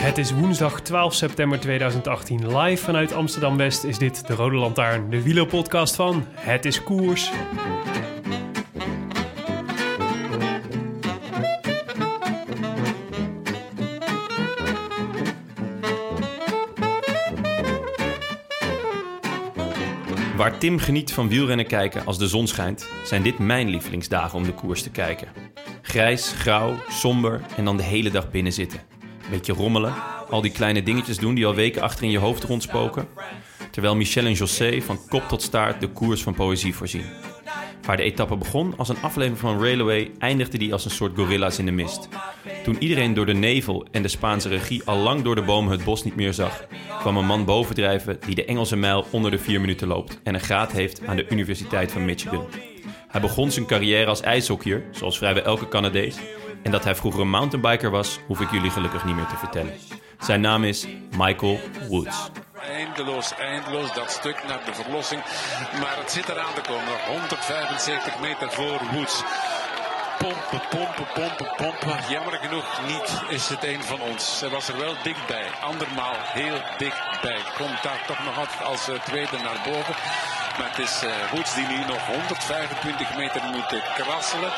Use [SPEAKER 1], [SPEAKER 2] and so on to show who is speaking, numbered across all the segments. [SPEAKER 1] Het is woensdag 12 september 2018. Live vanuit Amsterdam West is dit de Rode Lantaarn, de wielerpodcast van Het is Koers.
[SPEAKER 2] Waar Tim geniet van wielrennen kijken als de zon schijnt, zijn dit mijn lievelingsdagen om de koers te kijken. Grijs, grauw, somber en dan de hele dag binnen zitten. Beetje rommelen, al die kleine dingetjes doen die al weken achter in je hoofd rondspoken. Terwijl Michel en José van kop tot staart de koers van poëzie voorzien. Waar de etappe begon als een aflevering van Railway, eindigde die als een soort gorilla's in de mist. Toen iedereen door de nevel en de Spaanse regie al lang door de bomen het bos niet meer zag, kwam een man bovendrijven die de Engelse mijl onder de vier minuten loopt en een graad heeft aan de Universiteit van Michigan. Hij begon zijn carrière als ijshockeyer, zoals vrijwel elke Canadees. En dat hij vroeger een mountainbiker was, hoef ik jullie gelukkig niet meer te vertellen. Zijn naam is Michael Woods.
[SPEAKER 3] Eindeloos, eindeloos dat stuk naar de verlossing. Maar het zit eraan te komen. Nog 175 meter voor Woods. Pompen, pompen, pompen, pompen. Jammer genoeg niet is het een van ons. Ze was er wel dichtbij. Andermaal heel dichtbij. Komt daar toch nog altijd als eh, tweede naar boven. Maar het is eh, Woods die nu nog 125 meter moet eh, krasselen.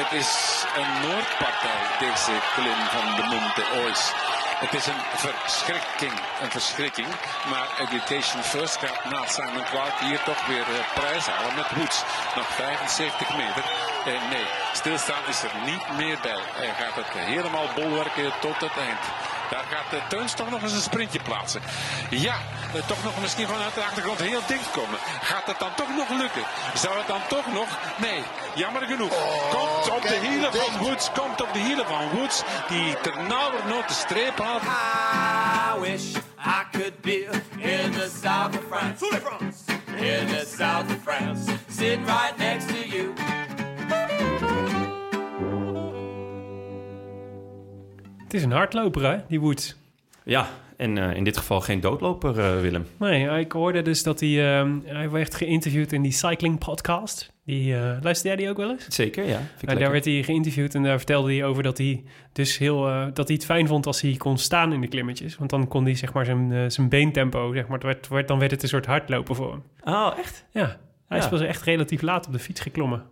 [SPEAKER 3] Het is een Noordpartij, deze klim van de Monte Ois. Het is een verschrikking, een verschrikking. Maar Education First gaat na Simon Clark hier toch weer eh, prijs halen met Woods. Nog 75 meter. Eh, nee, stilstaan is er niet meer bij. Hij gaat het helemaal bolwerken tot het eind. Daar gaat eh, Teuns toch nog eens een sprintje plaatsen. Ja, eh, toch nog misschien vanuit de achtergrond heel dicht komen. Gaat het dan toch nog lukken? Zou het dan toch nog? Nee, jammer genoeg. Komt op de hielen van Woods, komt op de hielen van Woods. Die ternauwernood de streep haalt.
[SPEAKER 4] I wish I could be in the south of France. In the south of France. Sitting right next to you.
[SPEAKER 1] Het is een hardloper, hè, die Woods.
[SPEAKER 2] Ja, en eh, in dit geval geen doodloper, eh, Willem.
[SPEAKER 1] Nee, ik hoorde dus dat hij, ehm, hij werd geïnterviewd in die cycling podcast. Die, eh luisterde jij die ook wel eens?
[SPEAKER 2] Zeker, ja. Vind ik
[SPEAKER 1] En Nou, daar
[SPEAKER 2] lekker.
[SPEAKER 1] werd hij geïnterviewd en daar vertelde hij over dat hij dus heel eh, dat hij het fijn vond als hij kon staan in de klimmetjes. Want dan kon hij zeg maar zijn, eh, zijn beentempo, zeg maar, het werd, werd- dan werd het een soort hardlopen voor hem.
[SPEAKER 2] Oh, echt?
[SPEAKER 1] Ja, hij
[SPEAKER 2] Ja.
[SPEAKER 1] is pas echt relatief laat op de fiets geklommen.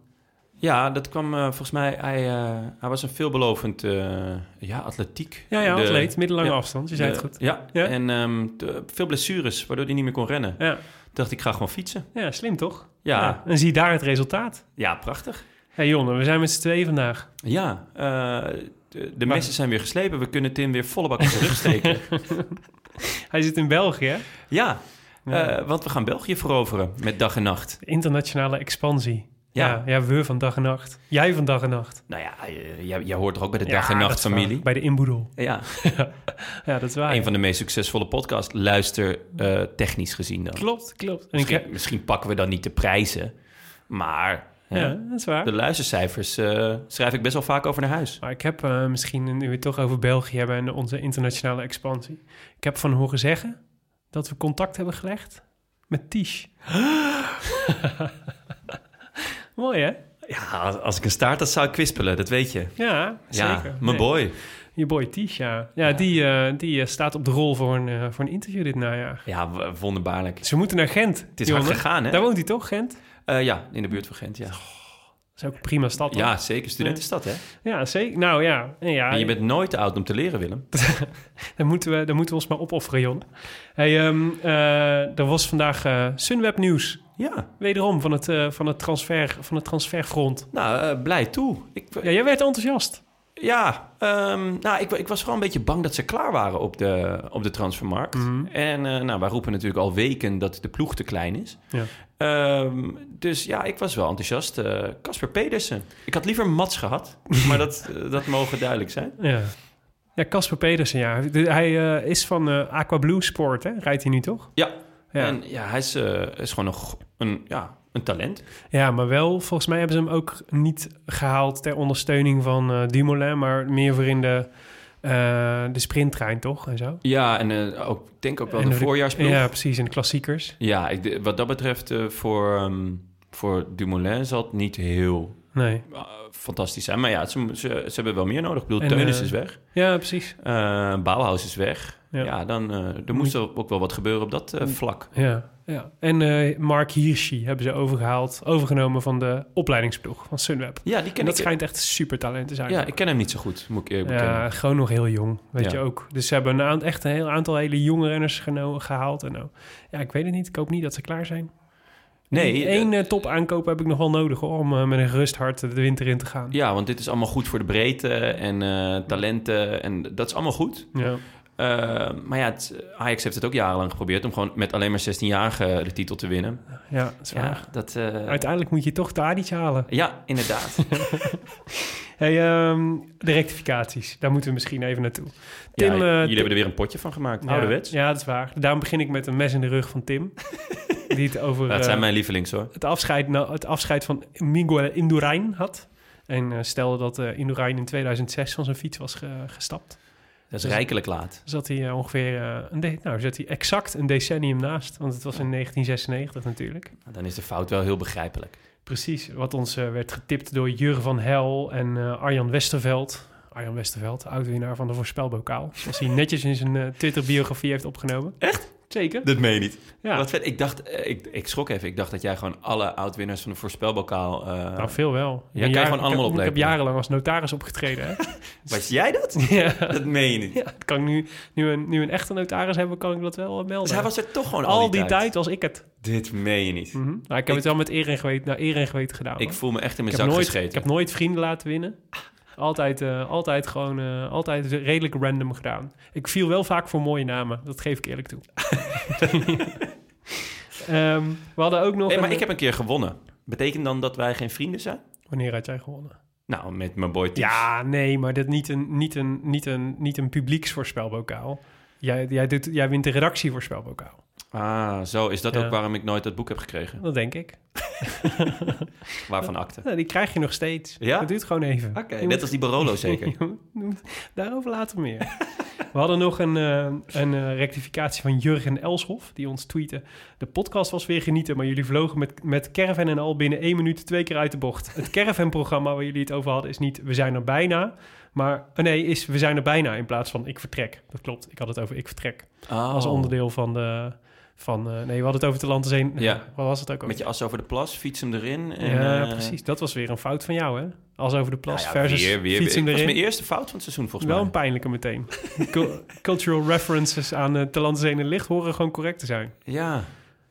[SPEAKER 2] Ja, dat kwam eh, volgens mij. Hij, eh, hij was een veelbelovend eh, ja, atletiek.
[SPEAKER 1] Ja, ja,
[SPEAKER 2] De-
[SPEAKER 1] atleet, middellange
[SPEAKER 2] ja,
[SPEAKER 1] afstand, je zei het
[SPEAKER 2] de-
[SPEAKER 1] goed.
[SPEAKER 2] Ja,
[SPEAKER 1] Ja.
[SPEAKER 2] en ehm, de- veel blessures, waardoor hij niet meer kon rennen.
[SPEAKER 1] Ja.
[SPEAKER 2] Dacht ik, ga gewoon fietsen.
[SPEAKER 1] ja, slim toch?
[SPEAKER 2] Ja.
[SPEAKER 1] En zie daar het resultaat.
[SPEAKER 2] Ja, prachtig.
[SPEAKER 1] Hé hey, Jonne, we zijn met z'n tweeën vandaag.
[SPEAKER 2] Ja, eh, de, de messen zijn weer geslepen. We kunnen Tim weer volle bak op de rug steken.
[SPEAKER 1] Hij zit in België, hè?
[SPEAKER 2] ja, eh, want we gaan België veroveren met dag en nacht.
[SPEAKER 1] De internationale expansie.
[SPEAKER 2] Ja.
[SPEAKER 1] ja, ja, we van dag en nacht. Jij van dag en nacht.
[SPEAKER 2] Nou ja, eh, jij, jij hoort toch ook bij de
[SPEAKER 1] Ja,
[SPEAKER 2] dag en
[SPEAKER 1] dat
[SPEAKER 2] nacht
[SPEAKER 1] is waar.
[SPEAKER 2] familie?
[SPEAKER 1] Bij de inboedel.
[SPEAKER 2] Ja,
[SPEAKER 1] Ja, dat is waar.
[SPEAKER 2] een van de meest succesvolle podcasts. Luister eh, technisch gezien dan.
[SPEAKER 1] Klopt, klopt. En ik,
[SPEAKER 2] Misschien, misschien pakken we dan niet de prijzen, maar hè,
[SPEAKER 1] ja, dat is waar.
[SPEAKER 2] de luistercijfers eh, schrijf ik best wel vaak over naar huis.
[SPEAKER 1] Maar ik heb eh, misschien, nu we het toch over België hebben en onze internationale expansie. Ik heb van horen zeggen dat we contact hebben gelegd met Tisch. Mooi, hè?
[SPEAKER 2] Ja, als- als ik een staart had, zou ik kwispelen, dat weet je.
[SPEAKER 1] Ja,
[SPEAKER 2] Ja,
[SPEAKER 1] zeker. Nee.
[SPEAKER 2] mijn boy.
[SPEAKER 1] Je boy Tisch, ja. Ja, die, eh, die eh, staat op de rol voor een, eh, voor een interview dit najaar.
[SPEAKER 2] Ja, w- wonderbaarlijk.
[SPEAKER 1] Ze moeten naar Gent. Het
[SPEAKER 2] is hard gegaan, hè?
[SPEAKER 1] Daar woont hij toch, Gent? Dat
[SPEAKER 2] Eh, ja, in de buurt van Gent, ja.
[SPEAKER 1] is ook een prima stad. hoor.
[SPEAKER 2] Ja, zeker. Studentenstad, hè?
[SPEAKER 1] ja zeker. Nou ja. En ja
[SPEAKER 2] En je bent nooit te oud om te leren, Willem.
[SPEAKER 1] Dan moeten we, dan moeten we ons maar opofferen, Jon. Hey, ehm, eh, er was vandaag eh, Sunweb nieuws.
[SPEAKER 2] Ja,
[SPEAKER 1] Wederom van het, eh, van het, transfer, van het transferfront.
[SPEAKER 2] nou, eh, blij toe. Ik,
[SPEAKER 1] Ja, jij werd enthousiast.
[SPEAKER 2] Ja, ehm, nou, ik, wa- ik was vooral een beetje bang dat ze klaar waren op de, op de transfermarkt. En eh, nou, wij roepen natuurlijk al weken dat de ploeg te klein is.
[SPEAKER 1] Ja.
[SPEAKER 2] Ehm, dus ja, ik was wel enthousiast. Eh, Casper Pedersen. Ik had liever Mats gehad, maar dat, eh, dat mogen duidelijk zijn.
[SPEAKER 1] Ja. Ja, Casper Pedersen, ja. De- hij eh, is van eh Aqua Blue Sport, hè? Rijdt hij nu toch?
[SPEAKER 2] Ja,
[SPEAKER 1] Ja.
[SPEAKER 2] en ja, hij is, eh, is gewoon een, go- een, ja, een talent.
[SPEAKER 1] Ja, maar wel, volgens mij hebben ze hem ook niet gehaald ter ondersteuning van eh Dumoulin, maar meer voor in de, eh, de sprinttrein, toch? En zo.
[SPEAKER 2] Ja, en eh, ook, ik denk ook wel
[SPEAKER 1] En
[SPEAKER 2] de
[SPEAKER 1] voor
[SPEAKER 2] voorjaarsploeg.
[SPEAKER 1] Ja,
[SPEAKER 2] Ja,
[SPEAKER 1] precies, in de klassiekers.
[SPEAKER 2] ik, de- wat dat betreft eh, voor, ehm, voor Dumoulin zal het niet heel
[SPEAKER 1] Nee.
[SPEAKER 2] eh, fantastisch zijn. Maar ja, ze, ze, ze hebben wel meer nodig. Ik bedoel,
[SPEAKER 1] En,
[SPEAKER 2] Teunis
[SPEAKER 1] eh,
[SPEAKER 2] is weg.
[SPEAKER 1] Ja, precies.
[SPEAKER 2] eh Bauhaus is weg.
[SPEAKER 1] Ja.
[SPEAKER 2] Ja, dan eh, er moest er ook wel wat gebeuren op dat eh, vlak.
[SPEAKER 1] Ja. ja. En eh, Mark Hirschi hebben ze overgehaald, overgenomen van de opleidingsploeg van Sunweb.
[SPEAKER 2] Ja, die
[SPEAKER 1] En
[SPEAKER 2] ken
[SPEAKER 1] dat
[SPEAKER 2] ik. eh,
[SPEAKER 1] schijnt echt super talent te zijn.
[SPEAKER 2] Ja, ik ken hem niet zo goed, moet ik eerlijk bekennen.
[SPEAKER 1] Ja, gewoon nog heel jong, weet je
[SPEAKER 2] Ja.
[SPEAKER 1] ook. Dus ze hebben een aant- echt een heel aantal hele jonge renners geno- gehaald. En nou, ja, ik weet het niet. Ik hoop niet dat ze klaar zijn.
[SPEAKER 2] Nee,
[SPEAKER 1] Eén
[SPEAKER 2] eh,
[SPEAKER 1] eh, top aankoop heb ik nog wel nodig hoor, om eh, met een gerust hart de winter in te gaan.
[SPEAKER 2] ja, want dit is allemaal goed voor de breedte en eh, talenten. En dat is allemaal goed.
[SPEAKER 1] Ja.
[SPEAKER 2] Eh, maar ja, het- Ajax heeft het ook jarenlang geprobeerd om gewoon met alleen maar 16-jarigen de titel te winnen.
[SPEAKER 1] Ja, dat is waar.
[SPEAKER 2] Ja, dat, eh,
[SPEAKER 1] Uiteindelijk moet je toch Tadic halen.
[SPEAKER 2] ja inderdaad.
[SPEAKER 1] Hey, ehm, de rectificaties, daar moeten we misschien even naartoe. Tim,
[SPEAKER 2] ja,
[SPEAKER 1] eh,
[SPEAKER 2] jullie
[SPEAKER 1] Tim-
[SPEAKER 2] hebben er weer een potje van gemaakt.
[SPEAKER 1] ja,
[SPEAKER 2] Ouderwets.
[SPEAKER 1] Ja, dat is waar. Daarom begin ik met een mes in de rug van Tim. die het over
[SPEAKER 2] dat
[SPEAKER 1] eh,
[SPEAKER 2] zijn mijn lievelings hoor.
[SPEAKER 1] het, afscheid, nou, het afscheid van Miguel Indurain had. En eh, stelde dat eh Indurain in 2006 van zijn fiets was ge- gestapt.
[SPEAKER 2] Dat is
[SPEAKER 1] dus-
[SPEAKER 2] rijkelijk laat.
[SPEAKER 1] Zat hij eh, ongeveer, eh, een de- nou zat hij exact een decennium naast. Want het was in 1996 natuurlijk.
[SPEAKER 2] Nou, Dan is de fout wel heel begrijpelijk.
[SPEAKER 1] Precies, wat ons eh, werd getipt door Jurgen van Hel en eh, Arjan Westerveld. Arjan Westerveld, oud-winnaar van de voorspelbokaal. Als hij netjes in zijn eh, Twitter-biografie heeft opgenomen. Echt? Zeker.
[SPEAKER 2] Dat meen je niet.
[SPEAKER 1] Ja,
[SPEAKER 2] Wat vet. Ik dacht, eh, ik, ik schrok even. Ik dacht dat jij gewoon alle oud-winnaars van de voorspelbokaal... eh,
[SPEAKER 1] nou veel wel. Ik ben
[SPEAKER 2] kan je
[SPEAKER 1] jaren-
[SPEAKER 2] gewoon allemaal
[SPEAKER 1] ik heb, ik heb
[SPEAKER 2] oplepelen.
[SPEAKER 1] jarenlang als notaris opgetreden. Hè?
[SPEAKER 2] was jij dat?
[SPEAKER 1] ja.
[SPEAKER 2] Dat meen je niet.
[SPEAKER 1] ja, dat kan ik nu, nu, een, nu een echte notaris hebben, kan ik dat wel eh, melden.
[SPEAKER 2] Dus hij was er toch gewoon
[SPEAKER 1] al, die tijd. was ik het.
[SPEAKER 2] Dit meen je niet.
[SPEAKER 1] Mhm. Nou, ik heb
[SPEAKER 2] Ik-
[SPEAKER 1] het wel met eer en geweten, naar eer en geweten gedaan. hoor.
[SPEAKER 2] Ik voel me echt in mijn
[SPEAKER 1] Ik
[SPEAKER 2] zak
[SPEAKER 1] heb, nooit,
[SPEAKER 2] gescheten.
[SPEAKER 1] ik heb nooit vrienden laten winnen. Altijd, eh, altijd gewoon, eh, altijd redelijk random gedaan. Ik viel wel vaak voor mooie namen, dat geef ik eerlijk toe. Ehm, we hadden ook nog...
[SPEAKER 2] Hey, maar
[SPEAKER 1] een-
[SPEAKER 2] ik heb een keer gewonnen. Betekent dan dat wij geen vrienden zijn?
[SPEAKER 1] Wanneer had jij gewonnen?
[SPEAKER 2] Nou, met mijn boy Tips.
[SPEAKER 1] Ja, nee, maar dit niet een, niet een, niet een, niet een publieksvoorspelbokaal. Jij, jij, doet, jij wint de redactievoorspelbokaal.
[SPEAKER 2] Ah, zo is dat
[SPEAKER 1] Ja.
[SPEAKER 2] ook waarom ik nooit dat boek heb gekregen.
[SPEAKER 1] Dat denk ik.
[SPEAKER 2] Waarvan akte.
[SPEAKER 1] Nou, die krijg je nog steeds.
[SPEAKER 2] Ja?
[SPEAKER 1] Dat duurt gewoon even.
[SPEAKER 2] Oké,
[SPEAKER 1] Je moet-
[SPEAKER 2] net als die Barolo zeker.
[SPEAKER 1] Daarover later meer. We hadden nog een, eh, een eh, rectificatie van Jurgen Elshoff, die ons tweette. De podcast was weer genieten, maar jullie vlogen met, met caravan en al binnen één minuut twee keer uit de bocht. Het caravan-programma waar jullie het over hadden is niet we zijn er bijna, maar oh nee, is we zijn er bijna in plaats van ik vertrek. Dat klopt, ik had het over ik vertrek.
[SPEAKER 2] Oh.
[SPEAKER 1] Als onderdeel van de... Van, eh, nee, we hadden het over te land zijn.
[SPEAKER 2] Ja.
[SPEAKER 1] Wat was het ook? over?
[SPEAKER 2] Met je as over de plas, fiets hem erin. En,
[SPEAKER 1] ja,
[SPEAKER 2] eh,
[SPEAKER 1] precies. Dat was weer een fout van jou, hè? Als over de
[SPEAKER 2] nou
[SPEAKER 1] plas
[SPEAKER 2] ja,
[SPEAKER 1] versus
[SPEAKER 2] weer, weer,
[SPEAKER 1] fietsen
[SPEAKER 2] weer. Dat
[SPEAKER 1] erin.
[SPEAKER 2] was mijn eerste fout van het seizoen volgens
[SPEAKER 1] Wel
[SPEAKER 2] mij.
[SPEAKER 1] een pijnlijke meteen. Cul- Cultural references aan uh, en Licht horen gewoon correct te zijn.
[SPEAKER 2] Ja,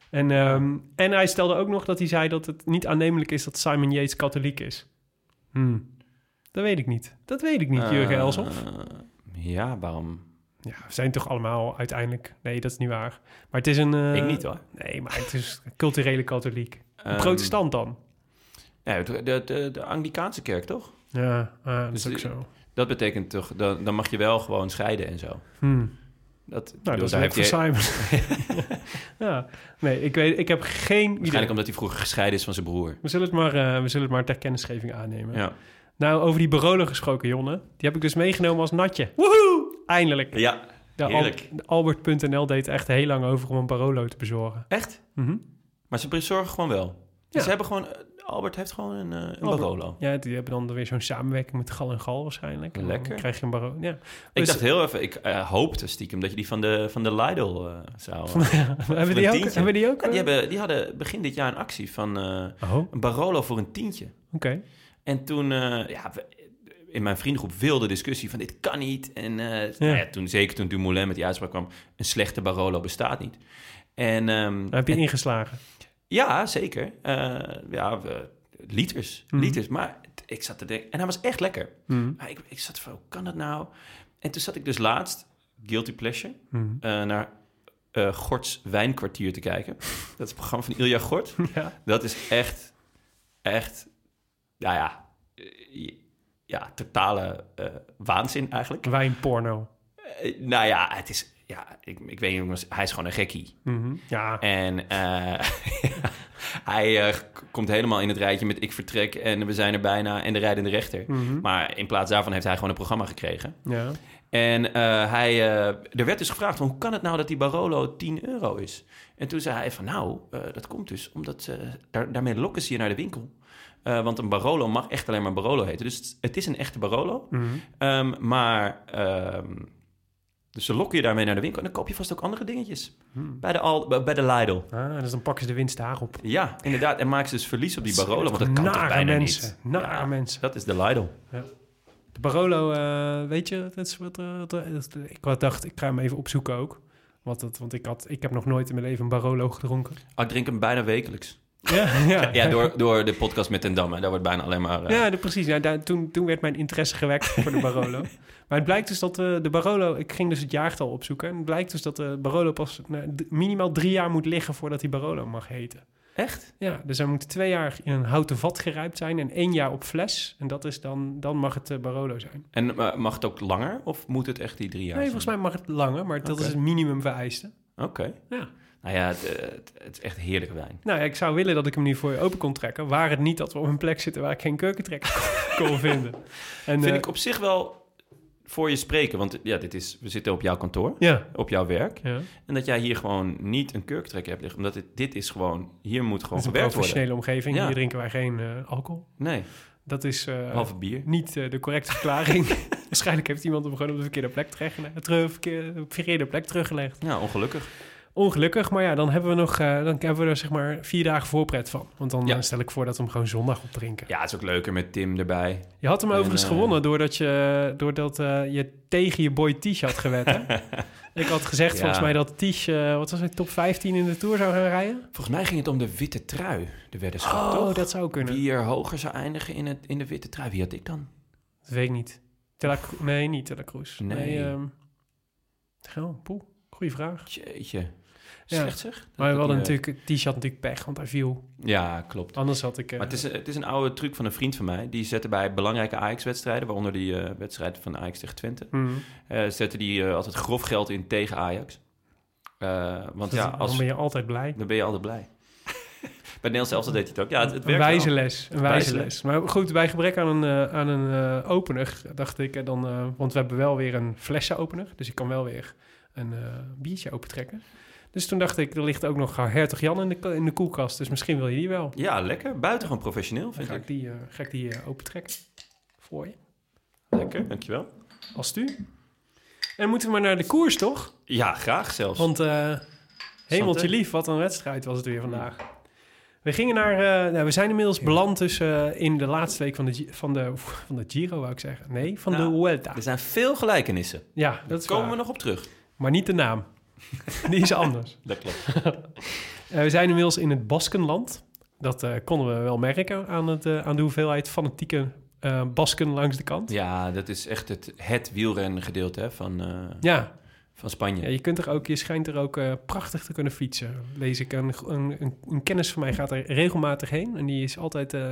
[SPEAKER 1] En, ehm, en hij stelde ook nog dat hij zei dat het niet aannemelijk is dat Simon Yates katholiek is. Hmm. Dat weet ik niet. Dat weet ik niet, Jurgen
[SPEAKER 2] Eh,
[SPEAKER 1] Elsof.
[SPEAKER 2] Ja, waarom?
[SPEAKER 1] Ja, we zijn toch allemaal uiteindelijk... Nee, dat is niet waar. Maar het is een... eh,
[SPEAKER 2] ik niet hoor.
[SPEAKER 1] Nee, maar het is culturele katholiek. Een
[SPEAKER 2] Ehm,
[SPEAKER 1] protestant dan.
[SPEAKER 2] Ja, de, de, de, de Anglicaanse kerk toch?
[SPEAKER 1] Ja, ah, dat
[SPEAKER 2] dus
[SPEAKER 1] is ook
[SPEAKER 2] die-
[SPEAKER 1] zo.
[SPEAKER 2] Dat betekent toch, dan, dan mag je wel gewoon scheiden en zo.
[SPEAKER 1] Hmm.
[SPEAKER 2] Dat, ik bedoel,
[SPEAKER 1] Nou, dat is
[SPEAKER 2] daar
[SPEAKER 1] leuk voor
[SPEAKER 2] heeft hij-
[SPEAKER 1] Simon. ja, nee, ik, weet, ik heb geen idee.
[SPEAKER 2] Waarschijnlijk omdat hij vroeger gescheiden is van zijn broer.
[SPEAKER 1] We zullen, het maar, eh, we zullen het maar ter kennisgeving aannemen.
[SPEAKER 2] Ja.
[SPEAKER 1] Nou, over die Barolo gesproken, Jonne. Die heb ik dus meegenomen als natje. Woehoe! Eindelijk.
[SPEAKER 2] ja.
[SPEAKER 1] De Al-
[SPEAKER 2] heerlijk.
[SPEAKER 1] de Albert.nl deed echt heel lang over om een Barolo te bezorgen.
[SPEAKER 2] Echt?
[SPEAKER 1] Mhm.
[SPEAKER 2] Maar ze bezorgen gewoon wel.
[SPEAKER 1] Ja.
[SPEAKER 2] Dus ze hebben gewoon... eh, Albert heeft gewoon een, eh, een
[SPEAKER 1] Albert.
[SPEAKER 2] Barolo.
[SPEAKER 1] Ja, die hebben dan weer zo'n samenwerking met Gal en Gal waarschijnlijk. En dan
[SPEAKER 2] Lekker.
[SPEAKER 1] krijg je een Barolo. Ja.
[SPEAKER 2] Ik
[SPEAKER 1] Dus-
[SPEAKER 2] dacht heel even, ik eh, hoopte stiekem dat je die van de, van de Lidl eh, zou...
[SPEAKER 1] hebben, die ook,
[SPEAKER 2] tientje.
[SPEAKER 1] hebben die ook?
[SPEAKER 2] Ja, die,
[SPEAKER 1] eh?
[SPEAKER 2] hebben, die hadden begin dit jaar een actie van eh,
[SPEAKER 1] Oh, oké.
[SPEAKER 2] een Barolo voor een tientje. En toen, eh, ja, we- in mijn vriendengroep wilde discussie van dit kan niet. En eh,
[SPEAKER 1] Ja.
[SPEAKER 2] Nou ja, toen, zeker toen Dumoulin met die uitspraak kwam, een slechte Barolo bestaat niet. En ehm,
[SPEAKER 1] Dan heb je ingeslagen.
[SPEAKER 2] ja, zeker. Eh, ja, we- liters, liters. Maar ik zat te denken. En hij was echt lekker. Maar ik, ik zat van, hoe kan dat nou? En toen zat ik dus laatst, Guilty Pleasure, eh, naar eh Gorts Wijnkwartier te kijken. Dat is het programma van Ilja Gort.
[SPEAKER 1] Ja.
[SPEAKER 2] Dat is echt, echt, nou ja, eh, ja totale eh, waanzin eigenlijk.
[SPEAKER 1] Wijnporno.
[SPEAKER 2] Eh, nou ja, het is, ja, ik, ik weet niet, jongens, hij is gewoon een gekkie.
[SPEAKER 1] Mhm. Ja,
[SPEAKER 2] En eh, hij eh, k- komt helemaal in het rijtje met ik vertrek en we zijn er bijna en de rijdende rechter. Maar in plaats daarvan heeft hij gewoon een programma gekregen.
[SPEAKER 1] ja.
[SPEAKER 2] En eh, hij, eh, er werd dus gevraagd van hoe kan het nou dat die Barolo 10 euro is? En toen zei hij van nou, eh, dat komt dus omdat eh, daar, daarmee lokken ze je naar de winkel. Eh, want een Barolo mag echt alleen maar Barolo heten. Dus het- het is een echte Barolo. Ehm, maar ehm, dus ze lokken je daarmee naar de winkel. En dan koop je vast ook andere dingetjes. Bij, de Al, bij- bij de Lidl.
[SPEAKER 1] Ah, dus dan pakken ze de winst daar op.
[SPEAKER 2] Ja, inderdaad. En maken ze dus verlies op die Barolo. Want dat kan toch
[SPEAKER 1] Nare
[SPEAKER 2] bijna
[SPEAKER 1] mensen.
[SPEAKER 2] niet?
[SPEAKER 1] Nare
[SPEAKER 2] Ja,
[SPEAKER 1] mensen.
[SPEAKER 2] Dat is de Lidl.
[SPEAKER 1] De Barolo, eh, weet je, dat is wat, eh, dat is- ik had dacht, ik ga hem even opzoeken ook. Wat dat, want ik, had, ik heb nog nooit in mijn leven een Barolo gedronken.
[SPEAKER 2] Ah, ik drink hem bijna wekelijks.
[SPEAKER 1] Ja, ja.
[SPEAKER 2] Ja, door, door de podcast met Den Damme. Daar wordt bijna alleen maar... eh,
[SPEAKER 1] Ja, de- precies. Ja, daar, toen, toen werd mijn interesse gewekt voor de Barolo. maar het blijkt dus dat eh, de Barolo... Ik ging dus het jaartal opzoeken. En het blijkt dus dat de Barolo pas nou, d- minimaal drie jaar moet liggen... voordat die Barolo mag heten.
[SPEAKER 2] Echt?
[SPEAKER 1] Ja, dus hij moet twee jaar in een houten vat gerijpt zijn... en één jaar op fles. En dat is dan, dan mag het eh, Barolo zijn.
[SPEAKER 2] En eh, mag het ook langer? Of moet het echt die drie jaar
[SPEAKER 1] nee,
[SPEAKER 2] zijn?
[SPEAKER 1] volgens mij mag het langer, maar dat
[SPEAKER 2] Oké.
[SPEAKER 1] is het minimum vereiste.
[SPEAKER 2] Oké.
[SPEAKER 1] Ja.
[SPEAKER 2] Nou ja, het, eh, het, het is echt heerlijke wijn.
[SPEAKER 1] Nou ja, ik zou willen dat ik hem nu voor je open kon trekken... waar het niet dat we op een plek zitten waar ik geen keukentrekker kon vinden. En,
[SPEAKER 2] Vind
[SPEAKER 1] eh,
[SPEAKER 2] ik op zich wel voor je spreken. Want eh, ja, dit is, we zitten op jouw kantoor.
[SPEAKER 1] Ja.
[SPEAKER 2] Op jouw werk.
[SPEAKER 1] Ja,
[SPEAKER 2] En dat jij hier gewoon niet een kurktrekker hebt liggen. Omdat dit, dit is gewoon... Hier moet
[SPEAKER 1] dat
[SPEAKER 2] gewoon
[SPEAKER 1] is een
[SPEAKER 2] gewerkt worden.
[SPEAKER 1] professionele omgeving.
[SPEAKER 2] Ja.
[SPEAKER 1] Hier drinken wij geen eh, alcohol.
[SPEAKER 2] Nee,
[SPEAKER 1] Dat is eh,
[SPEAKER 2] halve bier.
[SPEAKER 1] niet eh, de correcte verklaring. Waarschijnlijk heeft iemand hem gewoon op de verkeerde plek, teruggelegd, terug, verkeer- verkeerde plek teruggelegd.
[SPEAKER 2] Ja, ongelukkig.
[SPEAKER 1] Ongelukkig, maar ja, dan hebben we, nog, eh, dan hebben we er zeg maar vier dagen voorpret van. Want dan
[SPEAKER 2] Ja.
[SPEAKER 1] eh, stel ik voor dat we hem gewoon zondag opdrinken.
[SPEAKER 2] Ja, het is ook leuker met Tim erbij.
[SPEAKER 1] Je had hem overigens
[SPEAKER 2] eh,
[SPEAKER 1] gewonnen doordat je, doordat, eh, je tegen je boy Tish had gewet. hè? ik had gezegd
[SPEAKER 2] Ja.
[SPEAKER 1] volgens mij dat Tish, eh, wat was het, top 15 in de Tour zou gaan rijden?
[SPEAKER 2] Volgens mij ging het om de witte trui, de weddenschap,
[SPEAKER 1] Oh,
[SPEAKER 2] toch?
[SPEAKER 1] dat zou kunnen.
[SPEAKER 2] Wie er hoger zou eindigen in, het, in de witte trui. Wie had ik dan?
[SPEAKER 1] Dat weet ik niet. Tela, nee, niet Telacruz.
[SPEAKER 2] Nee.
[SPEAKER 1] ehm, Goh, poeh, goeie vraag.
[SPEAKER 2] Jeetje.
[SPEAKER 1] Ja.
[SPEAKER 2] Slecht zeg. Dat-
[SPEAKER 1] Maar we
[SPEAKER 2] dat
[SPEAKER 1] hadden
[SPEAKER 2] me-
[SPEAKER 1] natuurlijk, die had natuurlijk pech, want hij viel.
[SPEAKER 2] Ja, klopt.
[SPEAKER 1] Anders had ik... eh,
[SPEAKER 2] Maar het is, het is een oude truc van een vriend van mij. Die zette bij belangrijke Ajax-wedstrijden, waaronder die eh, wedstrijd van Ajax tegen Twente,
[SPEAKER 1] mm,
[SPEAKER 2] eh, zette die eh, altijd grof geld in tegen Ajax. Eh, want
[SPEAKER 1] dat-
[SPEAKER 2] ja,
[SPEAKER 1] dan
[SPEAKER 2] als,
[SPEAKER 1] ben je altijd blij.
[SPEAKER 2] dan ben je altijd blij. bij Nederland zelfs deed hij het ook. Ja, het, het
[SPEAKER 1] Een
[SPEAKER 2] werkt
[SPEAKER 1] wijze
[SPEAKER 2] wel.
[SPEAKER 1] les, een
[SPEAKER 2] Wijze
[SPEAKER 1] wijze les. Maar goed, bij gebrek aan een, eh, aan een eh, opener, dacht ik, eh, dan, eh, want we hebben wel weer een flessenopener, dus ik kan wel weer een eh, biertje opentrekken. Dus toen dacht ik, er ligt ook nog Hertog Jan in de, ko- in de koelkast, dus misschien wil je die wel.
[SPEAKER 2] Ja, lekker. Buitengewoon professioneel,
[SPEAKER 1] Dan
[SPEAKER 2] vind
[SPEAKER 1] ga
[SPEAKER 2] ik.
[SPEAKER 1] ik die, eh, ga ik die eh, opentrekken voor je,
[SPEAKER 2] Lekker, dankjewel.
[SPEAKER 1] als het u. En dan moeten we maar naar de koers, toch?
[SPEAKER 2] Ja, graag zelfs.
[SPEAKER 1] Want eh, hemeltje
[SPEAKER 2] Santé.
[SPEAKER 1] lief, wat een wedstrijd was het weer vandaag. We gingen naar, eh, nou, we zijn inmiddels beland dus, eh, in de laatste week van de, Gi- van, de, van de Giro, wou ik zeggen. Nee, van
[SPEAKER 2] Nou,
[SPEAKER 1] de Vuelta.
[SPEAKER 2] Er zijn veel gelijkenissen.
[SPEAKER 1] Ja, dat is
[SPEAKER 2] Komen
[SPEAKER 1] waar.
[SPEAKER 2] we nog op terug.
[SPEAKER 1] Maar niet de naam. Die is anders.
[SPEAKER 2] Dat klopt.
[SPEAKER 1] Eh, we zijn inmiddels in het Baskenland. Dat eh, konden we wel merken aan, het, eh, aan de hoeveelheid fanatieke eh, Basken langs de kant.
[SPEAKER 2] Ja, dat is echt het, het wielrengedeelte hè, van, eh,
[SPEAKER 1] Ja,
[SPEAKER 2] van Spanje.
[SPEAKER 1] Ja, je, kunt er ook, je schijnt er ook eh, prachtig te kunnen fietsen, lees ik. Een, een, een, een kennis van mij gaat er regelmatig heen. En die is altijd eh,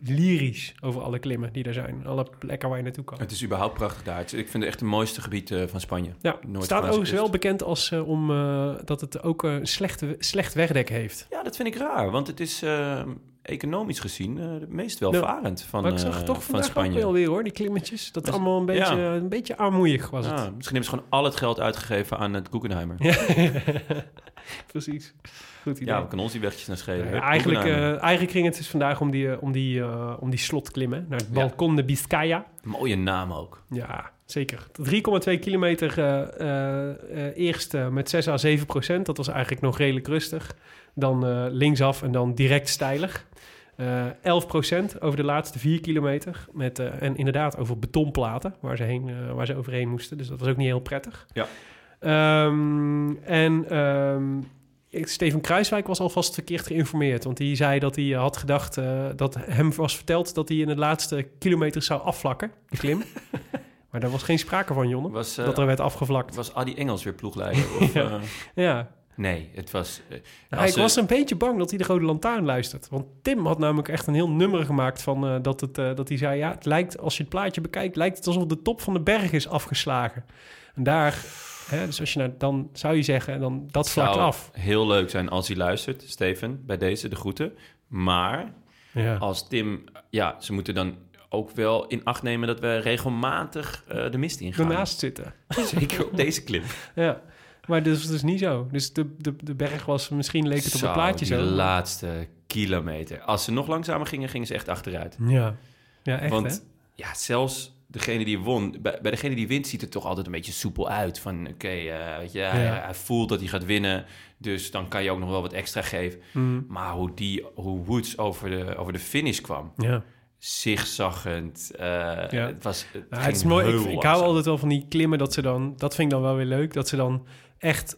[SPEAKER 1] lyrisch over alle klimmen die er zijn. Alle plekken waar je naartoe kan.
[SPEAKER 2] Het is überhaupt prachtig daar. Het is- Ik vind het echt het mooiste gebied eh, van Spanje.
[SPEAKER 1] Ja,
[SPEAKER 2] Noord-
[SPEAKER 1] staat overigens
[SPEAKER 2] kust.
[SPEAKER 1] wel bekend als eh, om, eh, dat het ook een slechte, slecht wegdek heeft.
[SPEAKER 2] Ja, dat vind ik raar, want het is eh, economisch gezien eh, het meest welvarend van,
[SPEAKER 1] Maar ik zag
[SPEAKER 2] eh,
[SPEAKER 1] het toch
[SPEAKER 2] van
[SPEAKER 1] vandaag
[SPEAKER 2] Spanje.
[SPEAKER 1] ook wel weer hoor, die klimmetjes. Dat
[SPEAKER 2] Maar-
[SPEAKER 1] allemaal een beetje,
[SPEAKER 2] ja.
[SPEAKER 1] een beetje armoeig was
[SPEAKER 2] Ja,
[SPEAKER 1] het.
[SPEAKER 2] misschien hebben ze gewoon al het geld uitgegeven aan het Guggenheimer. Ja,
[SPEAKER 1] Precies. Goed idee.
[SPEAKER 2] we kunnen ons die wegjes naar schelen.
[SPEAKER 1] Nou ja,
[SPEAKER 2] Hup,
[SPEAKER 1] eigenlijk, eh,
[SPEAKER 2] Guggenheimer.
[SPEAKER 1] eigenlijk ging het dus vandaag om die, eh, om die, eh, om die slotklimmen naar het
[SPEAKER 2] Ja.
[SPEAKER 1] balkon de Biscaya.
[SPEAKER 2] Mooie naam ook.
[SPEAKER 1] Ja, zeker. 3,2 kilometer eh eh, eh, eerst eh, met 6 à 7 procent. Dat was eigenlijk nog redelijk rustig. Dan eh, linksaf en dan direct steilig. Eh 11 procent over de laatste 4 kilometer. Met, eh, en inderdaad over betonplaten waar ze, heen, eh, waar ze overheen moesten. Dus dat was ook niet heel prettig.
[SPEAKER 2] Ja.
[SPEAKER 1] Ehm, en ehm, Steven Kruiswijk was alvast verkeerd geïnformeerd. Want die zei dat hij had gedacht... eh, dat hem was verteld dat hij in de laatste kilometer zou afvlakken. De klim. maar daar was geen sprake van, Jonne.
[SPEAKER 2] Was, eh,
[SPEAKER 1] dat er werd afgevlakt.
[SPEAKER 2] Was Adi Engels weer ploegleider? Of, eh,
[SPEAKER 1] Ja.
[SPEAKER 2] nee, het was... eh,
[SPEAKER 1] Nou,
[SPEAKER 2] als
[SPEAKER 1] ik
[SPEAKER 2] ze-
[SPEAKER 1] was een beetje bang dat hij de Rode Lantaarn luistert. Want Tim had namelijk echt een heel nummer gemaakt van eh, dat, het, eh, dat hij zei... Ja, het lijkt, als je het plaatje bekijkt, lijkt het alsof de top van de berg is afgeslagen. En daar... Hè, dus als je nou, dan zou je zeggen, dan, dat vlakt
[SPEAKER 2] zou
[SPEAKER 1] af.
[SPEAKER 2] heel leuk zijn als hij luistert, Steven, bij deze de groeten. Maar
[SPEAKER 1] Ja.
[SPEAKER 2] als Tim... Ja, ze moeten dan ook wel in acht nemen dat we regelmatig eh, de mist ingaan.
[SPEAKER 1] Ernaast zitten.
[SPEAKER 2] Zeker op deze clip.
[SPEAKER 1] Ja. Maar dat was dus niet zo. Dus de, de, de berg was, misschien leek het op het
[SPEAKER 2] Zo,
[SPEAKER 1] plaatje
[SPEAKER 2] die
[SPEAKER 1] zo.
[SPEAKER 2] laatste kilometer. Als ze nog langzamer gingen, gingen ze echt achteruit.
[SPEAKER 1] Ja. Ja, echt
[SPEAKER 2] Want
[SPEAKER 1] hè?
[SPEAKER 2] ja, zelfs degene die won, bij, bij degene die wint, ziet het toch altijd een beetje soepel uit. Van oké, eh, weet je, hij,
[SPEAKER 1] Ja.
[SPEAKER 2] hij voelt dat hij gaat winnen, dus dan kan je ook nog wel wat extra geven.
[SPEAKER 1] Mhm.
[SPEAKER 2] Maar hoe, die, hoe Woods over de, over de finish kwam,
[SPEAKER 1] Ja.
[SPEAKER 2] zigzaggend, eh, het was het
[SPEAKER 1] Nou,
[SPEAKER 2] ging
[SPEAKER 1] het is mooi.
[SPEAKER 2] heel
[SPEAKER 1] Ik, ik hou
[SPEAKER 2] langzaam.
[SPEAKER 1] altijd wel van die klimmen dat ze dan... Dat vind ik dan wel weer leuk. Dat ze dan echt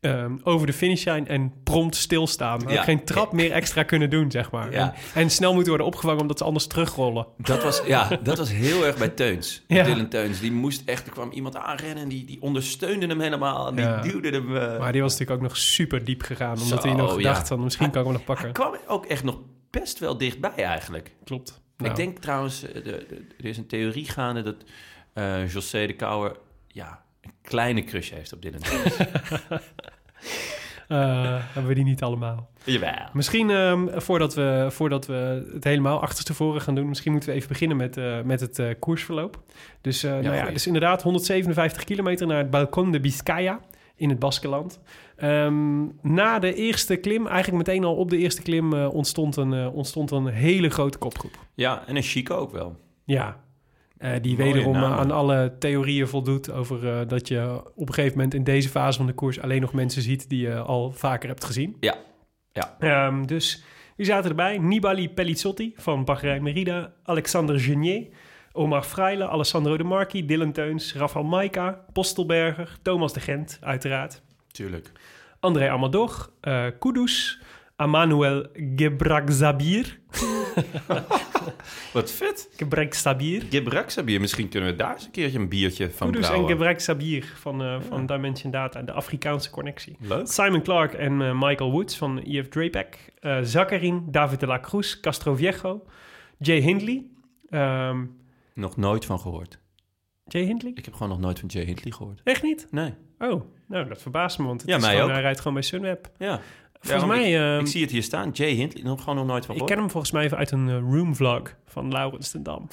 [SPEAKER 1] ehm, over de finish zijn en prompt stilstaan.
[SPEAKER 2] Ja.
[SPEAKER 1] Ook geen trap meer extra kunnen doen, zeg maar.
[SPEAKER 2] Ja.
[SPEAKER 1] En, en snel moeten worden opgevangen omdat ze anders terugrollen.
[SPEAKER 2] Dat was, ja, dat was heel erg bij Teuns.
[SPEAKER 1] Ja.
[SPEAKER 2] Dylan Teuns, die moest echt, er kwam iemand aanrennen en die, die ondersteunde hem helemaal. En die
[SPEAKER 1] Ja.
[SPEAKER 2] duwde hem... eh,
[SPEAKER 1] Maar die was natuurlijk ook nog super diep gegaan. Omdat
[SPEAKER 2] Zo,
[SPEAKER 1] hij nog
[SPEAKER 2] ja. Ah,
[SPEAKER 1] gedacht had, misschien kan ik hem nog pakken.
[SPEAKER 2] Hij kwam ook echt nog best wel dichtbij eigenlijk.
[SPEAKER 1] Klopt. Nou,
[SPEAKER 2] Ik denk trouwens, eh, de- de- er is een theorie gaande dat eh José de Kouwer ja, een kleine crush heeft op Dylan. Teuns.
[SPEAKER 1] eh, hebben we die niet allemaal.
[SPEAKER 2] Jawel.
[SPEAKER 1] Misschien ehm, voordat, we, voordat we het helemaal achterstevoren gaan doen, misschien moeten we even beginnen met, eh, met het eh, koersverloop. Dus, eh, nou ja,
[SPEAKER 2] goeie.
[SPEAKER 1] dus inderdaad 157 kilometer naar het balcon de Biscaya in het Baskeland. Ehm, na de eerste klim, eigenlijk meteen al op de eerste klim, eh, ontstond, een, eh, ontstond een hele grote kopgroep.
[SPEAKER 2] Ja, en een chique ook wel.
[SPEAKER 1] Ja. Eh, die
[SPEAKER 2] Mooie
[SPEAKER 1] wederom eh,
[SPEAKER 2] namen.
[SPEAKER 1] aan alle theorieën voldoet over eh, dat je op een gegeven moment in deze fase van de koers alleen nog mensen ziet die je al vaker hebt gezien.
[SPEAKER 2] Ja. Ja.
[SPEAKER 1] Ehm, dus die zaten erbij. Nibali Pellizzotti van Bahrein Merida, Alexander Genier, Omar Fraile, Alessandro De Marchi, Dylan Teuns, Rafael Maika, Postelberger, Thomas de Gent uiteraard,
[SPEAKER 2] Tuurlijk.
[SPEAKER 1] André Amador, eh Kudus, Amanuel Gebrakzabir.
[SPEAKER 2] Wat vet.
[SPEAKER 1] Gebrakzabir.
[SPEAKER 2] Gebraksabier, misschien kunnen we daar eens een keertje een biertje van
[SPEAKER 1] Kudus en
[SPEAKER 2] brouwen.
[SPEAKER 1] Gebrek Sabir van, eh, van Dimension Data, de Afrikaanse connectie.
[SPEAKER 2] Leuk.
[SPEAKER 1] Simon Clark en eh, Michael Woods van EF Drapac. eh Zakarin, David de la Cruz, Castro Viejo, Jay Hindley. Ehm,
[SPEAKER 2] Nog nooit van gehoord.
[SPEAKER 1] Jay Hindley?
[SPEAKER 2] Ik heb gewoon nog nooit van Jay Hindley gehoord.
[SPEAKER 1] Echt niet?
[SPEAKER 2] Nee.
[SPEAKER 1] Oh, nou dat verbaast me, want het
[SPEAKER 2] Ja,
[SPEAKER 1] is
[SPEAKER 2] mij
[SPEAKER 1] gewoon,
[SPEAKER 2] ook.
[SPEAKER 1] hij rijdt gewoon bij Sunweb.
[SPEAKER 2] Ja.
[SPEAKER 1] Volgens
[SPEAKER 2] Ja, maar
[SPEAKER 1] mij,
[SPEAKER 2] Ik,
[SPEAKER 1] ehm,
[SPEAKER 2] ik zie het hier staan. Jay Hindley, nog gewoon nog nooit van
[SPEAKER 1] Ik
[SPEAKER 2] gehoord.
[SPEAKER 1] ken hem volgens mij even uit een eh, roomvlog van Laurens ten Dam.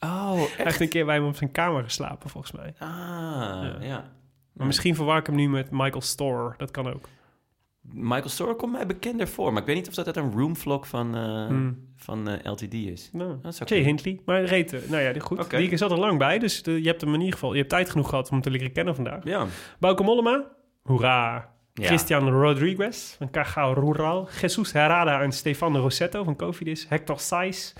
[SPEAKER 2] Oh,
[SPEAKER 1] Hij
[SPEAKER 2] echt?
[SPEAKER 1] heeft een keer bij hem op zijn kamer geslapen, volgens mij.
[SPEAKER 2] Ah, ja.
[SPEAKER 1] Maar misschien verwar ik hem nu met Michael Storer, dat kan ook.
[SPEAKER 2] Michael Store komt mij bekender voor, maar ik weet niet of dat uit een roomvlog van, eh, van eh, LTD is.
[SPEAKER 1] Nou,
[SPEAKER 2] Dat zou
[SPEAKER 1] Hmm. Jay
[SPEAKER 2] kunnen.
[SPEAKER 1] Hindley. Maar hij reed, eh, nou ja, goed.
[SPEAKER 2] Oké.
[SPEAKER 1] Die zat er lang bij, dus de- je hebt hem in ieder geval... Je hebt tijd genoeg gehad om hem te leren kennen vandaag.
[SPEAKER 2] Ja.
[SPEAKER 1] Bauke Mollema, hoera.
[SPEAKER 2] Ja.
[SPEAKER 1] Christian Rodriguez van Cajao Rural. Jesus Herrada en Stefano Rossetto van Cofidis. Hector Saiz.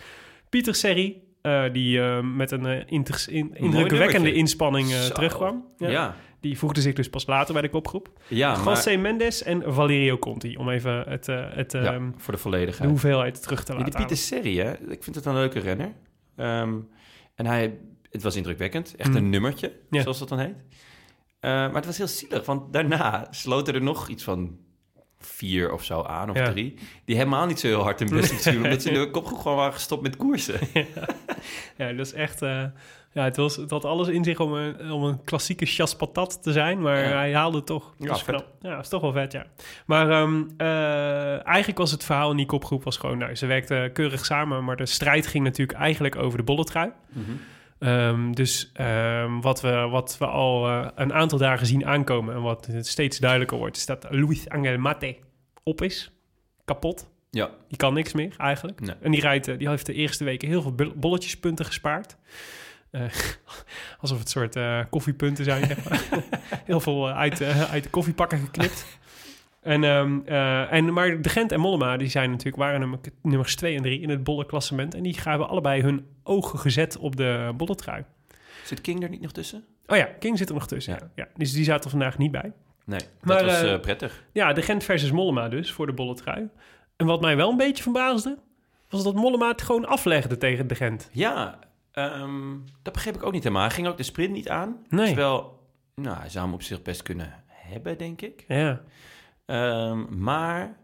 [SPEAKER 1] Pieter Serri, eh, die eh, met een eh, inters- in- indrukwekkende
[SPEAKER 2] nummertje.
[SPEAKER 1] inspanning eh,
[SPEAKER 2] Zo.
[SPEAKER 1] terugkwam.
[SPEAKER 2] Ja. ja.
[SPEAKER 1] Die voegde zich dus pas later bij de kopgroep.
[SPEAKER 2] maar,
[SPEAKER 1] José Mendes en Valerio Conti, om even het, eh, het,
[SPEAKER 2] ja,
[SPEAKER 1] ehm,
[SPEAKER 2] voor de
[SPEAKER 1] de
[SPEAKER 2] volledigheid.
[SPEAKER 1] hoeveelheid terug te
[SPEAKER 2] Ja,
[SPEAKER 1] laten
[SPEAKER 2] die Pieter
[SPEAKER 1] halen.
[SPEAKER 2] Serie, hè? ik vind het een leuke renner. Ehm, en hij, het was indrukwekkend. Echt een nummertje,
[SPEAKER 1] Hmm. Ja.
[SPEAKER 2] zoals dat dan heet. Eh, maar het was heel zielig, want daarna sloten er nog iets van vier of zo aan, of
[SPEAKER 1] Ja.
[SPEAKER 2] drie. Die helemaal niet zo heel hard hun best lieten zien, omdat ze in de kopgroep gewoon waren gestopt met koersen.
[SPEAKER 1] Ja, dat is echt. eh, ja, het, was, het had alles in zich om een, om een klassieke chasse patat te zijn, maar
[SPEAKER 2] Ja.
[SPEAKER 1] hij haalde het toch. Dat
[SPEAKER 2] Ja,
[SPEAKER 1] is
[SPEAKER 2] vet.
[SPEAKER 1] knap. ja, dat is toch wel vet, ja. Maar ehm, eh, eigenlijk was het verhaal in die kopgroep was gewoon, nou, ze werkten keurig samen, maar de strijd ging natuurlijk eigenlijk over de bolletrui.
[SPEAKER 2] Mhm.
[SPEAKER 1] Ehm, dus ehm, wat, we, wat we al eh, een aantal dagen zien aankomen en wat steeds duidelijker wordt, is dat Luis Angel Mate op is, kapot.
[SPEAKER 2] Ja,
[SPEAKER 1] Die kan niks meer eigenlijk.
[SPEAKER 2] Nee.
[SPEAKER 1] En die, rijdt, eh, die heeft de eerste weken heel veel bul- bolletjespunten gespaard. Eh, alsof het soort eh, koffiepunten zijn. zeg maar. heel veel eh, uit, eh, uit de koffiepakken geknipt. En, ehm, eh, en, maar De Gent en Mollema die zijn natuurlijk, waren nummer, nummers 2 en 3 in het bolle klassement. En die hebben allebei hun ogen gezet op de bolletrui.
[SPEAKER 2] zit King er niet nog tussen?
[SPEAKER 1] Oh ja, King zit er nog tussen. Ja.
[SPEAKER 2] Ja.
[SPEAKER 1] dus die zaten er vandaag niet bij.
[SPEAKER 2] Nee, dat
[SPEAKER 1] Maar,
[SPEAKER 2] was
[SPEAKER 1] eh,
[SPEAKER 2] eh, prettig.
[SPEAKER 1] Ja, de Gent versus Mollema dus, voor de bolle trui. En wat mij wel een beetje verbaasde, was dat Mollema het gewoon aflegde tegen de Gent.
[SPEAKER 2] Ja, ehm, dat begreep ik ook niet helemaal. Hij ging ook de sprint niet aan.
[SPEAKER 1] Nee.
[SPEAKER 2] Terwijl, nou, hij zou hem op zich best kunnen hebben, denk ik.
[SPEAKER 1] Ja,
[SPEAKER 2] Ehm, maar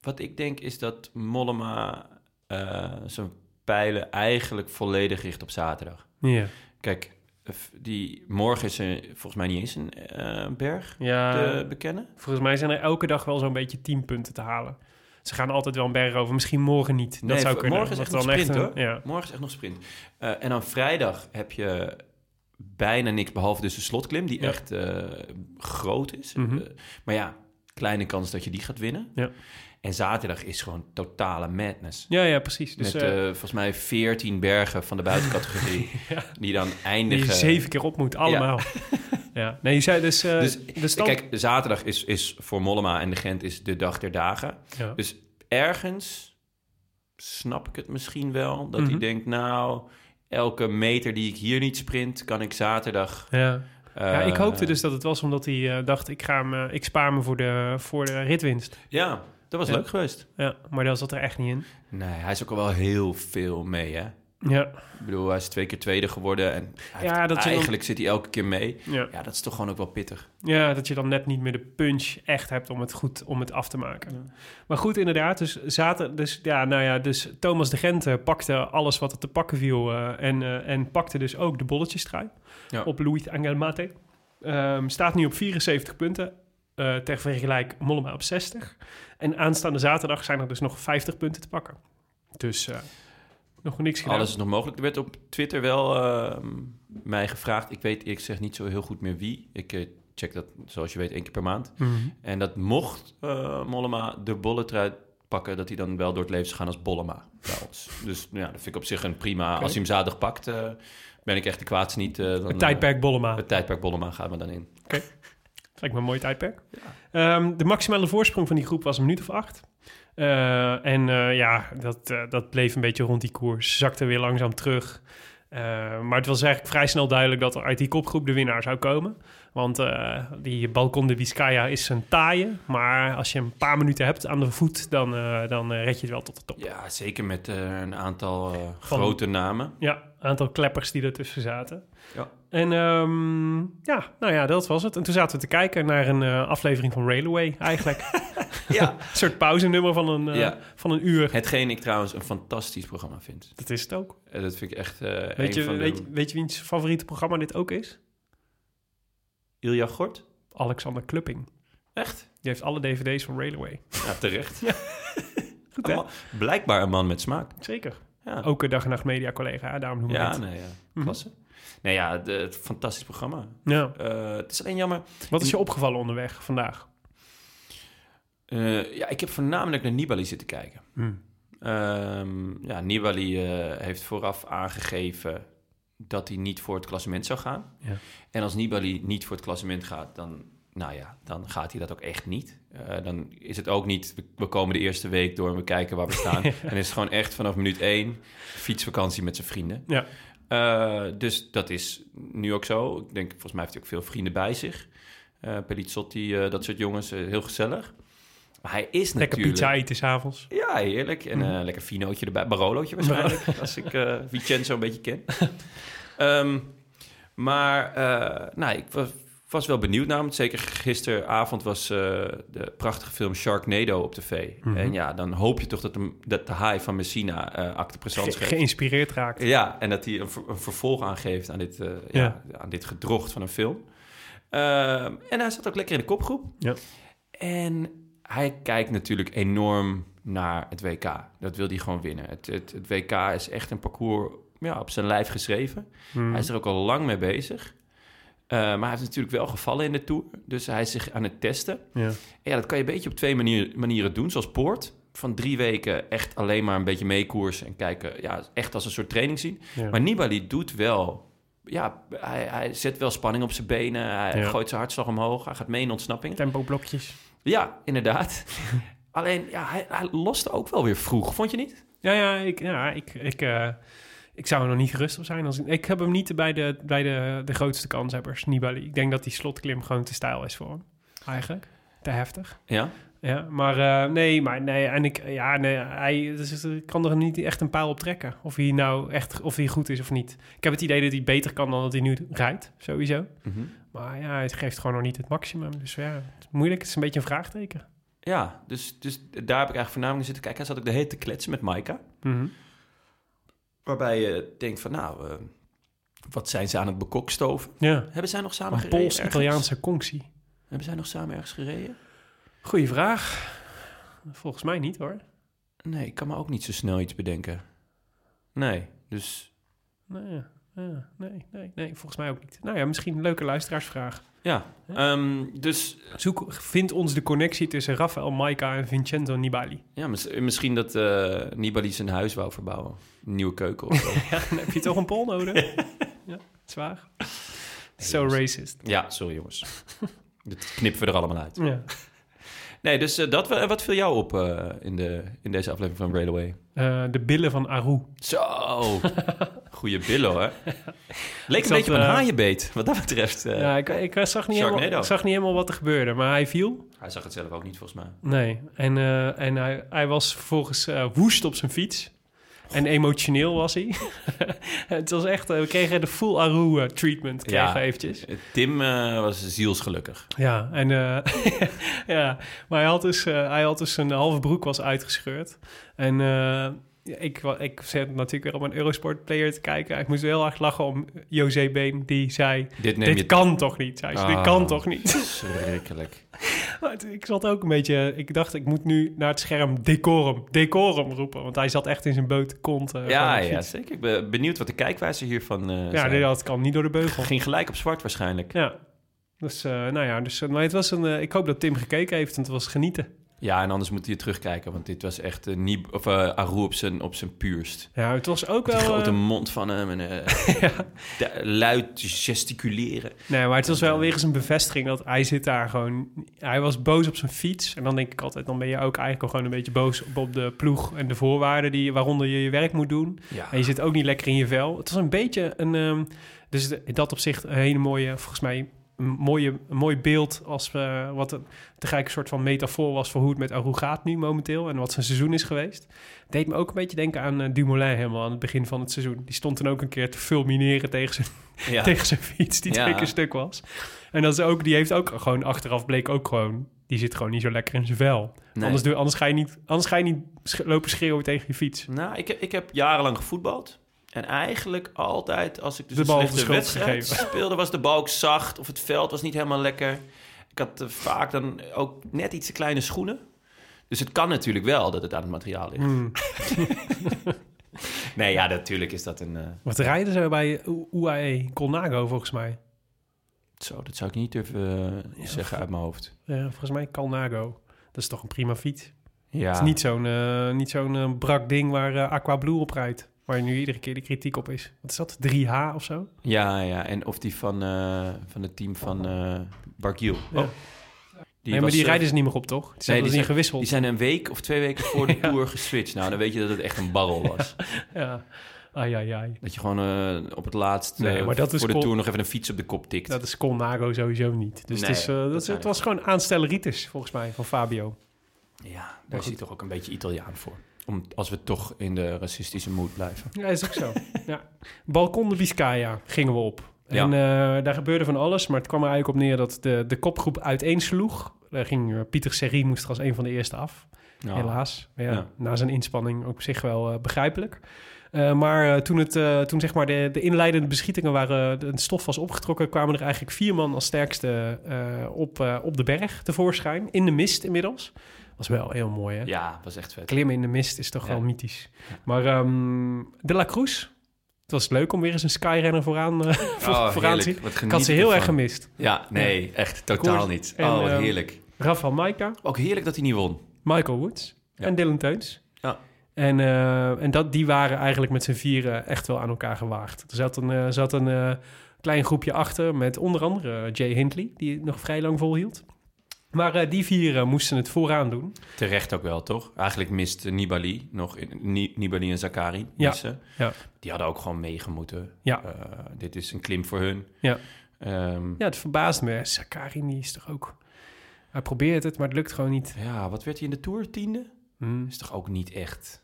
[SPEAKER 2] wat ik denk is dat Mollema eh, zijn pijlen eigenlijk volledig richt op zaterdag.
[SPEAKER 1] ja.
[SPEAKER 2] Kijk, f- die, morgen is er volgens mij niet eens een eh, berg
[SPEAKER 1] ja
[SPEAKER 2] te bekennen.
[SPEAKER 1] volgens mij zijn er elke dag wel zo'n beetje 10 punten te halen. Ze gaan altijd wel een berg over, misschien morgen niet.
[SPEAKER 2] Nee,
[SPEAKER 1] dat zou
[SPEAKER 2] v-
[SPEAKER 1] kunnen.
[SPEAKER 2] Morgen is echt
[SPEAKER 1] Dat
[SPEAKER 2] nog
[SPEAKER 1] dan
[SPEAKER 2] sprint,
[SPEAKER 1] een-
[SPEAKER 2] hoor.
[SPEAKER 1] Ja.
[SPEAKER 2] Morgen is echt nog sprint. Eh, en dan vrijdag heb je bijna niks, behalve dus de slotklim, die
[SPEAKER 1] Ja.
[SPEAKER 2] echt eh, groot is.
[SPEAKER 1] Mhm.
[SPEAKER 2] Eh, maar ja, kleine kans dat je die gaat winnen.
[SPEAKER 1] Ja.
[SPEAKER 2] En zaterdag is gewoon totale madness.
[SPEAKER 1] ja, ja, precies. Dus
[SPEAKER 2] Met
[SPEAKER 1] eh,
[SPEAKER 2] eh, volgens mij 14 bergen van de buitencategorie. Die dan
[SPEAKER 1] die
[SPEAKER 2] eindigen.
[SPEAKER 1] je zeven keer op moet, allemaal. Ja, nee, je zei dus... eh,
[SPEAKER 2] Dus
[SPEAKER 1] de stand...
[SPEAKER 2] kijk, zaterdag is, is voor Mollema en de Gent is de dag der dagen.
[SPEAKER 1] Ja.
[SPEAKER 2] Dus ergens snap ik het misschien wel. Dat
[SPEAKER 1] Mhm.
[SPEAKER 2] hij denkt, nou, elke meter die ik hier niet sprint, kan ik zaterdag...
[SPEAKER 1] ja. ja,
[SPEAKER 2] eh,
[SPEAKER 1] ik hoopte dus dat het was omdat hij eh, dacht, ik, ga hem, eh, ik spaar me voor de, voor de ritwinst.
[SPEAKER 2] Ja, dat was
[SPEAKER 1] Ja.
[SPEAKER 2] leuk geweest.
[SPEAKER 1] Ja, maar dat zat er echt niet in.
[SPEAKER 2] Nee, hij is ook al wel heel veel mee, hè?
[SPEAKER 1] Ja,
[SPEAKER 2] Ik bedoel, hij is twee keer tweede geworden en hij
[SPEAKER 1] Ja,
[SPEAKER 2] heeft-
[SPEAKER 1] dat is wel-
[SPEAKER 2] eigenlijk zit hij elke keer mee.
[SPEAKER 1] ja.
[SPEAKER 2] Ja, dat is toch gewoon ook wel pittig.
[SPEAKER 1] Ja, dat je dan net niet meer de punch echt hebt om het goed om het af te maken. Maar goed, inderdaad. Dus, zaten, dus, ja, nou ja, dus Thomas de Gent eh, pakte alles wat er te pakken viel. eh, en, eh, en pakte dus ook de bolletjestrui
[SPEAKER 2] Ja.
[SPEAKER 1] op Louis Angelmate. Ehm staat nu op 74 punten. eh, ter vergelijk Mollema op 60. En aanstaande zaterdag zijn er dus nog 50 punten te pakken. Dus eh, nog niks gedaan.
[SPEAKER 2] Alles is nog mogelijk. Er werd op Twitter wel ehm, mij gevraagd. Ik weet, ik zeg niet zo heel goed meer wie. Ik eh, check dat, zoals je weet, één keer per maand.
[SPEAKER 1] Mhm.
[SPEAKER 2] En dat mocht eh, Mollema de bolletrui pakken, dat hij dan wel door het leven zou gaan als Bollema bij ons. Dus nou ja, dat vind ik op zich een prima. Als hij hem zaterdag pakt, eh, ben ik echt de kwaadste niet. eh, dan,
[SPEAKER 1] Het tijdperk Bollema.
[SPEAKER 2] eh, het tijdperk Bollema gaat me dan in.
[SPEAKER 1] Lijkt me een mooi tijdperk. Ehm, de maximale voorsprong van die groep was een minuut of acht. Eh, en eh, ja, dat, eh, dat bleef een beetje rond die koers. Zakte weer langzaam terug. Eh, maar het was eigenlijk vrij snel duidelijk dat er uit die kopgroep de winnaar zou komen. Want eh, die Balkon de Biscaya is een taaie. Maar als je een paar minuten hebt aan de voet, dan, eh, dan eh, red je het wel tot de top. Ja,
[SPEAKER 2] Ja, zeker met eh, een aantal eh, grote namen.
[SPEAKER 1] aantal kleppers die ertussen zaten.
[SPEAKER 2] Ja.
[SPEAKER 1] En ehm, ja, nou ja, dat was het. En toen zaten we te kijken naar een eh, aflevering van Railway eigenlijk.
[SPEAKER 2] Ja.
[SPEAKER 1] Een soort pauzenummer van een, eh,
[SPEAKER 2] Ja.
[SPEAKER 1] van een uur.
[SPEAKER 2] Hetgeen ik trouwens een fantastisch programma vind.
[SPEAKER 1] Dat is het ook.
[SPEAKER 2] Eh, Dat vind ik echt eh een
[SPEAKER 1] Weet je,
[SPEAKER 2] van de...
[SPEAKER 1] weet, je- weet je wiens favoriete programma dit ook is?
[SPEAKER 2] Ilja Gort?
[SPEAKER 1] Alexander Klupping.
[SPEAKER 2] Echt?
[SPEAKER 1] Die heeft alle dvd's van Railway.
[SPEAKER 2] Ja, terecht.
[SPEAKER 1] Goed
[SPEAKER 2] Een
[SPEAKER 1] hè?
[SPEAKER 2] man- blijkbaar een man met smaak.
[SPEAKER 1] Zeker.
[SPEAKER 2] Ja.
[SPEAKER 1] Ook een dag en nacht media collega, hè? daarom noem ik
[SPEAKER 2] Ja,
[SPEAKER 1] het. Mhm.
[SPEAKER 2] nee, ja. Klasse. Nee, ja, de- het fantastisch programma.
[SPEAKER 1] Ja.
[SPEAKER 2] Eh, het is alleen jammer.
[SPEAKER 1] Wat is je opgevallen onderweg vandaag?
[SPEAKER 2] eh, ja, ik heb voornamelijk naar Nibali zitten kijken.
[SPEAKER 1] Hmm.
[SPEAKER 2] Ehm, ja, Nibali eh, heeft vooraf aangegeven dat hij niet voor het klassement zou gaan.
[SPEAKER 1] Ja.
[SPEAKER 2] En als Nibali niet voor het klassement gaat, dan, nou ja, dan gaat hij dat ook echt niet. Eh, dan is het ook niet, we- we komen de eerste week door en we kijken waar we staan. En is het gewoon echt vanaf minuut één fietsvakantie met zijn vrienden.
[SPEAKER 1] Ja.
[SPEAKER 2] Eh, dus dat is nu ook zo. Ik denk, volgens mij heeft hij ook veel vrienden bij zich. Eh Pelizzotti, eh, dat soort jongens, eh, heel gezellig. Maar hij is
[SPEAKER 1] Lekker
[SPEAKER 2] natuurlijk...
[SPEAKER 1] pizza Mhm. eten s'avonds.
[SPEAKER 2] Ja, heerlijk. En eh lekker finootje erbij. Barolootje waarschijnlijk, als ik eh, Vincenzo een beetje ken. Ehm, maar eh, nou, ik was, was wel benieuwd naar hem. Zeker gisteravond was eh, de prachtige film Sharknado op tv.
[SPEAKER 1] Mhm.
[SPEAKER 2] En ja, dan hoop je toch dat, hem, dat de haai van Messina eh acte présence geeft.
[SPEAKER 1] geïnspireerd raakt.
[SPEAKER 2] Ja, en dat hij een, ver- een vervolg aangeeft aan dit, eh, ja. aan dit gedrocht van een film. Ehm, en hij zat ook lekker in de kopgroep.
[SPEAKER 1] Ja.
[SPEAKER 2] En hij kijkt natuurlijk enorm naar het WK. Dat wil hij gewoon winnen. Het, het, het WK is echt een parcours ja, op zijn lijf geschreven. Hij is er ook al lang mee bezig. Eh, maar hij heeft natuurlijk wel gevallen in de Tour. Dus hij is zich aan het testen.
[SPEAKER 1] Ja.
[SPEAKER 2] En ja, dat kan je een beetje op twee manier, manieren doen. Zoals Poort. Van drie weken echt alleen maar een beetje meekoersen. En kijken, ja, echt als een soort training zien.
[SPEAKER 1] Ja.
[SPEAKER 2] Maar Nibali doet wel... Ja, hij, hij zet wel spanning op zijn benen. Hij
[SPEAKER 1] Ja.
[SPEAKER 2] gooit zijn hartslag omhoog. Hij gaat mee in ontsnapping.
[SPEAKER 1] Tempo blokjes.
[SPEAKER 2] Ja, inderdaad. Alleen, ja, hij, hij loste ook wel weer vroeg, vond je niet?
[SPEAKER 1] Ja, ja, ik, ja ik, ik, eh, ik zou er nog niet gerust op zijn. Als ik, ik heb hem niet bij de, bij de, de grootste kanshebbers, Nibali. Ik denk dat die slotklim gewoon te stijl is voor hem. eigenlijk. Te heftig.
[SPEAKER 2] Ja?
[SPEAKER 1] Ja, maar eh, nee, maar nee, en ik, ja, nee, hij dus ik kan er niet echt een paal op trekken. Of hij nou echt, of hij goed is of niet. Ik heb het idee dat hij beter kan dan dat hij nu rijdt, sowieso.
[SPEAKER 2] Mhm.
[SPEAKER 1] Maar ja, het geeft gewoon nog niet het maximum. Dus ja, het is moeilijk. Het is een beetje een vraagteken.
[SPEAKER 2] Ja, dus, dus daar heb ik eigenlijk voornamelijk zitten kijken. Hij zat ook de hele tijd te kletsen met Maika.
[SPEAKER 1] Mhm.
[SPEAKER 2] Waarbij je denkt van, nou, eh, wat zijn ze aan het bekokstoven?
[SPEAKER 1] Ja,
[SPEAKER 2] Hebben zij nog samen
[SPEAKER 1] een
[SPEAKER 2] gereden? ergens?
[SPEAKER 1] Pools-Italiaanse conctie.
[SPEAKER 2] Hebben zij nog samen ergens gereden?
[SPEAKER 1] Goeie vraag. Volgens mij niet hoor.
[SPEAKER 2] Nee, ik kan me ook niet zo snel iets bedenken. Nee, dus
[SPEAKER 1] Nee, Nou ja, nee, nee, nee, volgens mij ook niet. Nou ja, misschien een leuke luisteraarsvraag.
[SPEAKER 2] ja. Ehm, dus
[SPEAKER 1] Zoek, vind ons de connectie tussen Rafael Maika en Vincenzo Nibali.
[SPEAKER 2] ja, mis- misschien dat eh, Nibali zijn huis wou verbouwen. Een nieuwe keuken of zo.
[SPEAKER 1] Ja, dan heb je toch een pol nodig. ja, zwaar. So racist.
[SPEAKER 2] ja, sorry jongens. Dit knippen we er allemaal uit.
[SPEAKER 1] Ja.
[SPEAKER 2] Nee, dus eh, dat, wa- wat viel jou op eh, in, de, in deze aflevering van Railway?
[SPEAKER 1] Eh, de billen van Aru.
[SPEAKER 2] Zo! Goeie billen hoor. Leek een
[SPEAKER 1] zat,
[SPEAKER 2] beetje op een
[SPEAKER 1] eh,
[SPEAKER 2] haaienbeet, wat dat betreft. eh.
[SPEAKER 1] Ja, ik, ik, zag niet
[SPEAKER 2] Sharknado.
[SPEAKER 1] helemaal, ik zag niet helemaal wat er gebeurde, maar hij viel.
[SPEAKER 2] Hij zag het zelf ook niet volgens mij.
[SPEAKER 1] Nee, en, eh, en hij, hij was vervolgens eh, woest op zijn fiets. En emotioneel was hij. het was echt, eh, we kregen de full Aru eh, treatment, kregen we eventjes.
[SPEAKER 2] Tim eh, was zielsgelukkig.
[SPEAKER 1] Ja, en, eh, ja, maar hij had, dus, eh, hij had dus een halve broek was uitgescheurd. En eh, ik, wa- ik zet natuurlijk weer op mijn Eurosport player te kijken. Ik moest heel hard lachen om José Been, die zei...
[SPEAKER 2] Dit neem
[SPEAKER 1] Dit
[SPEAKER 2] je...
[SPEAKER 1] kan toch niet, zei ze. Dit
[SPEAKER 2] Ah.
[SPEAKER 1] kan toch niet?
[SPEAKER 2] Schrikkelijk.
[SPEAKER 1] Maar het- Ik zat ook een beetje... Ik dacht, ik moet nu naar het scherm decorum, decorum roepen. Want hij zat echt in zijn blote kont. eh,
[SPEAKER 2] Ja,
[SPEAKER 1] van de
[SPEAKER 2] ja,
[SPEAKER 1] fiets.
[SPEAKER 2] zeker. Ik ben benieuwd wat de kijkwijzer hiervan eh
[SPEAKER 1] Ja,
[SPEAKER 2] zijn.
[SPEAKER 1] nee, dat kan niet door de beugel.
[SPEAKER 2] Ging gelijk op zwart waarschijnlijk.
[SPEAKER 1] Ja. Dus, eh, nou ja, dus, eh, maar het was een, eh, ik hoop dat Tim gekeken heeft, want het was genieten.
[SPEAKER 2] Ja, en anders moet je terugkijken, want dit was echt eh, Nib- of, eh, Aru op zijn, op zijn puurst.
[SPEAKER 1] Ja, het was ook
[SPEAKER 2] Die
[SPEAKER 1] wel...
[SPEAKER 2] grote
[SPEAKER 1] eh,
[SPEAKER 2] mond van hem en eh, da- luid gesticuleren.
[SPEAKER 1] nee, maar het was wel weer eens een bevestiging dat hij zit daar gewoon... Hij was boos op zijn fiets. En dan denk ik altijd, dan ben je ook eigenlijk al gewoon een beetje boos op, op de ploeg en de voorwaarden die, waaronder je je werk moet doen.
[SPEAKER 2] Ja.
[SPEAKER 1] En je zit ook niet lekker in je vel. Het was een beetje een. ehm, dus de- in dat opzicht een hele mooie, volgens mij, een, mooie, een mooi beeld. Als, eh, wat een, tegelijk een soort van metafoor was voor hoe het met Aru gaat nu momenteel. En wat zijn seizoen is geweest. Deed me ook een beetje denken aan eh, Dumoulin helemaal aan het begin van het seizoen. Die stond toen ook een keer te fulmineren tegen zijn,
[SPEAKER 2] Ja.
[SPEAKER 1] tegen zijn fiets, die
[SPEAKER 2] Ja.
[SPEAKER 1] twee keer stuk was. En dat is ook, die heeft ook gewoon achteraf bleek ook gewoon. Die zit gewoon niet zo lekker in zijn vel.
[SPEAKER 2] Nee.
[SPEAKER 1] Anders, doe, anders ga je niet, anders ga je niet sch- lopen schreeuwen tegen je fiets.
[SPEAKER 2] Nou, ik, heb- ik heb jarenlang gevoetbald. En eigenlijk altijd, als ik dus
[SPEAKER 1] De
[SPEAKER 2] een
[SPEAKER 1] bal
[SPEAKER 2] slechte
[SPEAKER 1] de schuld
[SPEAKER 2] wedstrijd
[SPEAKER 1] gegeven.
[SPEAKER 2] speelde, was de bal ook zacht of het veld was niet helemaal lekker. Ik had eh, vaak dan ook net iets te kleine schoenen. Dus het kan natuurlijk wel dat het aan het materiaal ligt.
[SPEAKER 1] Hmm.
[SPEAKER 2] Nee, ja, natuurlijk is dat een... eh,
[SPEAKER 1] Wat rijden ze bij U- UAE? Colnago volgens mij.
[SPEAKER 2] Zo, dat zou ik niet durven eh, zeggen uit mijn hoofd.
[SPEAKER 1] Ja, volgens mij Colnago. Dat is toch een prima fiets.
[SPEAKER 2] Ja.
[SPEAKER 1] Het is niet zo'n eh, niet zo'n eh, brak ding waar eh, Aqua Blue op rijdt. Waar nu iedere keer de kritiek op is. Wat is dat? 3H of zo?
[SPEAKER 2] Ja, ja. En of die van, eh, van het team van eh Bargiel.
[SPEAKER 1] Ja.
[SPEAKER 2] Oh. Die
[SPEAKER 1] nee, maar
[SPEAKER 2] was,
[SPEAKER 1] die
[SPEAKER 2] eh,
[SPEAKER 1] rijden ze niet meer op, toch? Die zijn
[SPEAKER 2] die
[SPEAKER 1] nee,
[SPEAKER 2] zijn-
[SPEAKER 1] niet gewisseld.
[SPEAKER 2] Die zijn een week of twee weken voor de Tour geswitcht. Nou, dan weet je dat het echt een barrel was.
[SPEAKER 1] Ja. Ai, ai, ai.
[SPEAKER 2] Dat je gewoon eh, op het laatst
[SPEAKER 1] Nee,
[SPEAKER 2] eh,
[SPEAKER 1] maar dat is
[SPEAKER 2] voor de
[SPEAKER 1] col-
[SPEAKER 2] Tour nog even een fiets op de kop tikt.
[SPEAKER 1] Dat is Colnago sowieso niet. Dus
[SPEAKER 2] Nee,
[SPEAKER 1] het, is, eh, dat
[SPEAKER 2] dat
[SPEAKER 1] is-
[SPEAKER 2] zijn
[SPEAKER 1] het was gewoon aanstelleritis, volgens mij, van Fabio.
[SPEAKER 2] Ja, daar zit toch ook een beetje Italiaan voor. Om, als we toch in de racistische mood blijven.
[SPEAKER 1] Ja, is ook zo. ja. Balkon de Biscaya gingen we op.
[SPEAKER 2] Ja.
[SPEAKER 1] En eh, daar gebeurde van alles, maar het kwam er eigenlijk op neer dat de, de kopgroep uiteensloeg. Daar ging eh, Pieter Serri moest er als een van de eerste af,
[SPEAKER 2] Nou,
[SPEAKER 1] helaas. Maar Ja,
[SPEAKER 2] Ja.
[SPEAKER 1] Na zijn inspanning ook op zich wel eh, begrijpelijk. Eh, maar eh, toen, het, eh, toen zeg maar de, de inleidende beschietingen waren, de de stof was opgetrokken, kwamen er eigenlijk vier man als sterkste eh, op, eh, op de berg tevoorschijn. In de mist inmiddels. Was wel heel mooi, hè?
[SPEAKER 2] Ja, was echt vet.
[SPEAKER 1] Klimmen in de mist is toch
[SPEAKER 2] Ja.
[SPEAKER 1] wel mythisch. Maar ehm, De La Cruz. Het was leuk om weer eens een skyrenner vooraan, eh, voor-
[SPEAKER 2] Oh,
[SPEAKER 1] vooraan te zien.
[SPEAKER 2] heerlijk. Wat
[SPEAKER 1] Ik
[SPEAKER 2] geniet
[SPEAKER 1] had ze heel
[SPEAKER 2] ervan.
[SPEAKER 1] erg gemist.
[SPEAKER 2] Ja, nee, echt totaal
[SPEAKER 1] Koers
[SPEAKER 2] niet.
[SPEAKER 1] en,
[SPEAKER 2] oh, wat
[SPEAKER 1] ehm,
[SPEAKER 2] heerlijk.
[SPEAKER 1] Rafael Maika,
[SPEAKER 2] Ook heerlijk dat hij niet won.
[SPEAKER 1] Michael Woods
[SPEAKER 2] Ja.
[SPEAKER 1] en Dylan Teuns.
[SPEAKER 2] Ja.
[SPEAKER 1] En, eh, en dat, die waren eigenlijk met z'n vieren echt wel aan elkaar gewaagd. Er zat een, eh, zat een eh, klein groepje achter met onder andere eh, Jay Hindley, die het nog vrij lang volhield. Maar eh, die vier eh, moesten het vooraan doen.
[SPEAKER 2] Terecht ook wel, toch? Eigenlijk mist eh, Nibali nog. in- Ni- Nibali en Zakari
[SPEAKER 1] Ja,
[SPEAKER 2] missen.
[SPEAKER 1] ja.
[SPEAKER 2] Die hadden ook gewoon meegemoeten.
[SPEAKER 1] Ja.
[SPEAKER 2] Eh, dit is een klim voor hun.
[SPEAKER 1] Ja.
[SPEAKER 2] Ehm,
[SPEAKER 1] Ja, het verbaast me. Sakari die is toch ook... Hij probeert het, maar het lukt gewoon niet.
[SPEAKER 2] Ja, wat werd hij in de Tour? Tiende?
[SPEAKER 1] Hm.
[SPEAKER 2] Is toch ook niet echt...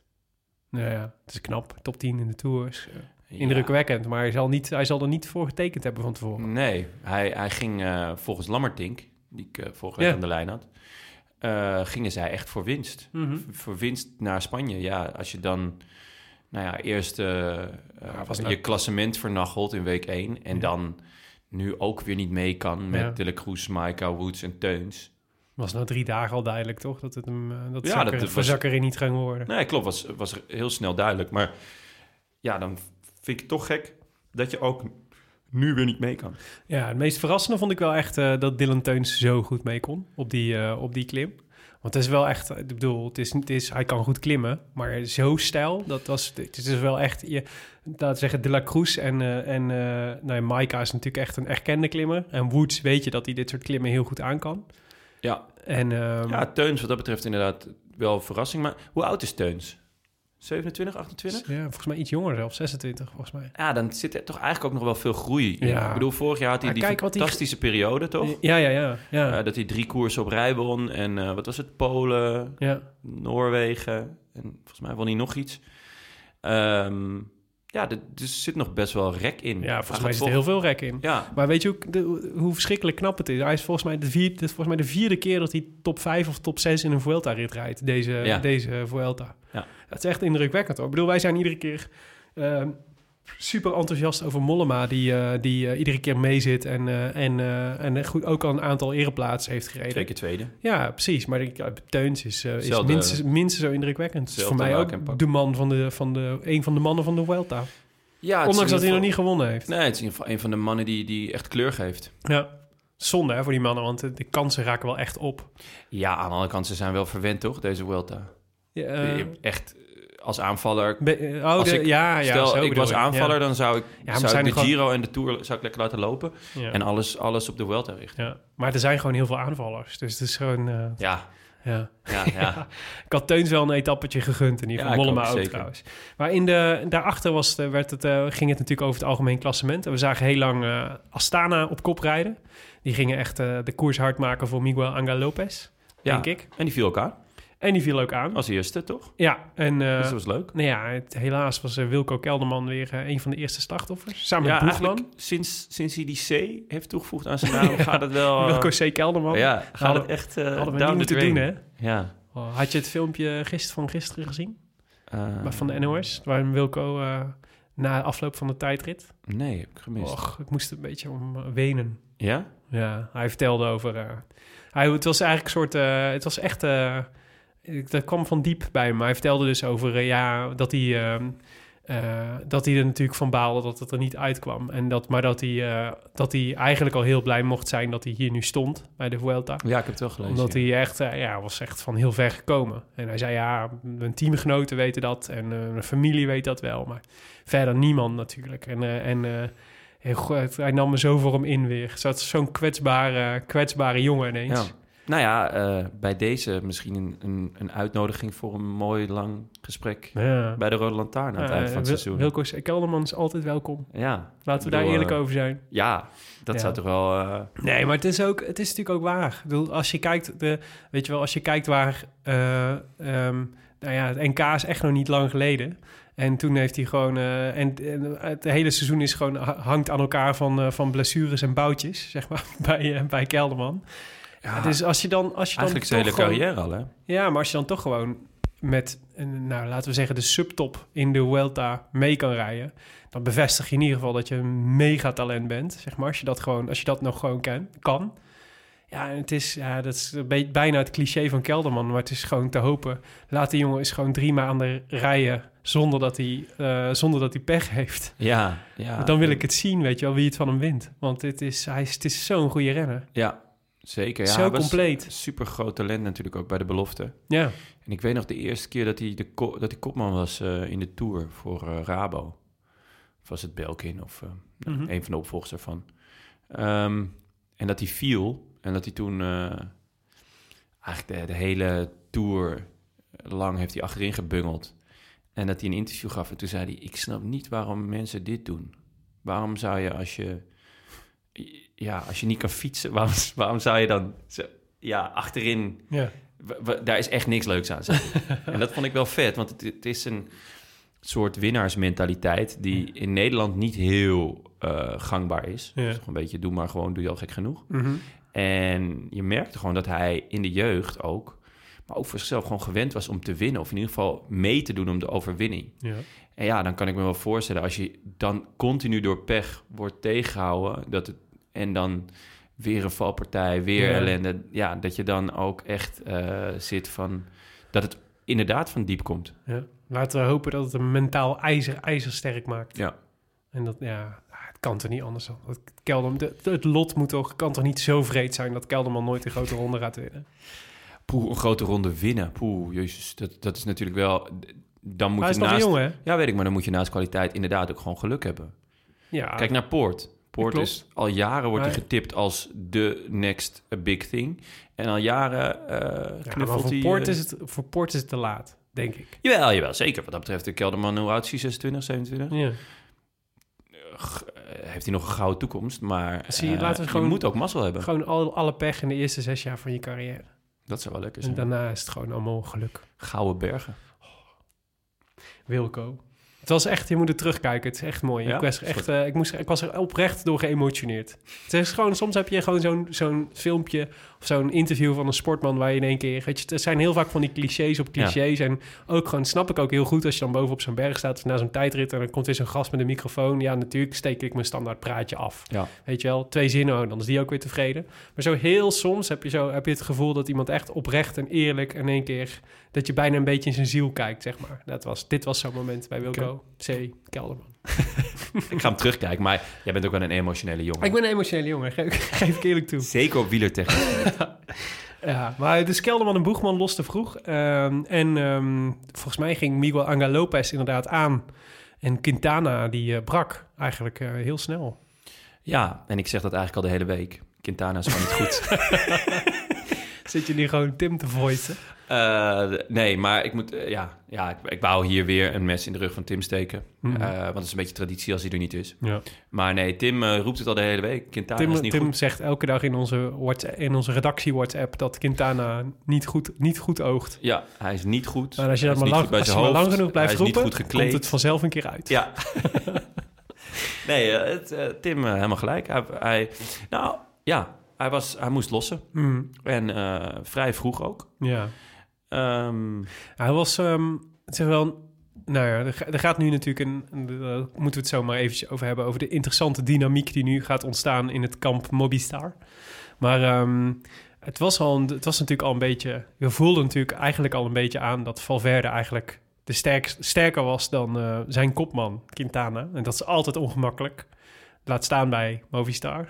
[SPEAKER 1] Nou ja, het is knap. Top 10 in de Tour is eh,
[SPEAKER 2] Ja.
[SPEAKER 1] indrukwekkend. Maar hij zal, niet, hij zal er niet voor getekend hebben van tevoren.
[SPEAKER 2] Nee, hij, hij ging eh, volgens Lammertink, die ik eh, vorige
[SPEAKER 1] Ja.
[SPEAKER 2] week aan de lijn had, eh, gingen zij echt voor winst.
[SPEAKER 1] Mhm.
[SPEAKER 2] V- Voor winst naar Spanje. Ja, als je dan, nou ja, eerst eh, eh,
[SPEAKER 1] was
[SPEAKER 2] je
[SPEAKER 1] leuk.
[SPEAKER 2] klassement vernachelt in week 1 en
[SPEAKER 1] Ja.
[SPEAKER 2] dan nu ook weer niet mee kan met
[SPEAKER 1] Ja.
[SPEAKER 2] De La Cruz, Maika, Woods en Teuns.
[SPEAKER 1] Was na drie dagen al duidelijk, toch? Dat het hem eh, dat
[SPEAKER 2] Ja,
[SPEAKER 1] ja,
[SPEAKER 2] dat
[SPEAKER 1] dat
[SPEAKER 2] het
[SPEAKER 1] voor
[SPEAKER 2] was-
[SPEAKER 1] Zakkerin niet ging worden.
[SPEAKER 2] Nee, Nou klopt, was, was heel snel duidelijk. Maar ja, dan vind ik het toch gek dat je ook nu weer niet mee kan.
[SPEAKER 1] Ja, het meest verrassende vond ik wel echt eh, dat Dylan Teuns zo goed mee kon op die, eh, op die klim. Want het is wel echt, ik bedoel, het is, het is, hij kan goed klimmen, maar zo stijl, dat was, het is dus wel echt, je, laten we zeggen, De La Cruz en, eh en eh nou ja, Maika is natuurlijk echt een erkende klimmer. En Woods weet je dat hij dit soort klimmen heel goed aan kan.
[SPEAKER 2] Ja,
[SPEAKER 1] En ehm,
[SPEAKER 2] Ja, Teuns wat dat betreft inderdaad wel een verrassing. Maar hoe oud is Teuns? 27, 28?
[SPEAKER 1] ja, volgens mij iets jonger zelfs, 26 volgens mij.
[SPEAKER 2] Ja, dan zit er toch eigenlijk ook nog wel veel groei in.
[SPEAKER 1] Ja.
[SPEAKER 2] Ik bedoel, vorig jaar had hij
[SPEAKER 1] Maar
[SPEAKER 2] die
[SPEAKER 1] kijk wat hij-
[SPEAKER 2] fantastische periode, toch?
[SPEAKER 1] Ja, ja, ja. Ja,
[SPEAKER 2] Eh, dat hij drie koersen op rij won. En eh, wat was het? Polen,
[SPEAKER 1] ja.
[SPEAKER 2] Noorwegen. En volgens mij won hij nog iets. Ehm, ja, er dus zit nog best wel rek in.
[SPEAKER 1] ja volgens mij
[SPEAKER 2] Hij
[SPEAKER 1] zit
[SPEAKER 2] gaat
[SPEAKER 1] er heel veel rek in.
[SPEAKER 2] vol- Ja,
[SPEAKER 1] Maar weet je ook de- hoe verschrikkelijk knap het is? Hij is volgens mij, de vier, dit is volgens mij de vierde keer dat hij top 5 of top 6 in een Vuelta-rit rijdt. Deze,
[SPEAKER 2] Ja.
[SPEAKER 1] deze Vuelta.
[SPEAKER 2] Ja.
[SPEAKER 1] Dat is echt indrukwekkend hoor. Ik bedoel, wij zijn iedere keer ehm, super enthousiast over Mollema, die, eh, die eh, iedere keer meezit en, eh, en, eh, en goed, ook al een aantal ereplaatsen heeft gereden.
[SPEAKER 2] twee keer tweede.
[SPEAKER 1] Ja, precies. Maar ik, Teuns is, eh, is
[SPEAKER 2] Zelfde-
[SPEAKER 1] minstens, minstens zo indrukwekkend. Het is voor
[SPEAKER 2] zelfde
[SPEAKER 1] mij
[SPEAKER 2] raak en
[SPEAKER 1] ook
[SPEAKER 2] pak.
[SPEAKER 1] de man van de, van de, een van de mannen van de Vuelta.
[SPEAKER 2] Ja, het is in
[SPEAKER 1] Ondanks dat hij
[SPEAKER 2] ieder
[SPEAKER 1] nog niet gewonnen heeft.
[SPEAKER 2] geval- Nee, het is in ieder geval een van de mannen die, die echt kleur geeft.
[SPEAKER 1] Ja. Zonde hè, voor die mannen, want eh, de, de kansen raken wel echt op.
[SPEAKER 2] Ja, aan de andere kant, ze zijn wel verwend, toch? Deze Vuelta.
[SPEAKER 1] Ja, eh,
[SPEAKER 2] Je- echt eh, als aanvaller.
[SPEAKER 1] be- eh, oh,
[SPEAKER 2] Als
[SPEAKER 1] de-
[SPEAKER 2] ik-
[SPEAKER 1] ja, ja, zo
[SPEAKER 2] Stel, ik
[SPEAKER 1] bedoel
[SPEAKER 2] was
[SPEAKER 1] je.
[SPEAKER 2] aanvaller,
[SPEAKER 1] Ja.
[SPEAKER 2] dan zou ik,
[SPEAKER 1] maar
[SPEAKER 2] zou
[SPEAKER 1] zijn
[SPEAKER 2] ik
[SPEAKER 1] er
[SPEAKER 2] de
[SPEAKER 1] gewoon-
[SPEAKER 2] Giro en de Tour zou ik lekker laten lopen.
[SPEAKER 1] Ja.
[SPEAKER 2] En alles, alles op de Vuelta richten.
[SPEAKER 1] Ja. Maar er zijn gewoon heel veel aanvallers. Dus het is gewoon... eh,
[SPEAKER 2] Ja,
[SPEAKER 1] ja.
[SPEAKER 2] ja, ja.
[SPEAKER 1] Ik had Teuns wel een etappetje gegund. In ieder
[SPEAKER 2] Ja,
[SPEAKER 1] geval
[SPEAKER 2] ik
[SPEAKER 1] Mollema
[SPEAKER 2] ook,
[SPEAKER 1] ook
[SPEAKER 2] zeker.
[SPEAKER 1] trouwens. Maar in de, daarachter was de, werd het, eh, ging het natuurlijk over het algemeen klassement. En we zagen heel lang eh, Astana op kop rijden. Die gingen echt eh, de koers hard maken voor Miguel Angel Lopez,
[SPEAKER 2] Ja.
[SPEAKER 1] denk ik.
[SPEAKER 2] En die viel elkaar
[SPEAKER 1] En die viel ook aan.
[SPEAKER 2] als eerste, toch?
[SPEAKER 1] Ja, en... eh,
[SPEAKER 2] dus dat was leuk.
[SPEAKER 1] Nou ja, het- helaas was eh, Wilco Kelderman weer eh, een van de eerste slachtoffers. Samen
[SPEAKER 2] Ja,
[SPEAKER 1] met Boegman.
[SPEAKER 2] eigenlijk sinds, sinds hij die C heeft toegevoegd aan zijn naam, gaat het wel... eh,
[SPEAKER 1] Wilco C. Kelderman.
[SPEAKER 2] ja, gaat
[SPEAKER 1] hadden-
[SPEAKER 2] het echt eh
[SPEAKER 1] Hadden we
[SPEAKER 2] down
[SPEAKER 1] niet
[SPEAKER 2] the
[SPEAKER 1] moeten
[SPEAKER 2] drain.
[SPEAKER 1] doen, hè?
[SPEAKER 2] Ja.
[SPEAKER 1] Oh, had je het filmpje gister, van gisteren gezien?
[SPEAKER 2] Eh,
[SPEAKER 1] Maar Van de NOS, waarin Wilco eh, na afloop van de tijdrit...
[SPEAKER 2] eh, Nee, heb ik gemist.
[SPEAKER 1] Och, ik moest een beetje om eh, wenen.
[SPEAKER 2] Ja?
[SPEAKER 1] Ja, hij vertelde over... eh, hij, het was eigenlijk een soort... eh, het was echt... eh, ik- dat kwam van diep bij hem. Maar hij vertelde dus over eh, ja, dat hij... ehm, eh, dat hij er natuurlijk van baalde dat het er niet uitkwam. En dat, maar dat hij, eh, dat hij eigenlijk al heel blij mocht zijn dat hij hier nu stond bij de Vuelta.
[SPEAKER 2] Ja, ik heb het wel gelezen.
[SPEAKER 1] Omdat
[SPEAKER 2] ja.
[SPEAKER 1] hij echt, eh, ja, was echt van heel ver gekomen. En hij zei, ja, mijn teamgenoten weten dat en eh, mijn familie weet dat wel. Maar verder niemand natuurlijk. En, eh, en eh, heel goed, hij nam me zo voor hem in weer. Zat zo'n kwetsbare, kwetsbare jongen ineens.
[SPEAKER 2] Ja. Nou ja, eh, bij deze misschien een, een, een uitnodiging voor een mooi lang gesprek
[SPEAKER 1] Ja.
[SPEAKER 2] bij de Rode Lantaarn aan het
[SPEAKER 1] Ja,
[SPEAKER 2] eind van het
[SPEAKER 1] Wil-
[SPEAKER 2] seizoen.
[SPEAKER 1] Wilco S- Kelderman is altijd welkom.
[SPEAKER 2] Ja,
[SPEAKER 1] Laten we
[SPEAKER 2] Ik
[SPEAKER 1] daar
[SPEAKER 2] bedoel,
[SPEAKER 1] eerlijk
[SPEAKER 2] eh,
[SPEAKER 1] over zijn.
[SPEAKER 2] ja, dat
[SPEAKER 1] Ja.
[SPEAKER 2] zou toch wel... eh,
[SPEAKER 1] Nee, maar het is, ook, het is natuurlijk ook waar. Ik bedoel, als je kijkt, de, weet je wel, als je kijkt waar... eh, ehm, nou ja, het NK is echt nog niet lang geleden. En toen heeft hij gewoon... eh, en, en het hele seizoen is gewoon, ha- hangt aan elkaar van, eh, van blessures en boutjes, zeg maar, bij, eh, bij Kelderman.
[SPEAKER 2] ja,
[SPEAKER 1] Dus als je dan... Als je dan
[SPEAKER 2] eigenlijk zijn hele
[SPEAKER 1] toch gewoon-
[SPEAKER 2] carrière al, hè?
[SPEAKER 1] Ja, maar als je dan toch gewoon met, eh, nou, laten we zeggen, de subtop in de Vuelta mee kan rijden... dan bevestig je in ieder geval dat je een megatalent bent, zeg maar. Als je dat, gewoon, als je dat nog gewoon ken, kan. Ja, en het is, ja, dat is een beetje- bijna het cliché van Kelderman, maar het is gewoon te hopen. Laat die jongen eens gewoon drie maanden rijden zonder dat hij, eh, zonder dat hij pech heeft.
[SPEAKER 2] Ja, ja.
[SPEAKER 1] dan wil ik het zien, weet je wel, wie het van hem wint. Want het is, hij is, het is zo'n goede renner.
[SPEAKER 2] Ja, zeker. Ja,
[SPEAKER 1] Zo
[SPEAKER 2] hij was
[SPEAKER 1] compleet.
[SPEAKER 2] Super groot talent natuurlijk ook bij de belofte.
[SPEAKER 1] Ja,
[SPEAKER 2] En ik weet nog de eerste keer dat hij, de ko- dat hij kopman was eh, in de Tour voor eh, Rabo. Of was het Belkin of eh, nou,
[SPEAKER 1] Mhm.
[SPEAKER 2] een van de opvolgers daarvan. Ehm, en dat hij viel en dat hij toen eh, eigenlijk de, de hele Tour lang heeft hij achterin gebungeld. En dat hij een interview gaf en toen zei hij... ik snap niet waarom mensen dit doen. Waarom zou je als je... Ja, als je niet kan fietsen, waarom, waarom zou je dan... zo- ja, achterin
[SPEAKER 1] Ja.
[SPEAKER 2] w- w- daar is echt niks leuks aan. zei hij. en dat vond ik wel vet, want het, het is een soort winnaarsmentaliteit die in Nederland niet heel eh, gangbaar is.
[SPEAKER 1] Ja.
[SPEAKER 2] Dus toch een beetje doe maar gewoon, doe je al gek genoeg.
[SPEAKER 1] Mhm.
[SPEAKER 2] En je merkte gewoon dat hij in de jeugd ook, maar ook voor zichzelf gewoon gewend was om te winnen. Of in ieder geval mee te doen om de overwinning.
[SPEAKER 1] Ja.
[SPEAKER 2] En ja, dan kan ik me wel voorstellen, als je dan continu door pech wordt tegengehouden, dat het, en dan weer een valpartij, weer
[SPEAKER 1] Ja.
[SPEAKER 2] ellende, ja, dat je dan ook echt eh, zit van, dat het inderdaad van diep komt.
[SPEAKER 1] Ja. Laten we hopen dat het een mentaal ijzer, ijzersterk maakt.
[SPEAKER 2] Ja.
[SPEAKER 1] En dat, ja, het kan toch niet anders dan. Dat Kelderman, de- de- het lot moet toch, kan toch niet zo vreed zijn dat Kelderman nooit een grote ronde gaat winnen.
[SPEAKER 2] Poeh, een grote ronde winnen. Poeh, jezus, dat, dat is natuurlijk wel, dan moet
[SPEAKER 1] Hij is
[SPEAKER 2] je
[SPEAKER 1] nog
[SPEAKER 2] naast...
[SPEAKER 1] jong, hè?
[SPEAKER 2] Ja, weet ik, maar dan moet je naast kwaliteit inderdaad ook gewoon geluk hebben.
[SPEAKER 1] Ja,
[SPEAKER 2] Kijk naar Poort. Poort
[SPEAKER 1] Ah. klopt.
[SPEAKER 2] is al jaren wordt hij
[SPEAKER 1] Maar-
[SPEAKER 2] getipt als de next big thing. En al jaren eh
[SPEAKER 1] Ja, maar
[SPEAKER 2] knuffelt
[SPEAKER 1] voor
[SPEAKER 2] hij,
[SPEAKER 1] Poort,
[SPEAKER 2] eh,
[SPEAKER 1] is het, voor Poort is het te laat, denk ik.
[SPEAKER 2] Jawel, jawel, zeker. Wat dat betreft, de Kelderman, hoe oud is hij? 26, 27?
[SPEAKER 1] Ja.
[SPEAKER 2] Eh, heeft hij nog een gouden toekomst, maar
[SPEAKER 1] Zie je,
[SPEAKER 2] eh,
[SPEAKER 1] laten we gewoon-
[SPEAKER 2] je moet ook mazzel hebben.
[SPEAKER 1] Gewoon al, alle pech in de eerste zes jaar van je carrière.
[SPEAKER 2] Dat zou wel lekker
[SPEAKER 1] En
[SPEAKER 2] zijn.
[SPEAKER 1] daarna is het gewoon allemaal geluk.
[SPEAKER 2] Gouden bergen.
[SPEAKER 1] Wilco. Het was echt, je moet het terugkijken. Het is echt mooi.
[SPEAKER 2] Ja?
[SPEAKER 1] Ik, was er echt, eh, ik, moest, er- ik was er oprecht door geëmotioneerd. Het is gewoon, soms heb je gewoon zo'n zo'n filmpje of zo'n interview van een sportman waar je in één keer. Weet je, er zijn heel vaak van die clichés op clichés. En ook gewoon, snap ik ook heel goed als je dan bovenop zo'n berg staat of na zo'n tijdrit en dan komt weer zo'n gast met een microfoon. Ja, natuurlijk steek ik mijn standaard praatje af.
[SPEAKER 2] Ja.
[SPEAKER 1] Weet je wel, twee zinnen, oh, dan is die ook weer tevreden. Maar zo heel soms heb je, zo, heb je het gevoel dat iemand echt oprecht en eerlijk in één keer... dat je bijna een beetje in zijn ziel kijkt, zeg maar. Dat was, dit was zo'n moment bij Wilco C. Kelderman.
[SPEAKER 2] Ik ga hem terugkijken, maar jij bent ook wel een emotionele jongen.
[SPEAKER 1] Ik ben een emotionele jongen, geef, geef ik eerlijk toe.
[SPEAKER 2] Zeker op wielertechniek.
[SPEAKER 1] Ja, maar dus Kelderman en Boegman los te vroeg. Ehm, en ehm, volgens mij ging Miguel Angel Lopez inderdaad aan. En Quintana, die eh, brak eigenlijk eh, heel snel.
[SPEAKER 2] ja, en ik zeg dat eigenlijk al de hele week. Quintana is gewoon niet goed.
[SPEAKER 1] Zit je nu gewoon Tim te voiten?
[SPEAKER 2] Eh, nee, maar ik moet, eh, ja, ja ik, ik wou hier weer een mes in de rug van Tim steken.
[SPEAKER 1] Mhm.
[SPEAKER 2] Eh, want het is een beetje traditie als hij er niet is.
[SPEAKER 1] Ja.
[SPEAKER 2] Maar nee, Tim eh, roept het al de hele week. Quintana is
[SPEAKER 1] Tim,
[SPEAKER 2] niet
[SPEAKER 1] Tim
[SPEAKER 2] goed.
[SPEAKER 1] zegt elke dag in onze, WhatsApp, in onze redactie WhatsApp dat Quintana niet goed, niet goed oogt.
[SPEAKER 2] Ja, hij is niet goed.
[SPEAKER 1] Maar als je
[SPEAKER 2] Hij
[SPEAKER 1] dat
[SPEAKER 2] is
[SPEAKER 1] maar lang,
[SPEAKER 2] niet goed bij
[SPEAKER 1] als je
[SPEAKER 2] zijn
[SPEAKER 1] maar lang
[SPEAKER 2] hoofd.
[SPEAKER 1] genoeg blijft
[SPEAKER 2] Hij is niet
[SPEAKER 1] roepen,
[SPEAKER 2] goed gekleed.
[SPEAKER 1] komt het vanzelf een keer uit.
[SPEAKER 2] Ja. nee, eh, het, eh, Tim eh, helemaal gelijk. Hij, hij, nou, ja, hij, was, hij moest lossen.
[SPEAKER 1] Mm,
[SPEAKER 2] En eh, vrij vroeg ook.
[SPEAKER 1] ja.
[SPEAKER 2] Ehm,
[SPEAKER 1] Hij was, ehm, het is wel, nou ja, er, ga- er gaat nu natuurlijk een, een- daar moeten we het zo maar eventjes over hebben, over de interessante dynamiek die nu gaat ontstaan in het kamp Mobistar. Maar ehm, het, was al een- het was natuurlijk al een beetje, je voelde natuurlijk eigenlijk al een beetje aan dat Valverde eigenlijk de sterkst, sterker was dan eh, zijn kopman Quintana. En dat is altijd ongemakkelijk. Laat staan bij Movistar.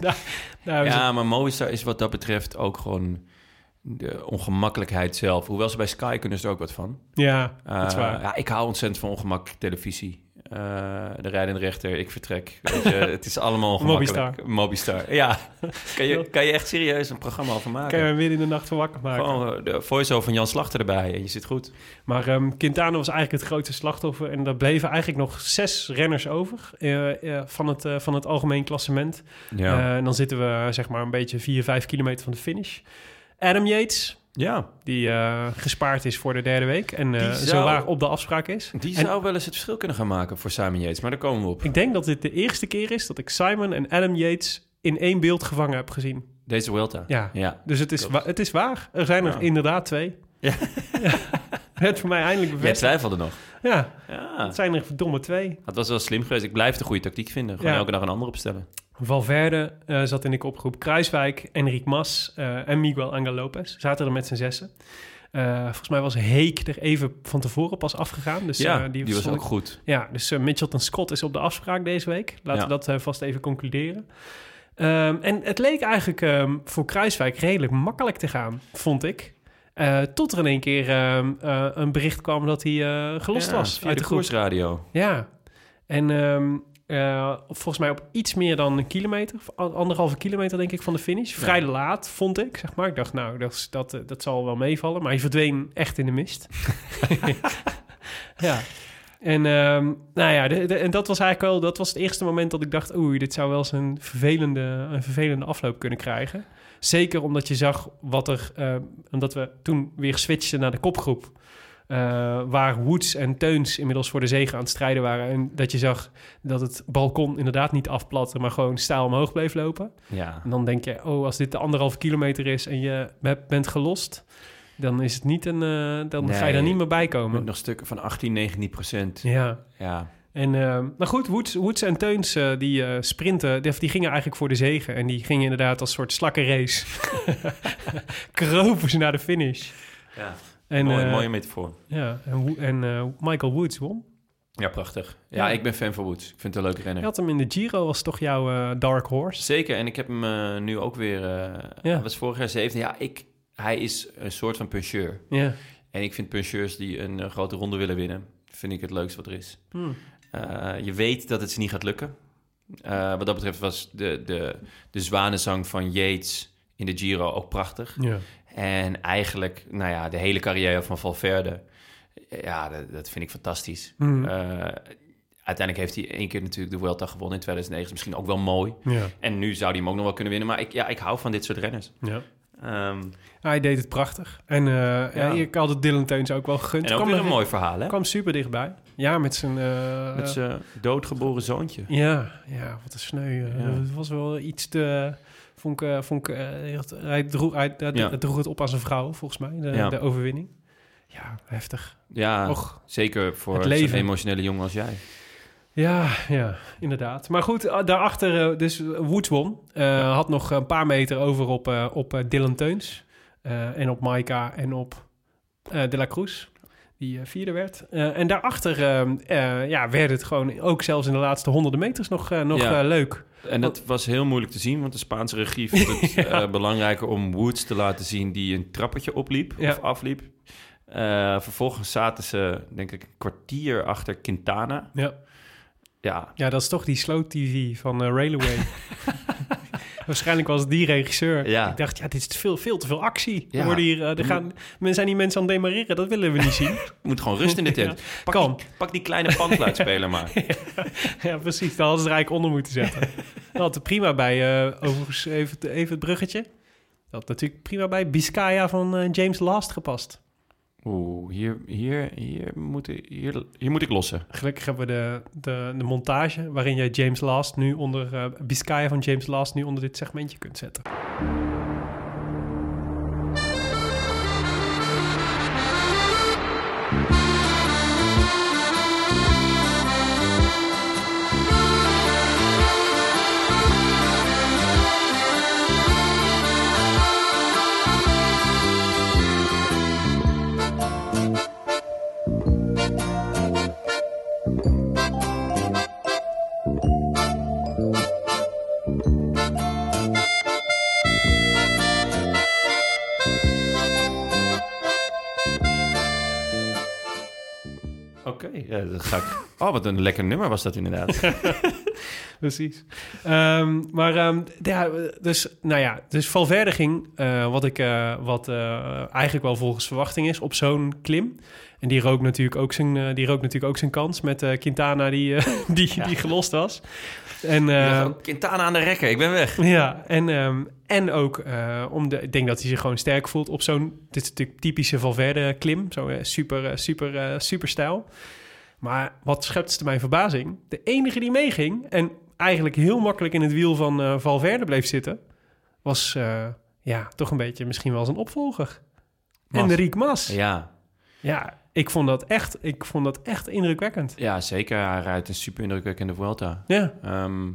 [SPEAKER 1] daar, daar is het-
[SPEAKER 2] ja, maar Movistar is wat dat betreft ook gewoon de ongemakkelijkheid zelf. Hoewel ze bij Sky kunnen ze er ook wat van.
[SPEAKER 1] ja,
[SPEAKER 2] Eh,
[SPEAKER 1] dat is waar.
[SPEAKER 2] Ja, ik hou ontzettend van ongemakkelijke televisie. Eh, de rijdende rechter, ik vertrek. Weet je, het is allemaal ongemakkelijk. Mobistar. ja. kan, je, kan je echt serieus een programma over maken?
[SPEAKER 1] Kan je hem weer in de nacht van wakker maken.
[SPEAKER 2] Gewoon eh, de voice-over van Jan Slachter erbij en je zit goed.
[SPEAKER 1] Maar ehm Quintana was eigenlijk het grootste slachtoffer. En daar bleven eigenlijk nog zes renners over eh, eh, van, het, eh, van het algemeen klassement. Eh, en dan zitten we zeg maar een beetje vier, vijf kilometer van de finish. Adam Yates,
[SPEAKER 2] ja.
[SPEAKER 1] die eh, gespaard is voor de derde week. En eh
[SPEAKER 2] Die zou-
[SPEAKER 1] zo waar op de afspraak is.
[SPEAKER 2] Die
[SPEAKER 1] En-
[SPEAKER 2] zou wel eens het verschil kunnen gaan maken voor Simon Yates, maar daar komen we op.
[SPEAKER 1] Ik denk dat dit de eerste keer is dat ik Simon en Adam Yates in één beeld gevangen heb gezien.
[SPEAKER 2] Deze Welta.
[SPEAKER 1] Ja.
[SPEAKER 2] ja.
[SPEAKER 1] Dus het is,
[SPEAKER 2] Klopt.
[SPEAKER 1] wa- het is waar. Er zijn er
[SPEAKER 2] Ja.
[SPEAKER 1] inderdaad twee.
[SPEAKER 2] Ja.
[SPEAKER 1] Het voor mij eindelijk
[SPEAKER 2] Jij
[SPEAKER 1] bevestigd.
[SPEAKER 2] twijfelde nog.
[SPEAKER 1] Ja,
[SPEAKER 2] Ja.
[SPEAKER 1] het zijn er verdomme twee.
[SPEAKER 2] Het was wel slim geweest. Ik blijf de goede tactiek vinden. Gewoon
[SPEAKER 1] Ja.
[SPEAKER 2] elke dag een ander opstellen.
[SPEAKER 1] Valverde eh, zat in de kopgroep. Kruiswijk, Enric Mas eh, en Miguel Angel Lopez zaten er met z'n zessen. Eh, volgens mij was Heek er even van tevoren pas afgegaan. Dus,
[SPEAKER 2] ja,
[SPEAKER 1] eh,
[SPEAKER 2] die, was
[SPEAKER 1] stond
[SPEAKER 2] ook
[SPEAKER 1] ik-
[SPEAKER 2] goed.
[SPEAKER 1] Ja, dus eh, Mitchelton Scott is op de afspraak deze week. Laten
[SPEAKER 2] Ja.
[SPEAKER 1] we dat eh, vast even concluderen. Ehm, en het leek eigenlijk ehm, voor Kruiswijk redelijk makkelijk te gaan, vond ik. Eh, tot er in één keer ehm, eh, een bericht kwam dat hij eh, gelost
[SPEAKER 2] Ja,
[SPEAKER 1] was
[SPEAKER 2] via
[SPEAKER 1] uit
[SPEAKER 2] de
[SPEAKER 1] de groep.
[SPEAKER 2] koersradio.
[SPEAKER 1] Ja, en ehm, eh, volgens mij op iets meer dan een kilometer, of a- anderhalve kilometer denk ik van de finish. Vrij laat vond ik, zeg maar. Ik dacht, nou, dat, is- dat, eh, dat zal wel meevallen. Maar hij verdween echt in de mist. ja. En ehm, nou ja, de- de- en dat was eigenlijk wel, dat was het eerste moment dat ik dacht, oei, dit zou wel eens een vervelende, een vervelende afloop kunnen krijgen. Zeker omdat je zag wat er... eh, omdat we toen weer switchten naar de kopgroep. eh, waar Woods en Teuns inmiddels voor de zege aan het strijden waren. En dat je zag dat het balkon inderdaad niet afplatte, maar gewoon staal omhoog bleef lopen.
[SPEAKER 2] Ja.
[SPEAKER 1] En dan denk je, oh, als dit de anderhalve kilometer is en je be- bent gelost, dan is het niet een. eh, dan ga je
[SPEAKER 2] Nee.
[SPEAKER 1] daar niet meer bij
[SPEAKER 2] Met
[SPEAKER 1] komen.
[SPEAKER 2] nog stukken van 18, 19 procent.
[SPEAKER 1] Ja.
[SPEAKER 2] Ja.
[SPEAKER 1] En, eh, maar goed, Woods, Woods en Teuns, eh, die eh, sprinten, die, die gingen eigenlijk voor de zegen. En die gingen inderdaad als soort slakkenrace. Kropen ze naar de finish.
[SPEAKER 2] Ja.
[SPEAKER 1] En,
[SPEAKER 2] Mooi,
[SPEAKER 1] eh,
[SPEAKER 2] mooie metafoor.
[SPEAKER 1] ja, en, Wo- en eh, Michael Woods won.
[SPEAKER 2] Ja, prachtig. Ja,
[SPEAKER 1] Ja.
[SPEAKER 2] ik ben fan van Woods. Ik vind het een leuke renner.
[SPEAKER 1] Je had hem in de Giro, was toch jouw eh, dark horse?
[SPEAKER 2] Zeker, en ik heb hem eh, nu ook weer... eh
[SPEAKER 1] Ja.
[SPEAKER 2] Hij was vorig jaar zevende. Ja, ik, hij is een soort van puncheur.
[SPEAKER 1] Ja.
[SPEAKER 2] En ik vind puncheurs die een eh, grote ronde willen winnen... vind ik het leukste wat er is.
[SPEAKER 1] Hmm.
[SPEAKER 2] Eh, je weet dat het ze niet gaat lukken. Eh, wat dat betreft was de, de, de zwanenzang van Yates in de Giro ook prachtig.
[SPEAKER 1] ja.
[SPEAKER 2] En eigenlijk, nou ja, de hele carrière van Valverde... eh, Ja, dat, dat vind ik fantastisch.
[SPEAKER 1] Hmm.
[SPEAKER 2] Eh, uiteindelijk heeft hij één keer natuurlijk de Vuelta gewonnen in 2009. Is misschien ook wel mooi.
[SPEAKER 1] Ja.
[SPEAKER 2] En nu zou hij hem ook nog wel kunnen winnen. Maar ik, ja, ik hou van dit soort renners.
[SPEAKER 1] ja.
[SPEAKER 2] Ehm,
[SPEAKER 1] Hij deed het prachtig. En eh, ja. ik had het Dylan Teuns ook wel gegund.
[SPEAKER 2] en ook
[SPEAKER 1] Kwam
[SPEAKER 2] weer
[SPEAKER 1] er-
[SPEAKER 2] een mooi verhaal, hè?
[SPEAKER 1] kwam super dichtbij. Ja, met zijn... eh,
[SPEAKER 2] Met zijn doodgeboren zoontje.
[SPEAKER 1] ja, ja, wat een sneu. eh.
[SPEAKER 2] Ja.
[SPEAKER 1] Het was wel iets te... Vond ik, eh, vond ik, eh, hij had- hij, droeg, hij, hij
[SPEAKER 2] Ja.
[SPEAKER 1] droeg het op aan zijn vrouw, volgens mij, de,
[SPEAKER 2] Ja.
[SPEAKER 1] de overwinning. Ja, heftig.
[SPEAKER 2] Ja,
[SPEAKER 1] Och.
[SPEAKER 2] zeker voor
[SPEAKER 1] Het
[SPEAKER 2] zo'n
[SPEAKER 1] leven.
[SPEAKER 2] emotionele jongen als jij.
[SPEAKER 1] Ja, ja, inderdaad. Maar goed, ah, daarachter, eh, dus Woods won. Eh, Had nog een paar meter over op, eh, op eh, Dylan Teuns. eh, en op Maika en op eh, De La Cruz. Die eh, vierde werd. Eh, en daarachter ehm, eh, ja, werd het gewoon ook zelfs in de laatste honderden meters nog, eh, nog
[SPEAKER 2] Ja.
[SPEAKER 1] eh, leuk.
[SPEAKER 2] En dat was heel moeilijk te zien, want de Spaanse regie vond het eh, belangrijker om Woods te laten zien die een trappetje opliep
[SPEAKER 1] Ja.
[SPEAKER 2] of afliep. Eh, vervolgens zaten ze, denk ik, een kwartier achter Quintana.
[SPEAKER 1] Ja.
[SPEAKER 2] Ja,
[SPEAKER 1] ja, dat is toch die slow TV van eh, Railway. Waarschijnlijk was het die regisseur.
[SPEAKER 2] Ja.
[SPEAKER 1] Ik dacht, ja, dit is veel, veel te veel actie.
[SPEAKER 2] Ja.
[SPEAKER 1] Er Worden hier, eh, er gaan, men zijn die mensen aan het demareren, dat willen we niet zien.
[SPEAKER 2] moet gewoon rust in de tent. pak,
[SPEAKER 1] kan.
[SPEAKER 2] Die, pak die kleine panfluitspeler maar.
[SPEAKER 1] Ja, precies. Dan hadden ze er eigenlijk onder moeten zetten. Dat had er prima bij, eh, overigens even, het- even het bruggetje. Dat had natuurlijk prima bij Biscaya van eh, James Last gepast.
[SPEAKER 2] Oeh, hier, hier, hier, moet, hier, hier moet ik lossen.
[SPEAKER 1] Gelukkig hebben we de, de, de montage waarin jij James Last nu onder, eh Biscaya van James Last nu onder dit segmentje kunt zetten.
[SPEAKER 2] Oké, ja, dat ga ik. Oh, wat een lekker nummer was dat inderdaad.
[SPEAKER 1] Precies. Ehm, maar ehm, ja, dus, nou ja, dus Valverde ging, eh, wat, ik, eh, wat eh, eigenlijk wel volgens verwachting is, op zo'n klim. En die rook natuurlijk ook zijn, eh, die rook natuurlijk ook zijn kans met eh, Quintana die, eh, die, die gelost was. En, eh,
[SPEAKER 2] Ja, gewoon, Quintana aan de rekker, ik ben weg.
[SPEAKER 1] ja, en, ehm, en ook eh, om de, ik denk dat hij zich gewoon sterk voelt op zo'n, dit is natuurlijk typische Valverde klim, zo eh, super, eh, super, eh, super stijl. Maar wat schepte mijn verbazing? De enige die meeging en eigenlijk heel makkelijk in het wiel van eh, Valverde bleef zitten, was eh, ja, toch een beetje misschien wel zijn opvolger.
[SPEAKER 2] Mas.
[SPEAKER 1] Enrique Mas. Ja.
[SPEAKER 2] Ja,
[SPEAKER 1] ik vond dat echt, ik vond dat echt indrukwekkend.
[SPEAKER 2] ja zeker. Hij rijdt een super indrukwekkende Vuelta.
[SPEAKER 1] Ja,
[SPEAKER 2] Ehm,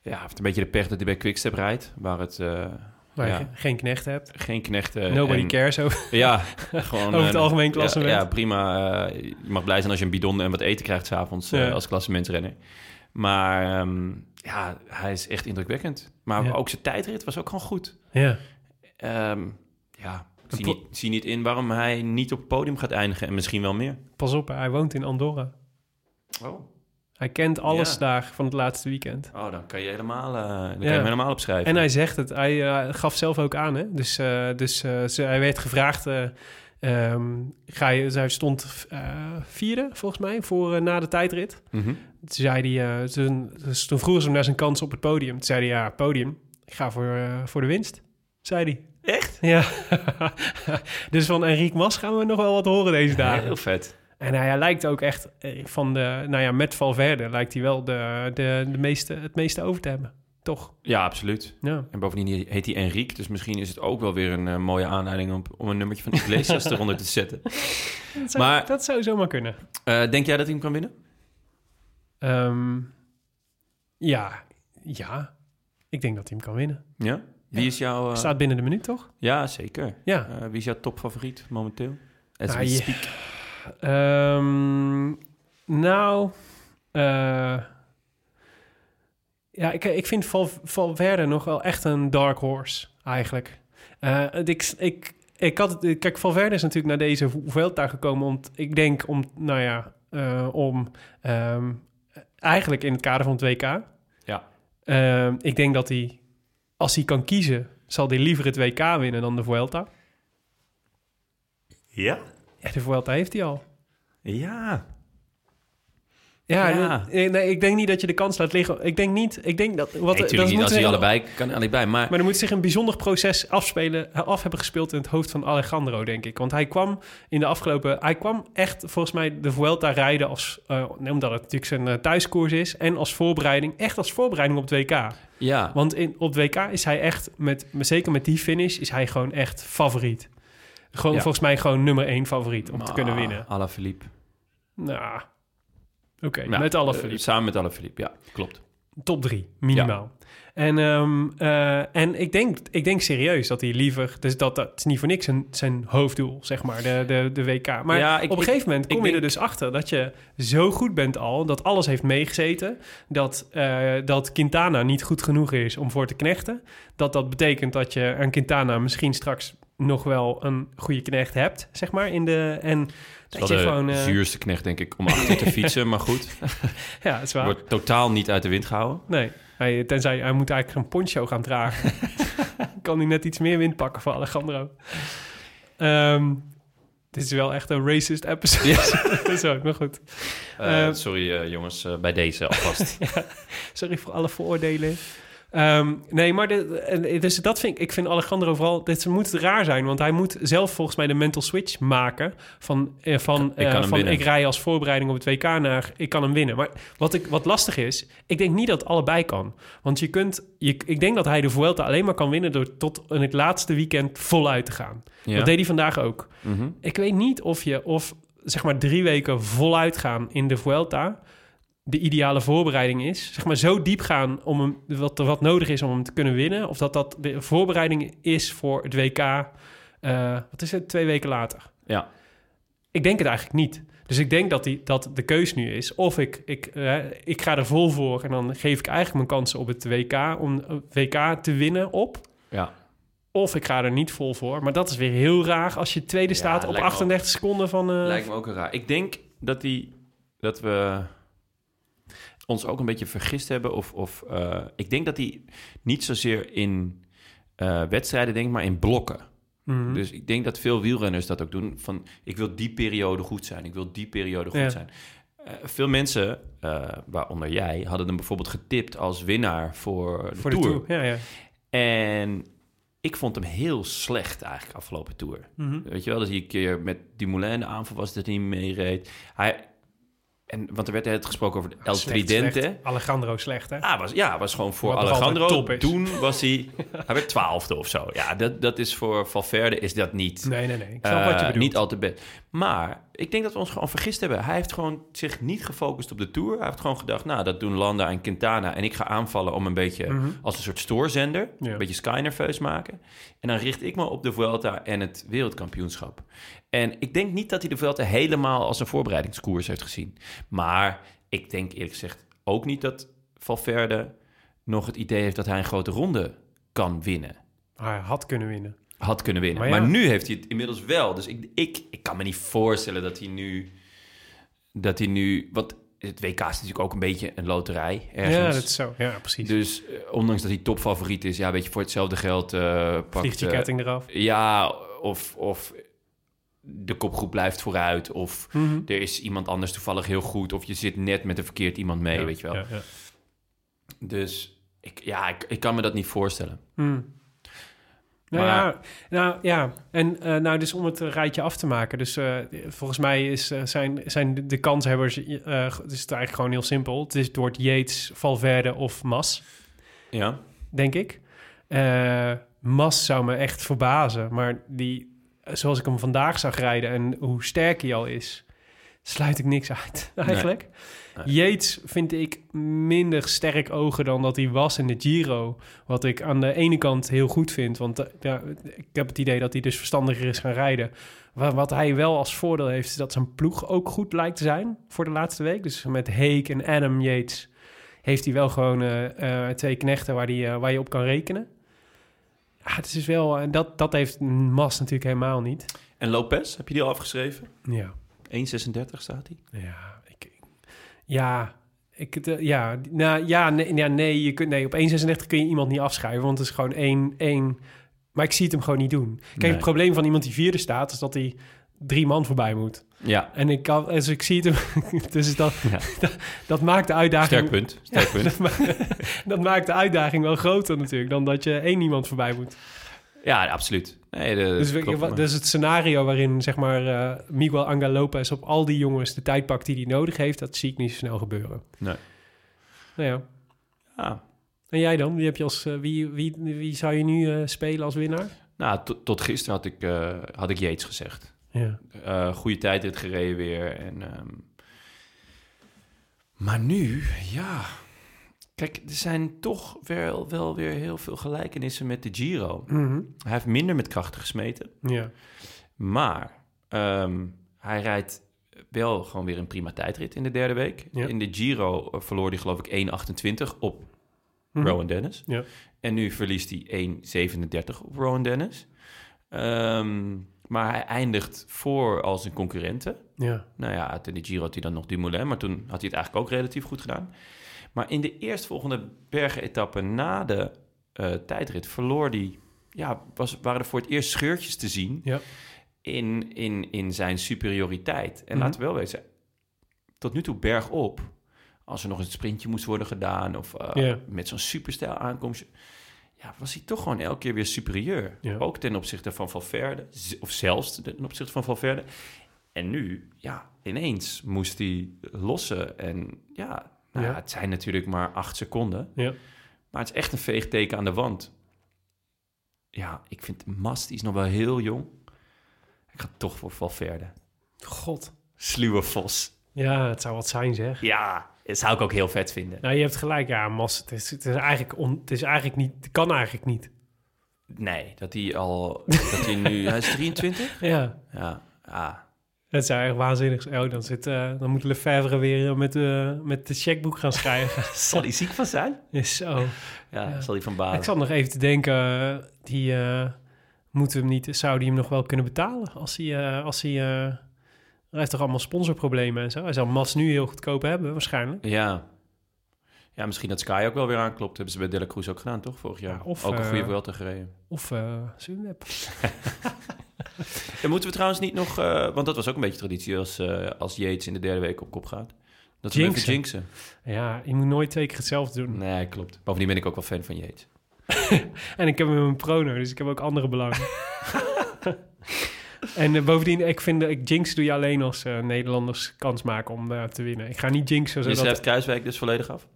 [SPEAKER 2] ja, hij heeft een beetje de pech dat hij bij Quickstep rijdt, waar het eh,
[SPEAKER 1] waar
[SPEAKER 2] Ja.
[SPEAKER 1] je geen knecht hebt.
[SPEAKER 2] geen knechten...
[SPEAKER 1] Nobody
[SPEAKER 2] en-
[SPEAKER 1] cares over.
[SPEAKER 2] Ja, gewoon...
[SPEAKER 1] Over het
[SPEAKER 2] eh,
[SPEAKER 1] algemeen
[SPEAKER 2] ja,
[SPEAKER 1] klassement.
[SPEAKER 2] Ja, prima. eh, je mag blij zijn als je een bidon en wat eten krijgt s'avonds
[SPEAKER 1] Ja.
[SPEAKER 2] avonds eh, als klassementsrenner. Maar ehm, ja, hij is echt indrukwekkend. Maar
[SPEAKER 1] Ja.
[SPEAKER 2] ook zijn tijdrit was ook gewoon goed.
[SPEAKER 1] Ja.
[SPEAKER 2] Ehm, ja, ik zie
[SPEAKER 1] pro-
[SPEAKER 2] niet, zie niet in waarom hij niet op het podium gaat eindigen en misschien wel meer.
[SPEAKER 1] Pas op, hij woont in Andorra.
[SPEAKER 2] Oh.
[SPEAKER 1] Hij kent alles
[SPEAKER 2] Ja.
[SPEAKER 1] daar van het laatste weekend.
[SPEAKER 2] Oh, dan kan je helemaal, eh, dan kan je
[SPEAKER 1] Ja.
[SPEAKER 2] hem helemaal opschrijven.
[SPEAKER 1] En hij zegt het. Hij eh, gaf zelf ook aan. Hè? Dus, eh, dus eh, ze, hij werd gevraagd. eh, ehm, ga je, dus hij stond eh, vierde, volgens mij, voor, eh, na de tijdrit.
[SPEAKER 2] Mhm.
[SPEAKER 1] Toen, zei hij, eh, toen, dus toen vroegen ze hem naar zijn kans op het podium. Toen zei hij, ja, podium. Ik ga voor, eh, voor de winst. zei hij.
[SPEAKER 2] Echt?
[SPEAKER 1] Ja. dus van Enrique Mas gaan we nog wel wat horen deze dagen.
[SPEAKER 2] Heel vet.
[SPEAKER 1] En hij, hij lijkt ook echt eh, van de, nou ja, met Valverde lijkt hij wel de, de, de meeste, het meeste over te hebben. Toch?
[SPEAKER 2] Ja, absoluut.
[SPEAKER 1] Ja.
[SPEAKER 2] En bovendien heet hij Enrique, dus misschien is het ook wel weer een eh, mooie aanleiding om, om een nummertje van Iglesias eronder te zetten.
[SPEAKER 1] Dat zou,
[SPEAKER 2] Maar-
[SPEAKER 1] dat zou zomaar kunnen.
[SPEAKER 2] Eh, denk jij dat hij hem kan winnen?
[SPEAKER 1] Ehm, ja. Ja. Ik denk dat hij hem kan winnen.
[SPEAKER 2] Ja? Wie is jouw... eh,
[SPEAKER 1] Staat binnen de minuut, toch?
[SPEAKER 2] Ja, zeker.
[SPEAKER 1] Ja.
[SPEAKER 2] Eh, wie is jouw topfavoriet momenteel? As
[SPEAKER 1] Ah,
[SPEAKER 2] we
[SPEAKER 1] je-
[SPEAKER 2] speak.
[SPEAKER 1] Ehm, nou, eh, ja, ik, ik vind Val, Valverde nog wel echt een dark horse, eigenlijk. Eh, het- ik, ik, ik had, het- kijk, Valverde is natuurlijk naar deze Vuelta gekomen, om, t- ik denk om, nou ja, eh, om ehm, eigenlijk in het kader van het WK.
[SPEAKER 2] Ja.
[SPEAKER 1] Ehm, ik denk dat hij, als hij kan kiezen, zal hij liever het WK winnen dan de Vuelta.
[SPEAKER 2] Ja?
[SPEAKER 1] Ja, de Vuelta heeft hij al.
[SPEAKER 2] Ja.
[SPEAKER 1] Ja,
[SPEAKER 2] Ja.
[SPEAKER 1] Nee, nee, ik denk niet dat je de kans laat liggen. Ik denk niet. Ik denk dat. Wat,
[SPEAKER 2] Nee,
[SPEAKER 1] dat
[SPEAKER 2] natuurlijk niet.
[SPEAKER 1] moet
[SPEAKER 2] Als
[SPEAKER 1] er-
[SPEAKER 2] hij allebei kan, allebei. Maar,
[SPEAKER 1] Maar er moet zich een bijzonder proces afspelen, af hebben gespeeld in het hoofd van Alejandro, denk ik. Want hij kwam in de afgelopen. Hij kwam echt volgens mij de Vuelta rijden als. eh, nee, omdat het natuurlijk zijn eh, thuiskoers is. En als voorbereiding. Echt als voorbereiding op het WK.
[SPEAKER 2] ja,
[SPEAKER 1] Want in, op het WK is hij echt. Met, maar zeker met die finish is hij gewoon echt favoriet. Gewoon,
[SPEAKER 2] Ja.
[SPEAKER 1] Volgens mij gewoon nummer één favoriet om te kunnen winnen.
[SPEAKER 2] Alla Ah, Philippe. eh,
[SPEAKER 1] Nou. Oké,
[SPEAKER 2] Nou,
[SPEAKER 1] met alle verlies.
[SPEAKER 2] samen met Alla Philippe, ja. Klopt.
[SPEAKER 1] top drie, minimaal. En, ehm, eh, en ik, denk, ik denk serieus dat hij liever... Dus dat, dat is niet voor niks zijn, zijn hoofddoel, zeg maar, de, de, de WK. Maar
[SPEAKER 2] Ja, ik-
[SPEAKER 1] op een
[SPEAKER 2] ik-
[SPEAKER 1] gegeven moment
[SPEAKER 2] ik
[SPEAKER 1] kom je
[SPEAKER 2] denk-
[SPEAKER 1] er dus achter... dat je zo goed bent al, dat alles heeft meegezeten... Dat, eh, dat Quintana niet goed genoeg is om voor te knechten. Dat dat betekent dat je aan Quintana misschien straks nog wel een goede knecht hebt, zeg maar. In de, en dat,
[SPEAKER 2] Dat
[SPEAKER 1] je
[SPEAKER 2] de
[SPEAKER 1] gewoon... eh,
[SPEAKER 2] zuurste knecht, denk ik, om achter te fietsen. Maar goed,
[SPEAKER 1] ja, dat is waar.
[SPEAKER 2] wordt totaal niet uit de wind gehouden.
[SPEAKER 1] Nee, hij, tenzij hij moet eigenlijk een poncho gaan dragen. kan hij net iets meer wind pakken voor Alejandro. Ehm, dit is wel echt een racist episode. Zo, maar goed.
[SPEAKER 2] Eh,
[SPEAKER 1] Eh,
[SPEAKER 2] sorry eh, jongens, eh, bij deze alvast.
[SPEAKER 1] Sorry voor alle vooroordelen. Ehm, nee, maar de, en- dus dat vind ik. Ik vind Alejandro vooral. Dit moet raar zijn, want hij moet zelf volgens mij de mental switch maken. Van, eh, van,
[SPEAKER 2] Ik kan
[SPEAKER 1] eh,
[SPEAKER 2] hem
[SPEAKER 1] van
[SPEAKER 2] winnen.
[SPEAKER 1] ik rij als voorbereiding op het WK naar ik kan hem winnen. Maar wat, ik, wat lastig is, ik denk niet dat allebei kan. Want je kunt. Je, ik denk dat hij de Vuelta alleen maar kan winnen door tot in het laatste weekend voluit te gaan.
[SPEAKER 2] Ja.
[SPEAKER 1] Dat deed hij vandaag ook.
[SPEAKER 2] Mhm.
[SPEAKER 1] Ik weet niet of je, of zeg maar drie weken voluit gaan in de Vuelta de ideale voorbereiding is. Zeg maar zo diep gaan om hem, wat, wat nodig is om hem te kunnen winnen. Of dat dat de voorbereiding is voor het WK, eh, wat is het, twee weken later.
[SPEAKER 2] Ja.
[SPEAKER 1] Ik denk het eigenlijk niet. Dus ik denk dat, die, dat de keus nu is. Of ik, ik, eh, ik ga er vol voor en dan geef ik eigenlijk mijn kansen op het WK, om eh, WK te winnen op.
[SPEAKER 2] ja.
[SPEAKER 1] Of ik ga er niet vol voor. Maar dat is weer heel raar als je tweede staat op
[SPEAKER 2] lijkt me ook.
[SPEAKER 1] 38 seconden van... eh,
[SPEAKER 2] Lijkt me ook een raar. Ik denk dat, die, dat we ons ook een beetje vergist hebben. Of, of eh, ik denk dat hij niet zozeer in eh, wedstrijden denkt, maar in blokken.
[SPEAKER 1] Mhm.
[SPEAKER 2] Dus ik denk dat veel wielrenners dat ook doen. Van, ik wil die periode goed zijn. Ik wil die periode goed
[SPEAKER 1] Ja.
[SPEAKER 2] zijn. Eh, veel mensen, eh, waaronder jij, hadden hem bijvoorbeeld getipt als winnaar voor de,
[SPEAKER 1] voor de
[SPEAKER 2] Tour.
[SPEAKER 1] Tour. Ja, ja.
[SPEAKER 2] En ik vond hem heel slecht eigenlijk afgelopen Tour.
[SPEAKER 1] Mhm.
[SPEAKER 2] Weet je wel, dat hij een keer met Dumoulin de aanval was dat hij niet meereed. Hij, en, want er werd net gesproken over de El
[SPEAKER 1] Slecht,
[SPEAKER 2] Tridente.
[SPEAKER 1] slecht. Alejandro slecht, hè?
[SPEAKER 2] Ah, was, ja, was gewoon voor
[SPEAKER 1] Wat nog
[SPEAKER 2] Alejandro.
[SPEAKER 1] altijd top is.
[SPEAKER 2] Toen was hij... hij werd twaalfde of zo. Ja, dat, dat is voor Valverde is dat niet...
[SPEAKER 1] Nee, nee, nee. Ik snap wat je
[SPEAKER 2] Eh,
[SPEAKER 1] bedoelt.
[SPEAKER 2] Niet al te best. Maar ik denk dat we ons gewoon vergist hebben. Hij heeft gewoon zich niet gefocust op de Tour. Hij heeft gewoon gedacht, nou, dat doen Landa en Quintana. En ik ga aanvallen om een beetje als een soort stoorzender...
[SPEAKER 1] Mhm. Ja.
[SPEAKER 2] een beetje sky-nerveus maken. En dan richt ik me op de Vuelta en het wereldkampioenschap. En ik denk niet dat hij de Vuelta helemaal als een voorbereidingskoers heeft gezien. Maar ik denk eerlijk gezegd ook niet dat Valverde nog het idee heeft... dat hij een grote ronde kan winnen
[SPEAKER 1] Hij had kunnen winnen.
[SPEAKER 2] had kunnen winnen.
[SPEAKER 1] Maar
[SPEAKER 2] Maar,
[SPEAKER 1] ja.
[SPEAKER 2] nu heeft hij het inmiddels wel. Dus ik, ik, ik kan me niet voorstellen dat hij nu... Dat hij nu... Want het WK is natuurlijk ook een beetje een loterij ergens.
[SPEAKER 1] Ja, dat is zo. Ja, precies.
[SPEAKER 2] Dus eh, ondanks dat hij topfavoriet is... Ja, weet je, voor hetzelfde geld eh pakt...
[SPEAKER 1] Vliegt die
[SPEAKER 2] eh,
[SPEAKER 1] ketting eraf.
[SPEAKER 2] ja, of, of de kopgroep blijft vooruit. Of
[SPEAKER 1] Mhm.
[SPEAKER 2] er is iemand anders toevallig heel goed. Of je zit net met een verkeerd iemand mee, weet je wel.
[SPEAKER 1] Ja, ja.
[SPEAKER 2] Dus ik, ja, ik, ik kan me dat niet voorstellen.
[SPEAKER 1] Hmm. Nou,
[SPEAKER 2] Maar-
[SPEAKER 1] ja, nou ja, en eh, nou, dus om het eh, rijtje af te maken. Dus eh, volgens mij is, eh, zijn, zijn de- de kanshebbers, eh, eh, het is het eigenlijk gewoon heel simpel. Het is door Yates, Valverde of Mas,
[SPEAKER 2] Ja.
[SPEAKER 1] denk ik. Eh, Mas zou me echt verbazen, maar die, zoals ik hem vandaag zag rijden en hoe sterk hij al is, sluit ik niks uit eigenlijk.
[SPEAKER 2] Nee.
[SPEAKER 1] Yates vind ik minder sterk ogen dan dat hij was in de Giro. Wat ik aan de ene kant heel goed vind. Want eh, ja, ik heb het idee dat hij dus verstandiger is gaan rijden. Wa- Wat hij wel als voordeel heeft, is dat zijn ploeg ook goed lijkt te zijn voor de laatste week. Dus met Heek en Adam Yates heeft hij wel gewoon eh, eh, twee knechten waar, die, eh, waar je op kan rekenen. Ja, het is dus wel, en dat, dat heeft Mas natuurlijk helemaal niet.
[SPEAKER 2] En Lopez, heb je die al afgeschreven? 1,36
[SPEAKER 1] Ja.
[SPEAKER 2] staat hij.
[SPEAKER 1] Ja, ik, ik- ja, ik, het, eh, ja, nou, ja, nee, ja, nee, je kunt, nee, op 1,36 kun je iemand niet afschrijven, want het is gewoon één, één. Maar ik zie het hem gewoon niet doen. Kijk,
[SPEAKER 2] Nee.
[SPEAKER 1] het probleem van iemand die vierde staat, is dat hij drie man voorbij moet.
[SPEAKER 2] Ja,
[SPEAKER 1] En ik kan, dus ik zie het hem, dus dat,
[SPEAKER 2] Ja.
[SPEAKER 1] dat, dat maakt de uitdaging...
[SPEAKER 2] sterk punt. Sterk punt.
[SPEAKER 1] Dat, ma- dat maakt de uitdaging wel groter natuurlijk, dan dat je één iemand voorbij moet.
[SPEAKER 2] Ja, absoluut. Nee, de,
[SPEAKER 1] Dus, we-
[SPEAKER 2] klopt,
[SPEAKER 1] wa-
[SPEAKER 2] maar-
[SPEAKER 1] dus het scenario waarin zeg maar, eh, Miguel Angel Lopez op al die jongens de tijd pakt die hij nodig heeft, dat zie ik niet zo snel gebeuren.
[SPEAKER 2] Nee.
[SPEAKER 1] Nou ja.
[SPEAKER 2] Ah,
[SPEAKER 1] En jij dan? Wie, heb je als, eh, wie, wie, wie zou je nu eh, spelen als winnaar?
[SPEAKER 2] nou, tot- tot gisteren had ik, eh, had ik Yates gezegd.
[SPEAKER 1] Ja.
[SPEAKER 2] eh goede tijdrit gereden weer. En, ehm, Maar nu, ja. Kijk, er zijn toch wel, wel weer heel veel gelijkenissen met de Giro.
[SPEAKER 1] Mhm.
[SPEAKER 2] Hij heeft minder met krachten gesmeten.
[SPEAKER 1] ja.
[SPEAKER 2] Maar ehm, hij rijdt wel gewoon weer een prima tijdrit in de derde week.
[SPEAKER 1] Ja.
[SPEAKER 2] In de Giro eh, verloor hij geloof ik 1,28 op
[SPEAKER 1] Mhm.
[SPEAKER 2] Rowan Dennis.
[SPEAKER 1] Ja.
[SPEAKER 2] En nu verliest hij 1,37 op Rowan Dennis. Ehm, maar hij eindigt voor al zijn concurrenten.
[SPEAKER 1] Ja.
[SPEAKER 2] Nou ja, in de Giro had hij dan nog Dumoulin, maar toen had hij het eigenlijk ook relatief goed gedaan. Maar in de eerstvolgende bergenetappe na de eh, tijdrit verloor hij... Ja, was, waren er voor het eerst scheurtjes te zien
[SPEAKER 1] Ja.
[SPEAKER 2] in, in, in zijn superioriteit. En
[SPEAKER 1] Mhm.
[SPEAKER 2] laten we wel wezen, tot nu toe bergop, als er nog een sprintje moest worden gedaan of eh,
[SPEAKER 1] Ja.
[SPEAKER 2] met zo'n superstijl aankomst, ja, was hij toch gewoon elke keer weer superieur.
[SPEAKER 1] Ja.
[SPEAKER 2] Ook ten opzichte van Valverde, z- of zelfs ten opzichte van Valverde. En nu, ja, ineens moest hij lossen. En ja, nou,
[SPEAKER 1] Ja.
[SPEAKER 2] ja, het zijn natuurlijk maar acht seconden.
[SPEAKER 1] Ja.
[SPEAKER 2] Maar het is echt een veegteken aan de wand. Ja, ik vind Mast, die is nog wel heel jong. Ik ga toch voor Valverde.
[SPEAKER 1] God.
[SPEAKER 2] Sluwe Vos.
[SPEAKER 1] Ja, het zou wat zijn zeg.
[SPEAKER 2] Ja, dat zou ik ook heel vet vinden.
[SPEAKER 1] Nou, je hebt gelijk. Ja, Mas, het is, het is, eigenlijk, on, het is eigenlijk niet... Het kan eigenlijk niet.
[SPEAKER 2] Nee, dat hij al... dat hij nu... Hij is 23?
[SPEAKER 1] Ja.
[SPEAKER 2] Ja. ja.
[SPEAKER 1] Het zou echt waanzinnig zijn. Oh, dan, zit, eh, dan moet Lefebvre weer eh, met, eh, met de checkboek gaan schrijven.
[SPEAKER 2] Zal hij ziek van zijn?
[SPEAKER 1] Is zo.
[SPEAKER 2] Ja,
[SPEAKER 1] Ja.
[SPEAKER 2] zal hij van balen.
[SPEAKER 1] Ik zat nog even te denken, eh, die eh, moeten hem niet, zou die hem nog wel kunnen betalen? Als hij, eh, als hij, eh, hij heeft toch allemaal sponsorproblemen en zo. Hij zal Mas nu heel goedkoop hebben, waarschijnlijk.
[SPEAKER 2] Ja. Ja, misschien dat Sky ook wel weer aanklopt. Hebben ze bij Dela Cruz ook gedaan, toch? Vorig jaar.
[SPEAKER 1] Ja, of,
[SPEAKER 2] ook een
[SPEAKER 1] eh,
[SPEAKER 2] goede Vuelta gereden.
[SPEAKER 1] Of eh Sunweb.
[SPEAKER 2] En moeten we trouwens niet nog... eh, want dat was ook een beetje traditie als, eh als Yates in de derde week op kop gaat. Dat ze hem even
[SPEAKER 1] Jinxen.
[SPEAKER 2] jinxen.
[SPEAKER 1] Ja, je moet nooit twee keer hetzelfde doen.
[SPEAKER 2] Nee, klopt. Bovendien ben ik ook wel fan van Yates.
[SPEAKER 1] En ik heb hem in mijn prono, dus ik heb ook andere belangen. en eh, bovendien, ik vind, dat ik jinx doe je alleen als eh, Nederlanders kans maken om eh, te winnen. Ik ga niet jinxen
[SPEAKER 2] Je
[SPEAKER 1] zodat...
[SPEAKER 2] schrijft Kruiswijk dus volledig af?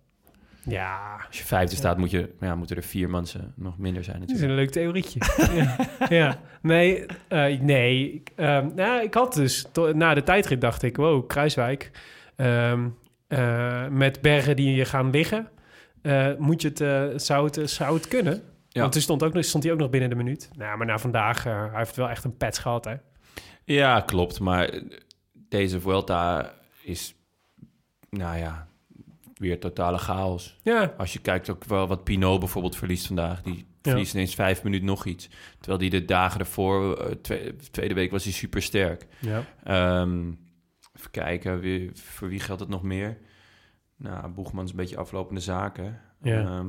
[SPEAKER 1] Ja,
[SPEAKER 2] Als je vijfde staat, moet je, ja, moeten er vier mensen nog minder zijn
[SPEAKER 1] Dat is
[SPEAKER 2] natuurlijk.
[SPEAKER 1] een leuk theorietje. ja. ja. Nee, eh, nee. ik, ehm, nou, ik had dus, to- na de tijdrit dacht ik, wow, Kruiswijk. ehm, eh, met bergen die je gaan liggen, eh, moet je het, eh, zou, het, eh, zou het kunnen?
[SPEAKER 2] Ja.
[SPEAKER 1] Want toen stond, ook, nog- stond hij ook nog binnen de minuut. Nou, maar na vandaag, eh, hij heeft wel echt een pets gehad, hè?
[SPEAKER 2] Ja, klopt. Maar eh, deze Vuelta is, nou ja, weer totale chaos.
[SPEAKER 1] Ja,
[SPEAKER 2] Als je kijkt ook wel wat Pinot bijvoorbeeld verliest vandaag. Die verliest ineens vijf minuten nog iets. Terwijl die de dagen ervoor, eh, twe- tweede week was hij super sterk.
[SPEAKER 1] ja.
[SPEAKER 2] Ehm, even kijken, wie, voor wie geldt het nog meer? Nou, Boegman is een beetje aflopende zaken.
[SPEAKER 1] Ja.
[SPEAKER 2] Ehm,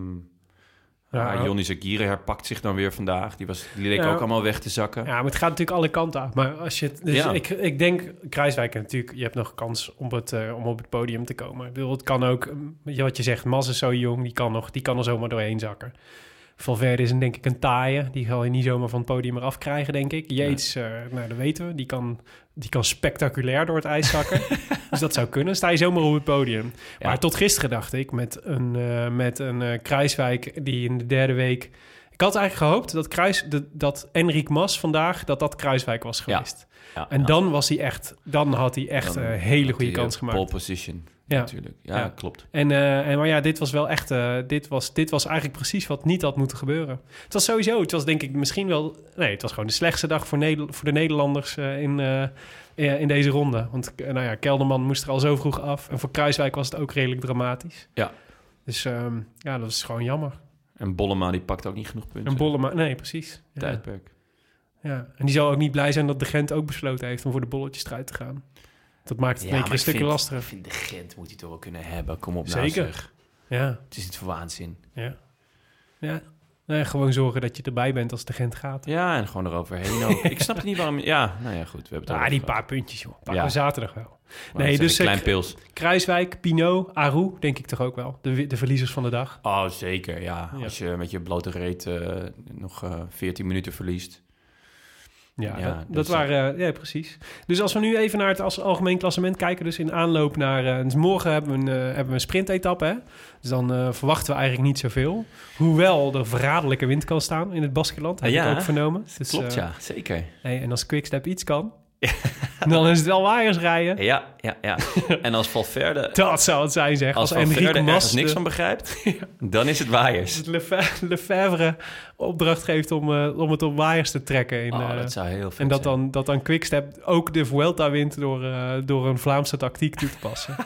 [SPEAKER 1] Ja,
[SPEAKER 2] Ja, Johnny Zakiri herpakt zich dan weer vandaag. Die, was, die leek
[SPEAKER 1] Ja.
[SPEAKER 2] ook allemaal weg te zakken.
[SPEAKER 1] Ja, maar het gaat natuurlijk alle kanten uit. Maar als je het, dus
[SPEAKER 2] Ja.
[SPEAKER 1] ik, ik denk, Kruiswijk natuurlijk, je hebt nog kans om, het, eh, om op het podium te komen. Ik bedoel, het kan ook, mm, wat je zegt, Mas is zo jong, die kan, nog, die kan er zomaar doorheen zakken. Valverde is een, denk ik een taaie. Die ga je niet zomaar van het podium eraf krijgen, denk ik. Yates, eh, nou dat weten we, die kan, die kan spectaculair door het ijs zakken. dus dat zou kunnen. Sta je zomaar op het podium.
[SPEAKER 2] Ja.
[SPEAKER 1] Maar tot gisteren dacht ik, met een, eh, met een eh, Kruiswijk die in de derde week... Ik had eigenlijk gehoopt dat, Kruis, dat, dat Enric Mas vandaag, dat dat Kruiswijk was
[SPEAKER 2] Ja.
[SPEAKER 1] geweest.
[SPEAKER 2] Ja,
[SPEAKER 1] En
[SPEAKER 2] ja.
[SPEAKER 1] dan was hij echt, dan had hij echt
[SPEAKER 2] Dan
[SPEAKER 1] een hele
[SPEAKER 2] had
[SPEAKER 1] goede
[SPEAKER 2] hij,
[SPEAKER 1] kans
[SPEAKER 2] eh,
[SPEAKER 1] gemaakt.
[SPEAKER 2] Pole position,
[SPEAKER 1] Ja.
[SPEAKER 2] natuurlijk. Ja,
[SPEAKER 1] Ja.
[SPEAKER 2] klopt.
[SPEAKER 1] En, eh, en maar ja, dit was wel echt. eh, dit, was, dit was eigenlijk precies wat niet had moeten gebeuren. Het was sowieso, het was denk ik misschien wel. Nee, het was gewoon de slechtste dag voor, Neder- voor de Nederlanders eh, in, eh, eh, in deze ronde. Want eh, nou ja, Kelderman moest er al zo vroeg af. En voor Kruiswijk was het ook redelijk dramatisch.
[SPEAKER 2] Ja.
[SPEAKER 1] Dus ehm, ja, dat is gewoon jammer.
[SPEAKER 2] En Bollema die pakt ook niet genoeg punten.
[SPEAKER 1] En Bollema, nee, precies. Ja.
[SPEAKER 2] Tijdperk.
[SPEAKER 1] ja. En die zal ook niet blij zijn dat de Gent ook besloten heeft om voor de bolletjes eruit te gaan. Dat maakt het in één keer een stukje lastiger.
[SPEAKER 2] vind de Gent moet hij toch wel kunnen hebben. Kom op
[SPEAKER 1] Zeker.
[SPEAKER 2] nou zeg.
[SPEAKER 1] Ja,
[SPEAKER 2] Het is niet voor waanzin.
[SPEAKER 1] ja. Ja. Nee, gewoon zorgen dat je erbij bent als de Gent gaat.
[SPEAKER 2] Ja, en gewoon eroverheen ook. Ik snap het niet waarom... Ja, nou ja, goed. We hebben het
[SPEAKER 1] Ah,
[SPEAKER 2] al
[SPEAKER 1] die
[SPEAKER 2] over
[SPEAKER 1] paar puntjes, joh. Pakken
[SPEAKER 2] Ja.
[SPEAKER 1] we zaterdag wel.
[SPEAKER 2] gehad. Maar
[SPEAKER 1] nee,
[SPEAKER 2] het zijn
[SPEAKER 1] dus
[SPEAKER 2] een
[SPEAKER 1] ik-
[SPEAKER 2] Klein pils.
[SPEAKER 1] Kruiswijk, Pinot, Aru, denk ik toch ook wel. De, wi- de verliezers van de dag.
[SPEAKER 2] Oh, zeker, ja.
[SPEAKER 1] Ja.
[SPEAKER 2] Als je met je blote reet eh, nog eh 14 minuten verliest.
[SPEAKER 1] Ja,
[SPEAKER 2] Ja,
[SPEAKER 1] dat,
[SPEAKER 2] dus
[SPEAKER 1] dat
[SPEAKER 2] dat-
[SPEAKER 1] waren... eh, ja, precies. Dus als we nu even naar het als, algemeen klassement kijken... dus in aanloop naar... eh, dus morgen hebben we een, eh, hebben we een sprintetappe, hè? Dus dan eh, verwachten we eigenlijk niet zoveel. Hoewel er verraderlijke wind kan staan in het Baskeland. Heb
[SPEAKER 2] Ah, Ja,
[SPEAKER 1] ik ook vernomen. Dus,
[SPEAKER 2] Klopt,
[SPEAKER 1] eh,
[SPEAKER 2] ja. Zeker.
[SPEAKER 1] hey, en als Quickstep iets kan... dan is het wel waaiers rijden.
[SPEAKER 2] Eh, Ja, ja, ja. en als Valverde...
[SPEAKER 1] Dat zou het zijn, zeg.
[SPEAKER 2] Als
[SPEAKER 1] Als,
[SPEAKER 2] Valverde
[SPEAKER 1] Enrique
[SPEAKER 2] ergens
[SPEAKER 1] Mas...
[SPEAKER 2] niks
[SPEAKER 1] de-
[SPEAKER 2] van begrijpt, dan is het waaiers.
[SPEAKER 1] Dus Lefevre, Lefevre opdracht geeft om, eh, om het op waaiers te trekken. In,
[SPEAKER 2] Oh,
[SPEAKER 1] eh,
[SPEAKER 2] dat zou heel vet
[SPEAKER 1] en dat
[SPEAKER 2] zijn.
[SPEAKER 1] dan, dat dan Quickstep ook de Vuelta wint door, eh, door een Vlaamse tactiek toe te passen.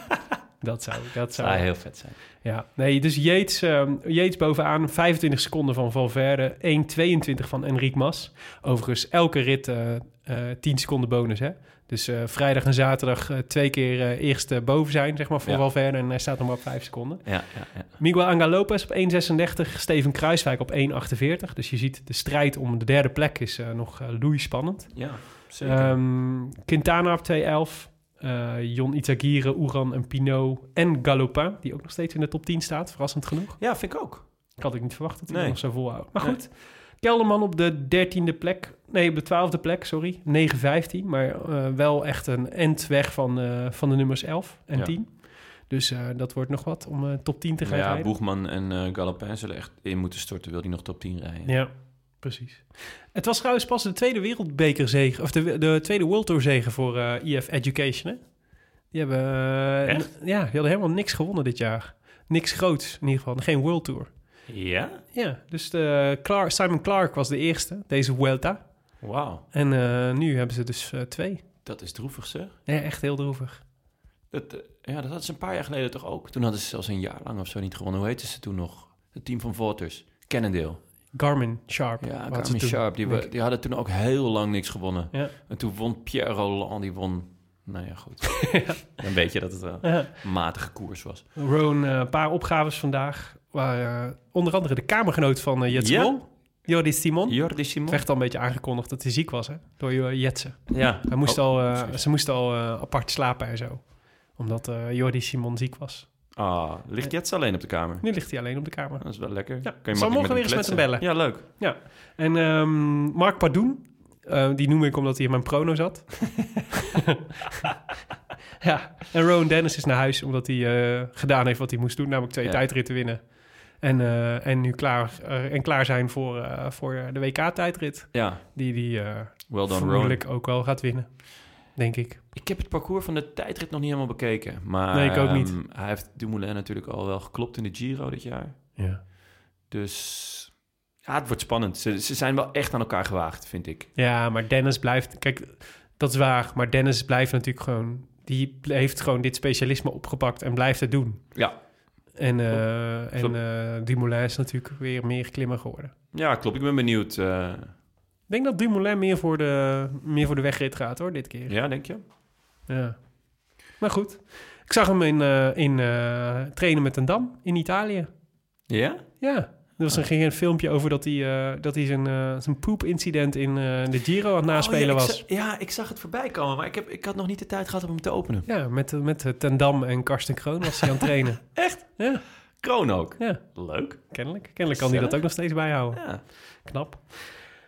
[SPEAKER 1] dat zou... Dat
[SPEAKER 2] zou
[SPEAKER 1] zou
[SPEAKER 2] heel vet zijn.
[SPEAKER 1] ja. Nee, dus Yates, ehm, Yates bovenaan, 25 seconden van Valverde, 1,22 van Enric Mas. Overigens, elke rit eh, eh, 10 seconden bonus, hè. Dus eh, vrijdag en zaterdag eh, twee keer eh, eerst eh, boven zijn, zeg maar, voor
[SPEAKER 2] Ja.
[SPEAKER 1] Valverde. En hij staat nog maar op 5 seconden.
[SPEAKER 2] Ja, ja, ja.
[SPEAKER 1] Miguel Angel Lopez op 1,36. Steven Kruiswijk op 1,48. Dus je ziet de strijd om de derde plek is eh, nog eh loeispannend.
[SPEAKER 2] ja zeker.
[SPEAKER 1] Ehm Quintana op 2,11. eh Jon Itagire, Oeran en Pinot. En Galopin, die ook nog steeds in de top 10 staat. Verrassend genoeg.
[SPEAKER 2] ja, vind ik ook.
[SPEAKER 1] Ik had ik niet verwacht dat hij
[SPEAKER 2] Nee.
[SPEAKER 1] nog zo volhoudt. Maar
[SPEAKER 2] Nee.
[SPEAKER 1] goed, Kelderman op de 13e plek. Nee, op de 12e plek, sorry. 9-15. Maar eh, wel echt een end weg van, eh, van de nummers 11 en
[SPEAKER 2] Ja.
[SPEAKER 1] 10. Dus eh, dat wordt nog wat om eh, top 10 te gaan
[SPEAKER 2] Ja,
[SPEAKER 1] rijden.
[SPEAKER 2] Boegman en eh Galopin zullen echt in moeten storten. Wil die nog top 10 rijden?
[SPEAKER 1] Ja, precies. Het was trouwens pas de tweede wereldbekerzege, of de, de tweede World Tour zege voor eh EF Education, hè? Die hebben, eh,
[SPEAKER 2] Echt?
[SPEAKER 1] n- ja, die hadden helemaal niks gewonnen dit jaar. Niks groots in ieder geval, geen World Tour.
[SPEAKER 2] Ja?
[SPEAKER 1] Ja, dus de Clark, Simon Clark was de eerste, deze Vuelta.
[SPEAKER 2] Wauw.
[SPEAKER 1] En eh, nu hebben ze dus eh, twee.
[SPEAKER 2] Dat is droevig, zeg.
[SPEAKER 1] Ja, echt heel droevig.
[SPEAKER 2] Dat, eh, ja, dat hadden ze een paar jaar geleden toch ook? Toen hadden ze zelfs een jaar lang of zo niet gewonnen. Hoe heette ze toen nog? Het team van Voters. Cannondale.
[SPEAKER 1] Garmin Sharp.
[SPEAKER 2] Ja,
[SPEAKER 1] had ze
[SPEAKER 2] Carmen
[SPEAKER 1] toen,
[SPEAKER 2] Sharp. Die,
[SPEAKER 1] denk
[SPEAKER 2] we-
[SPEAKER 1] ik.
[SPEAKER 2] die hadden toen ook heel lang niks gewonnen.
[SPEAKER 1] Ja.
[SPEAKER 2] En toen won Pierre Roland. Die won... Nou ja, goed. Dan weet je dat het wel
[SPEAKER 1] Ja.
[SPEAKER 2] een matige koers was.
[SPEAKER 1] Roan, eh, een paar opgaves vandaag. Waar, eh, onder andere de kamergenoot van eh Jets
[SPEAKER 2] Ja.
[SPEAKER 1] Mol, Jordi Simon.
[SPEAKER 2] Jordi Simon.
[SPEAKER 1] Het werd al een beetje aangekondigd dat hij ziek was, hè? Door eh, Jetsen.
[SPEAKER 2] Ja.
[SPEAKER 1] Hij moest
[SPEAKER 2] Oh,
[SPEAKER 1] al, eh,
[SPEAKER 2] precies.
[SPEAKER 1] ze moesten al eh, apart slapen en zo. Omdat eh Jordi Simon ziek was.
[SPEAKER 2] Ah, ligt Jets alleen op de kamer?
[SPEAKER 1] Nu ligt hij alleen op de kamer.
[SPEAKER 2] Dat is wel lekker. Kan je
[SPEAKER 1] zal
[SPEAKER 2] makkelijk
[SPEAKER 1] morgen weer eens met hem
[SPEAKER 2] kletsen.
[SPEAKER 1] bellen.
[SPEAKER 2] Ja, leuk.
[SPEAKER 1] En ehm, Mark Padoen, eh, die noem ik omdat hij in mijn prono zat. ja, en Rowan Dennis is naar huis omdat hij eh, gedaan heeft wat hij moest doen, namelijk twee
[SPEAKER 2] Ja.
[SPEAKER 1] tijdritten winnen. En, eh, en nu klaar, eh, en klaar zijn voor, eh, voor de WK-tijdrit,
[SPEAKER 2] Ja,
[SPEAKER 1] die die eh
[SPEAKER 2] well done, Rowan.
[SPEAKER 1] vermoedelijk ook wel gaat winnen, denk ik.
[SPEAKER 2] Ik heb het parcours van de tijdrit nog niet helemaal bekeken. Maar
[SPEAKER 1] Nee, ik ook niet.
[SPEAKER 2] ehm, hij heeft Dumoulin natuurlijk al wel geklopt in de Giro dit jaar.
[SPEAKER 1] Ja.
[SPEAKER 2] Dus ja, het wordt spannend. Ze, ze zijn wel echt aan elkaar gewaagd, vind ik.
[SPEAKER 1] Ja, maar Dennis blijft. Kijk, dat is waar. Maar Dennis blijft natuurlijk gewoon. Die heeft gewoon dit specialisme opgepakt en blijft het doen.
[SPEAKER 2] Ja.
[SPEAKER 1] En, eh en
[SPEAKER 2] Klopt.
[SPEAKER 1] eh, Dumoulin is natuurlijk weer meer klimmer geworden.
[SPEAKER 2] Ja, klopt. Ik ben benieuwd. eh,
[SPEAKER 1] Ik denk dat Dumoulin meer voor de, meer voor de wegrit gaat hoor, dit keer. Ja.
[SPEAKER 2] ja, denk je?
[SPEAKER 1] Maar goed. Ik zag hem in, eh, in eh, Trainen met een Dam in Italië.
[SPEAKER 2] Ja?
[SPEAKER 1] Ja. Er was
[SPEAKER 2] Ah.
[SPEAKER 1] een, ging een filmpje over dat hij, eh, dat hij zijn, eh, zijn poep-incident in eh, de Giro aan het naspelen
[SPEAKER 2] Oh, ja, ik
[SPEAKER 1] was.
[SPEAKER 2] za- ja, ik zag het voorbij komen, maar ik, heb, ik had nog niet de tijd gehad om hem te openen.
[SPEAKER 1] Ja, met, met Ten Dam en Karsten Kroon was hij aan het trainen. Echt? Ja.
[SPEAKER 2] Kroon ook.
[SPEAKER 1] Ja,
[SPEAKER 2] Leuk.
[SPEAKER 1] kennelijk. Kennelijk kan hij dat ook nog steeds bijhouden.
[SPEAKER 2] Ja.
[SPEAKER 1] Knap.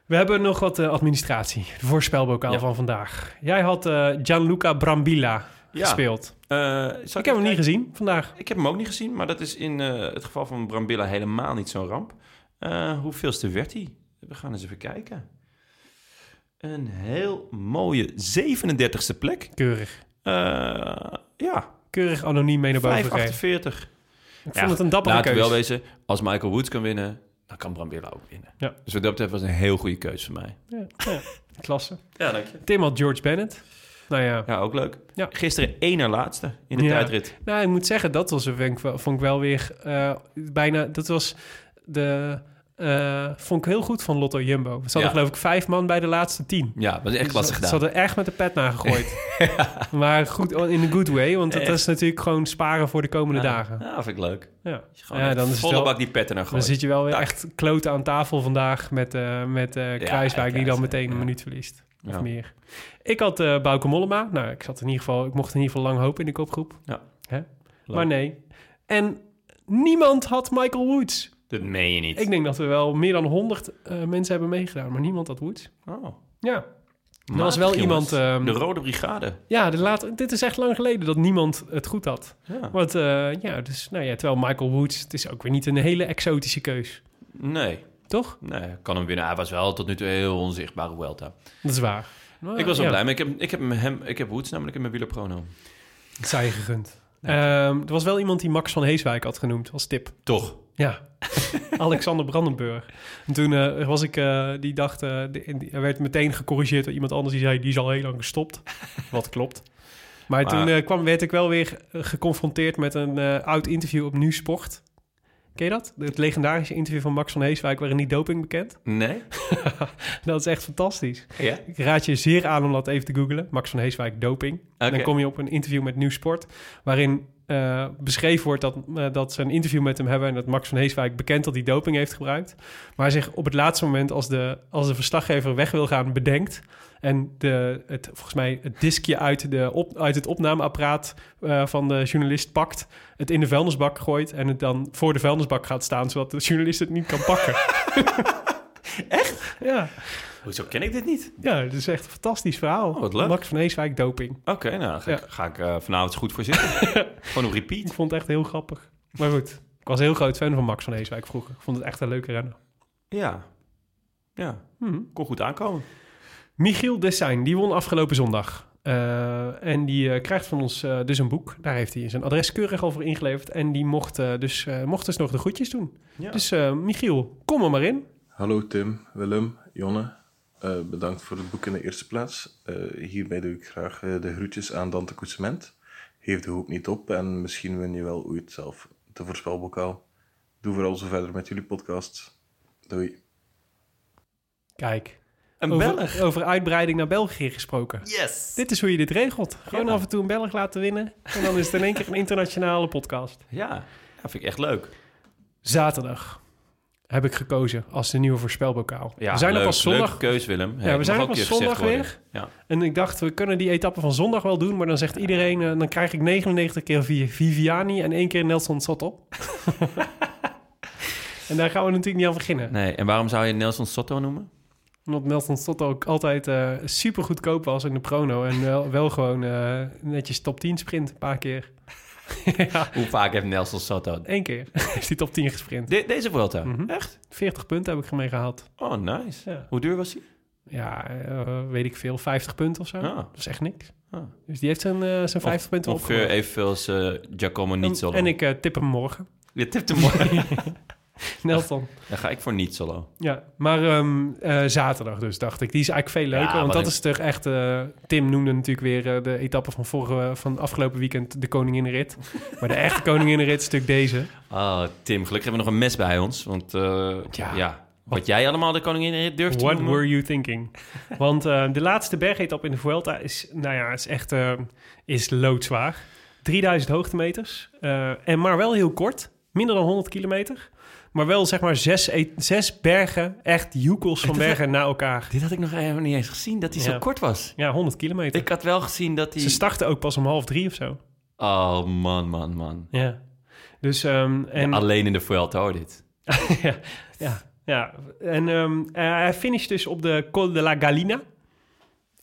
[SPEAKER 1] We hebben nog wat eh, administratie. De voorspelbokaal
[SPEAKER 2] Ja.
[SPEAKER 1] van vandaag. Jij had eh, Gianluca Brambilla
[SPEAKER 2] Ja.
[SPEAKER 1] gespeeld.
[SPEAKER 2] Eh, zal
[SPEAKER 1] Ik heb hem niet
[SPEAKER 2] even-
[SPEAKER 1] gezien vandaag.
[SPEAKER 2] Ik heb hem ook niet gezien, maar dat is in eh, het geval van Brambilla helemaal niet zo'n ramp. Eh, hoeveelste werd hij? We gaan eens even kijken. Een heel mooie 37e plek.
[SPEAKER 1] Keurig.
[SPEAKER 2] Eh, ja,
[SPEAKER 1] Keurig anoniem mee naar boven gekregen.
[SPEAKER 2] 548.
[SPEAKER 1] Ik vond het een dappere
[SPEAKER 2] laten we
[SPEAKER 1] keuze.
[SPEAKER 2] wel wezen, als Michael Woods kan winnen, dan kan Brambilla ook winnen.
[SPEAKER 1] Ja.
[SPEAKER 2] Dus wat dat betreft was het een heel goede keuze voor mij.
[SPEAKER 1] Ja, ja. Klasse.
[SPEAKER 2] Ja, dank je.
[SPEAKER 1] Tim had George Bennett. Nou ja.
[SPEAKER 2] Ja, ook leuk.
[SPEAKER 1] Ja.
[SPEAKER 2] Gisteren één na laatste in de
[SPEAKER 1] Ja.
[SPEAKER 2] tijdrit.
[SPEAKER 1] Nou, ik moet zeggen, dat was, vond, ik wel, vond ik wel weer eh, bijna... Dat was de... eh, vond ik heel goed van Lotto Jumbo. Ze hadden
[SPEAKER 2] Ja.
[SPEAKER 1] geloof ik vijf man bij de laatste tien.
[SPEAKER 2] Ja, was echt lastig
[SPEAKER 1] Ze
[SPEAKER 2] gedaan.
[SPEAKER 1] hadden echt met de pet nagegooid. Maar goed, oh, in een good way. Want dat
[SPEAKER 2] Echt.
[SPEAKER 1] is natuurlijk gewoon sparen voor de komende dagen.
[SPEAKER 2] Ja, vind ik leuk.
[SPEAKER 1] Ja,
[SPEAKER 2] Gewoon
[SPEAKER 1] ja
[SPEAKER 2] echt
[SPEAKER 1] dan, is het
[SPEAKER 2] volle
[SPEAKER 1] wel-
[SPEAKER 2] bak die petten naar gooien.
[SPEAKER 1] dan zit je wel weer
[SPEAKER 2] Tak.
[SPEAKER 1] echt kloten aan tafel vandaag met, eh, met eh, Kruiswijk... die dan
[SPEAKER 2] Kruis,
[SPEAKER 1] meteen een
[SPEAKER 2] ja.
[SPEAKER 1] minuut verliest. Of
[SPEAKER 2] Ja.
[SPEAKER 1] meer. Ik had eh Bauke Mollema. Nou, ik, zat in ieder geval, ik mocht in ieder geval lang hopen in de kopgroep.
[SPEAKER 2] Ja.
[SPEAKER 1] Hè? Maar nee. En niemand had Michael Woods.
[SPEAKER 2] Dat meen je niet.
[SPEAKER 1] Ik denk dat we wel meer dan 100 eh, mensen hebben meegedaan... maar niemand had Woods.
[SPEAKER 2] Oh.
[SPEAKER 1] Ja,
[SPEAKER 2] Er
[SPEAKER 1] was wel iemand, ehm,
[SPEAKER 2] de Rode Brigade.
[SPEAKER 1] ja de laat, dit is echt lang geleden dat niemand het goed had.
[SPEAKER 2] Ja.
[SPEAKER 1] Want eh, ja, dus, nou ja, terwijl Michael Woods, het is ook weer niet een hele exotische keus,
[SPEAKER 2] Nee,
[SPEAKER 1] toch?
[SPEAKER 2] nee, kan hem winnen. Hij was wel tot nu toe een heel onzichtbare Welta.
[SPEAKER 1] Dat is waar. Maar,
[SPEAKER 2] ik was wel
[SPEAKER 1] Ah, ja,
[SPEAKER 2] blij, maar ik heb, ik heb hem, ik heb Woods namelijk in mijn wielerprono.
[SPEAKER 1] Het zij gegund. Ehm, er was wel iemand die Max van Heeswijk had genoemd als tip.
[SPEAKER 2] Toch?
[SPEAKER 1] Ja, Alexander Brandenburg. En toen eh, was ik, eh, die dacht, eh, de- en die- er werd meteen gecorrigeerd door iemand anders die zei, die is al heel lang gestopt. Wat klopt. Maar,
[SPEAKER 2] Maar-
[SPEAKER 1] toen eh, kwam, werd ik wel weer eh, geconfronteerd met een eh, oud interview op Nu Sport. Ken je dat? Het legendarische interview van Max van Heeswijk waarin die doping bekend.
[SPEAKER 2] Nee.
[SPEAKER 1] Dat is echt fantastisch.
[SPEAKER 2] Ja?
[SPEAKER 1] Ik raad je zeer aan om dat even te googlen. Max van Heeswijk doping.
[SPEAKER 2] Oké.
[SPEAKER 1] Dan kom je op een interview met Nieuw Sport... waarin eh, beschreven wordt dat, eh, dat ze een interview met hem hebben... en dat Max van Heeswijk bekent dat hij doping heeft gebruikt. Maar zich op het laatste moment als de, als de verslaggever weg wil gaan bedenkt... en de, het, volgens mij het diskje uit, de op, uit het opnameapparaat eh, van de journalist pakt... het in de vuilnisbak gooit en het dan voor de vuilnisbak gaat staan... zodat de journalist het niet kan pakken. Echt? Ja.
[SPEAKER 2] Hoezo ken ik dit niet?
[SPEAKER 1] Ja, dat is echt een fantastisch verhaal.
[SPEAKER 2] Oh, wat leuk.
[SPEAKER 1] Max van Heeswijk doping.
[SPEAKER 2] Oké, nou dan ga ik,
[SPEAKER 1] Ja.
[SPEAKER 2] ga ik eh, vanavond eens goed voor zitten. Gewoon op repeat.
[SPEAKER 1] Ik vond het echt heel grappig. Maar goed, ik was een heel groot fan van Max van Heeswijk vroeger. Ik vond het echt een leuke renner.
[SPEAKER 2] Ja. Ja.
[SPEAKER 1] Hmm.
[SPEAKER 2] Kon goed aankomen.
[SPEAKER 1] Michiel Dessijn, die won afgelopen zondag. Eh, en die eh, krijgt van ons eh, dus een boek. Daar heeft hij zijn adres keurig al voor ingeleverd. En die mocht, eh, dus, eh, mocht dus nog de groetjes doen. Dus eh, Michiel, kom er maar in.
[SPEAKER 5] Hallo Tim, Willem, Jonne. Eh, bedankt voor het boek in de eerste plaats. Eh, hierbij doe ik graag eh, de groetjes aan Dante Koetsement. Geef de hoop niet op en misschien win je wel ooit zelf de voorspelbokaal. Doe vooral zo verder met jullie podcast. Doei.
[SPEAKER 1] Kijk,
[SPEAKER 2] Een Belg.
[SPEAKER 1] over, over uitbreiding naar België gesproken.
[SPEAKER 2] Yes.
[SPEAKER 1] Dit is hoe je dit regelt. Gewoon af en toe een Belg laten winnen. En dan is het in één keer een internationale podcast.
[SPEAKER 2] Ja. ja, vind ik echt leuk.
[SPEAKER 1] Zaterdag heb ik gekozen als de nieuwe voorspelbokaal.
[SPEAKER 2] Ja,
[SPEAKER 1] we zijn
[SPEAKER 2] leuk,
[SPEAKER 1] er pas zondag.
[SPEAKER 2] Leuke keus, Willem.
[SPEAKER 1] Ja, we zijn er
[SPEAKER 2] nog
[SPEAKER 1] pas zondag weer.
[SPEAKER 2] Ja.
[SPEAKER 1] En ik dacht, we kunnen die etappe van zondag wel doen. Maar dan zegt iedereen, eh, dan krijg ik 99 keer Vi- Viviani en één keer Nelson Sot op. en daar gaan we natuurlijk niet aan beginnen.
[SPEAKER 2] Nee, en waarom zou je Nelson Sotto noemen?
[SPEAKER 1] Omdat Nelson Sot ook altijd eh super goedkoop was in de prono. En wel, wel gewoon eh, netjes top 10 sprint een paar keer. ja,
[SPEAKER 2] Hoe vaak heeft Nelson Sotto...
[SPEAKER 1] één keer heeft hij top 10 gesprint.
[SPEAKER 2] De- deze Vuelta?
[SPEAKER 1] Mhm.
[SPEAKER 2] Echt?
[SPEAKER 1] 40 punten heb ik ermee gehaald.
[SPEAKER 2] Oh, nice.
[SPEAKER 1] Ja.
[SPEAKER 2] Hoe duur was hij?
[SPEAKER 1] Ja, eh, weet ik veel, 50 punten of zo.
[SPEAKER 2] Ah.
[SPEAKER 1] Dat is echt niks.
[SPEAKER 2] Ah.
[SPEAKER 1] Dus die heeft zijn, eh, zijn 50 punten
[SPEAKER 2] Ongeveer
[SPEAKER 1] opgehaald.
[SPEAKER 2] evenveel als eh, Giacomo niet solo.
[SPEAKER 1] En ik eh, tip hem morgen.
[SPEAKER 2] Je tipt hem mooi.
[SPEAKER 1] Nelson.
[SPEAKER 2] Dan ga ik voor niet solo.
[SPEAKER 1] Ja, maar ehm, eh, zaterdag dus, dacht ik. Die is eigenlijk veel leuker,
[SPEAKER 2] Ja,
[SPEAKER 1] want
[SPEAKER 2] maar
[SPEAKER 1] dat
[SPEAKER 2] ik-
[SPEAKER 1] is toch echt... eh, Tim noemde natuurlijk weer eh, de etappe van, vorige, van afgelopen weekend de Koninginrit. maar de echte Koninginrit is natuurlijk deze.
[SPEAKER 2] Oh, Tim, gelukkig hebben we nog een mes bij ons. Want eh,
[SPEAKER 1] Ja.
[SPEAKER 2] ja. wat jij allemaal de koningin durft te
[SPEAKER 1] What
[SPEAKER 2] noemen.
[SPEAKER 1] were you thinking? Want eh, de laatste bergetap in de Vuelta is, nou ja, is echt eh, is loodzwaar. 3000 hoogtemeters, eh, en maar wel heel kort, minder dan 100 kilometer. Maar wel zeg maar zes, e- zes bergen, echt joekels van bergen na elkaar.
[SPEAKER 2] Dit had ik nog helemaal niet eens gezien, dat hij
[SPEAKER 1] Ja.
[SPEAKER 2] zo kort was.
[SPEAKER 1] Ja, 100 kilometer.
[SPEAKER 2] Ik had wel gezien dat hij...
[SPEAKER 1] Ze starten ook pas om half drie of zo.
[SPEAKER 2] Oh, man, man, man.
[SPEAKER 1] Ja. Dus, ehm, en, ja,
[SPEAKER 2] Alleen in de Vuelta, hoor, dit.
[SPEAKER 1] ja, ja, En ehm, eh, hij finisht dus op de Col de la Galina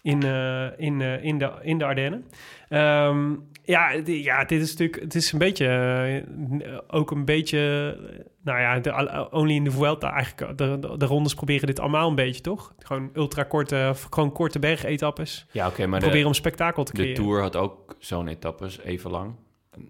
[SPEAKER 1] in, eh, in, eh, in, de, in de Ardennen. Ehm, ja, di- ja, dit is natuurlijk, het is een beetje, eh, ook een beetje, eh, nou ja, de, al- only in de Vuelta eigenlijk. eh, De, de, de rondes proberen dit allemaal een beetje, toch? Gewoon ultrakorte, gewoon korte bergetappes.
[SPEAKER 2] Ja, oké, maar
[SPEAKER 1] proberen
[SPEAKER 2] de,
[SPEAKER 1] om spektakel te
[SPEAKER 2] de
[SPEAKER 1] creëren.
[SPEAKER 2] Tour had ook zo'n etappes, even lang.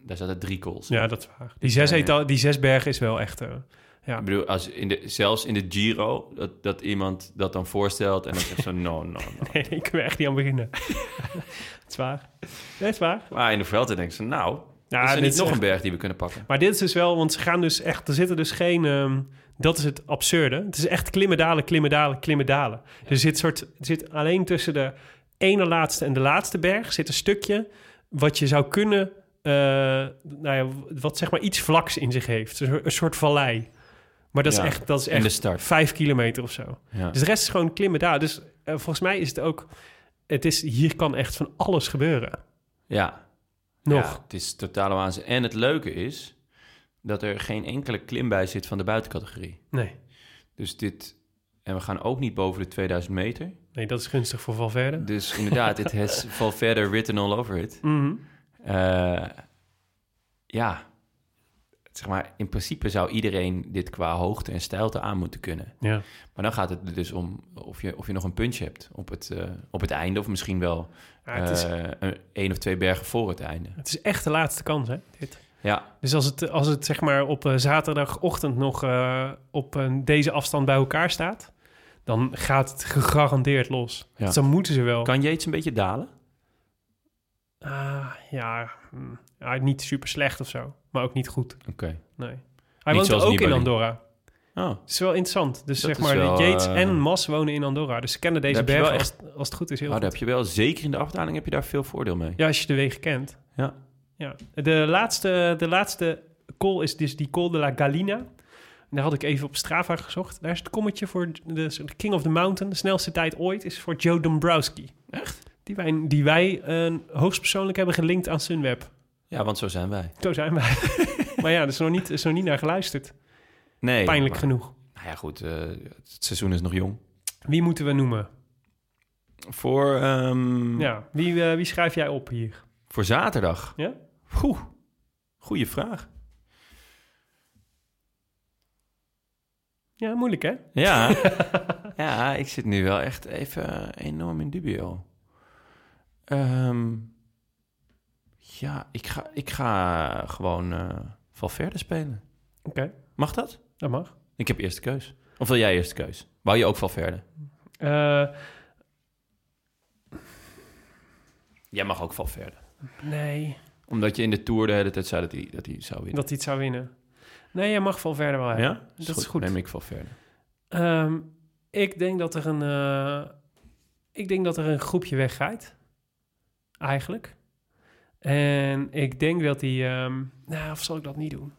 [SPEAKER 2] Daar zaten drie calls.
[SPEAKER 1] Ja, dat is waar. Die zes,
[SPEAKER 2] Ja, ja.
[SPEAKER 1] eta- die zes bergen is wel echt... eh, ja.
[SPEAKER 2] Ik bedoel, als in de, zelfs in de Giro, dat, dat iemand dat dan voorstelt en dan zegt zo, no, no, no.
[SPEAKER 1] Nee, ik kan er echt niet aan beginnen. Het is waar. Nee, het is waar.
[SPEAKER 2] Maar in de Vuelta denken ze, nou,
[SPEAKER 1] Ja,
[SPEAKER 2] is er
[SPEAKER 1] dit
[SPEAKER 2] niet
[SPEAKER 1] is
[SPEAKER 2] nog
[SPEAKER 1] echt-
[SPEAKER 2] een berg die we kunnen pakken?
[SPEAKER 1] Maar dit is dus wel, want ze gaan dus echt, er zitten dus geen, ehm, dat is het absurde. Het is echt klimmen, dalen, klimmen, dalen, klimmen, dalen. Er zit, soort, er zit alleen tussen de ene laatste en de laatste berg zit een stukje wat je zou kunnen, eh, nou ja, wat zeg maar iets vlaks in zich heeft. Dus Een soort- een soort vallei. Maar dat
[SPEAKER 2] Ja,
[SPEAKER 1] is echt, dat is
[SPEAKER 2] en de
[SPEAKER 1] echt
[SPEAKER 2] start.
[SPEAKER 1] vijf kilometer of zo.
[SPEAKER 2] Ja.
[SPEAKER 1] Dus de rest is gewoon klimmen daar. Dus eh, volgens mij is het ook, het is, hier kan echt van alles gebeuren.
[SPEAKER 2] Ja.
[SPEAKER 1] Nog.
[SPEAKER 2] Ja, het is totale waanzin. En het leuke is dat er geen enkele klim bij zit van de buitencategorie.
[SPEAKER 1] Nee.
[SPEAKER 2] Dus dit... En we gaan ook niet boven de 2000 meter.
[SPEAKER 1] Nee, dat is gunstig voor Valverde.
[SPEAKER 2] Dus inderdaad, het has val verder written all over it.
[SPEAKER 1] Mhm.
[SPEAKER 2] Eh, ja, zeg maar, in principe zou iedereen dit qua hoogte en stijlte aan moeten kunnen.
[SPEAKER 1] Ja.
[SPEAKER 2] Maar dan gaat het er dus om of je, of je nog een puntje hebt op het, eh, op het einde... of misschien wel
[SPEAKER 1] Ja, Ah, het, is,
[SPEAKER 2] eh, een, één of twee bergen voor het einde.
[SPEAKER 1] het is echt de laatste kans, hè? Dit.
[SPEAKER 2] Ja,
[SPEAKER 1] Dus als het, als het zeg maar op eh, zaterdagochtend nog eh, op een- deze afstand bij elkaar staat, dan gaat het gegarandeerd los.
[SPEAKER 2] Ja.
[SPEAKER 1] Dus dan moeten ze wel.
[SPEAKER 2] kan Yates een beetje dalen?
[SPEAKER 1] Ah, ja, hm. Ja, niet super slecht of zo, maar ook niet goed.
[SPEAKER 2] Oké.
[SPEAKER 1] Nee. Hij
[SPEAKER 2] Niet
[SPEAKER 1] woont
[SPEAKER 2] zoals
[SPEAKER 1] ook
[SPEAKER 2] Nibali.
[SPEAKER 1] in Andorra.
[SPEAKER 2] Oh,
[SPEAKER 1] Het is wel interessant. Dus
[SPEAKER 2] Dat
[SPEAKER 1] zeg
[SPEAKER 2] is
[SPEAKER 1] maar,
[SPEAKER 2] wel,
[SPEAKER 1] de Yates
[SPEAKER 2] eh,
[SPEAKER 1] en Mas wonen in Andorra. Dus ze kennen deze
[SPEAKER 2] Daar heb je
[SPEAKER 1] bergen
[SPEAKER 2] wel
[SPEAKER 1] als, als het goed is heel
[SPEAKER 2] Ah,
[SPEAKER 1] goed.
[SPEAKER 2] daar heb je wel, zeker in de afdaling heb je daar veel voordeel mee.
[SPEAKER 1] Ja, als je de wegen kent.
[SPEAKER 2] Ja.
[SPEAKER 1] ja. De, laatste, de laatste call is dus die Col de la Galina. En Daar had ik even op Strava gezocht. Daar is het kommetje voor de, de King of the Mountain. De snelste tijd ooit is voor Joe Dombrowski. Echt? Die wij, die wij eh, hoogstpersoonlijk hebben gelinkt aan Sunweb.
[SPEAKER 2] Ja, want zo zijn wij.
[SPEAKER 1] Zo zijn wij. maar ja, er is nog niet, er is nog niet naar geluisterd.
[SPEAKER 2] Nee.
[SPEAKER 1] Pijnlijk
[SPEAKER 2] maar-
[SPEAKER 1] genoeg.
[SPEAKER 2] Nou ja, goed, eh, het seizoen is nog jong.
[SPEAKER 1] Wie moeten we noemen?
[SPEAKER 2] Voor, ehm,
[SPEAKER 1] Ja, wie, eh, wie schrijf jij op hier?
[SPEAKER 2] voor zaterdag.
[SPEAKER 1] Ja?
[SPEAKER 2] Oeh, goede vraag.
[SPEAKER 1] Ja, moeilijk hè?
[SPEAKER 2] Ja. ja, ik zit nu wel echt even enorm in dubio. Ehm, ja, ik ga, ik ga gewoon eh Valverde spelen.
[SPEAKER 1] Oké,
[SPEAKER 2] Mag dat?
[SPEAKER 1] dat mag.
[SPEAKER 2] Ik heb eerste keus. Of wil jij eerste keus? Wou je ook Valverde?
[SPEAKER 1] Eh,
[SPEAKER 2] Jij mag ook Valverde.
[SPEAKER 1] nee,
[SPEAKER 2] Omdat je in de Tour de hele tijd zei dat hij, dat hij zou winnen.
[SPEAKER 1] dat hij het zou winnen. Nee, je mag Valverde wel hebben.
[SPEAKER 2] ja?
[SPEAKER 1] dat is goed.
[SPEAKER 2] Neem ik Valverde.
[SPEAKER 1] Ehm, ik denk dat er een... eh, ik denk dat er een groepje weggaat. Eigenlijk. En ik denk dat die... ehm, nou, of zal ik dat niet doen?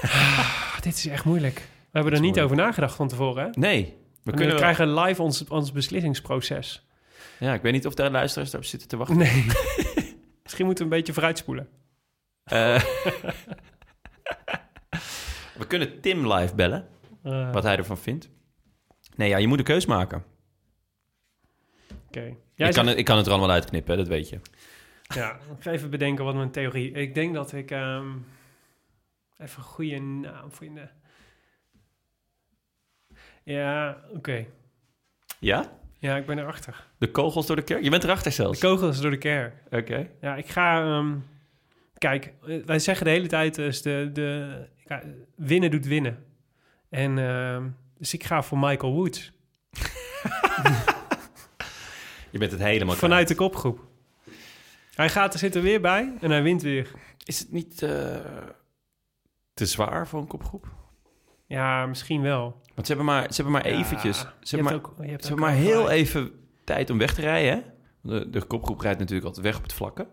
[SPEAKER 1] Ah, dit is echt moeilijk. We hebben er niet
[SPEAKER 2] moeilijk.
[SPEAKER 1] over nagedacht van tevoren, hè?
[SPEAKER 2] Nee, we
[SPEAKER 1] We
[SPEAKER 2] kunnen wel-
[SPEAKER 1] krijgen live ons, ons beslissingsproces.
[SPEAKER 2] Ja, ik weet niet of daar luisteraars op zitten te wachten.
[SPEAKER 1] Nee. Misschien moeten we een beetje vooruitspoelen.
[SPEAKER 2] Eh, we kunnen Tim live bellen,
[SPEAKER 1] Eh,
[SPEAKER 2] wat hij ervan vindt. Nee, ja, je moet een keus maken.
[SPEAKER 1] Oké. Jij
[SPEAKER 2] ik,
[SPEAKER 1] zegt-
[SPEAKER 2] kan het, ik kan het er allemaal uitknippen, hè, dat weet je.
[SPEAKER 1] Ja, ik ga even bedenken wat mijn theorie... Ik denk dat ik... ehm, even een goede naam vinden. Ja, oké.
[SPEAKER 2] Ja?
[SPEAKER 1] Ja, ik ben erachter.
[SPEAKER 2] De kogels door de kerk? Je bent erachter
[SPEAKER 1] De
[SPEAKER 2] zelfs.
[SPEAKER 1] kogels door de kerk.
[SPEAKER 2] Oké.
[SPEAKER 1] Ja, ik ga... ehm, kijk, eh, wij zeggen de hele tijd... Dus de, de, ja, winnen doet winnen. En, ehm, dus ik ga voor Michael Woods.
[SPEAKER 2] Je bent het helemaal kwijt.
[SPEAKER 1] Vanuit de kopgroep. Hij gaat er zitten weer bij en hij wint weer.
[SPEAKER 2] Is het niet eh, te zwaar voor een kopgroep?
[SPEAKER 1] Ja, misschien wel.
[SPEAKER 2] Want ze hebben maar, ze hebben maar eventjes... Ze
[SPEAKER 1] Ja, je
[SPEAKER 2] hebben maar,
[SPEAKER 1] hebt ook- je hebt
[SPEAKER 2] ze
[SPEAKER 1] ook
[SPEAKER 2] hebben maar heel
[SPEAKER 1] gelijk.
[SPEAKER 2] even tijd om weg te rijden, hè? Want De, de kopgroep rijdt natuurlijk altijd weg op het vlakke.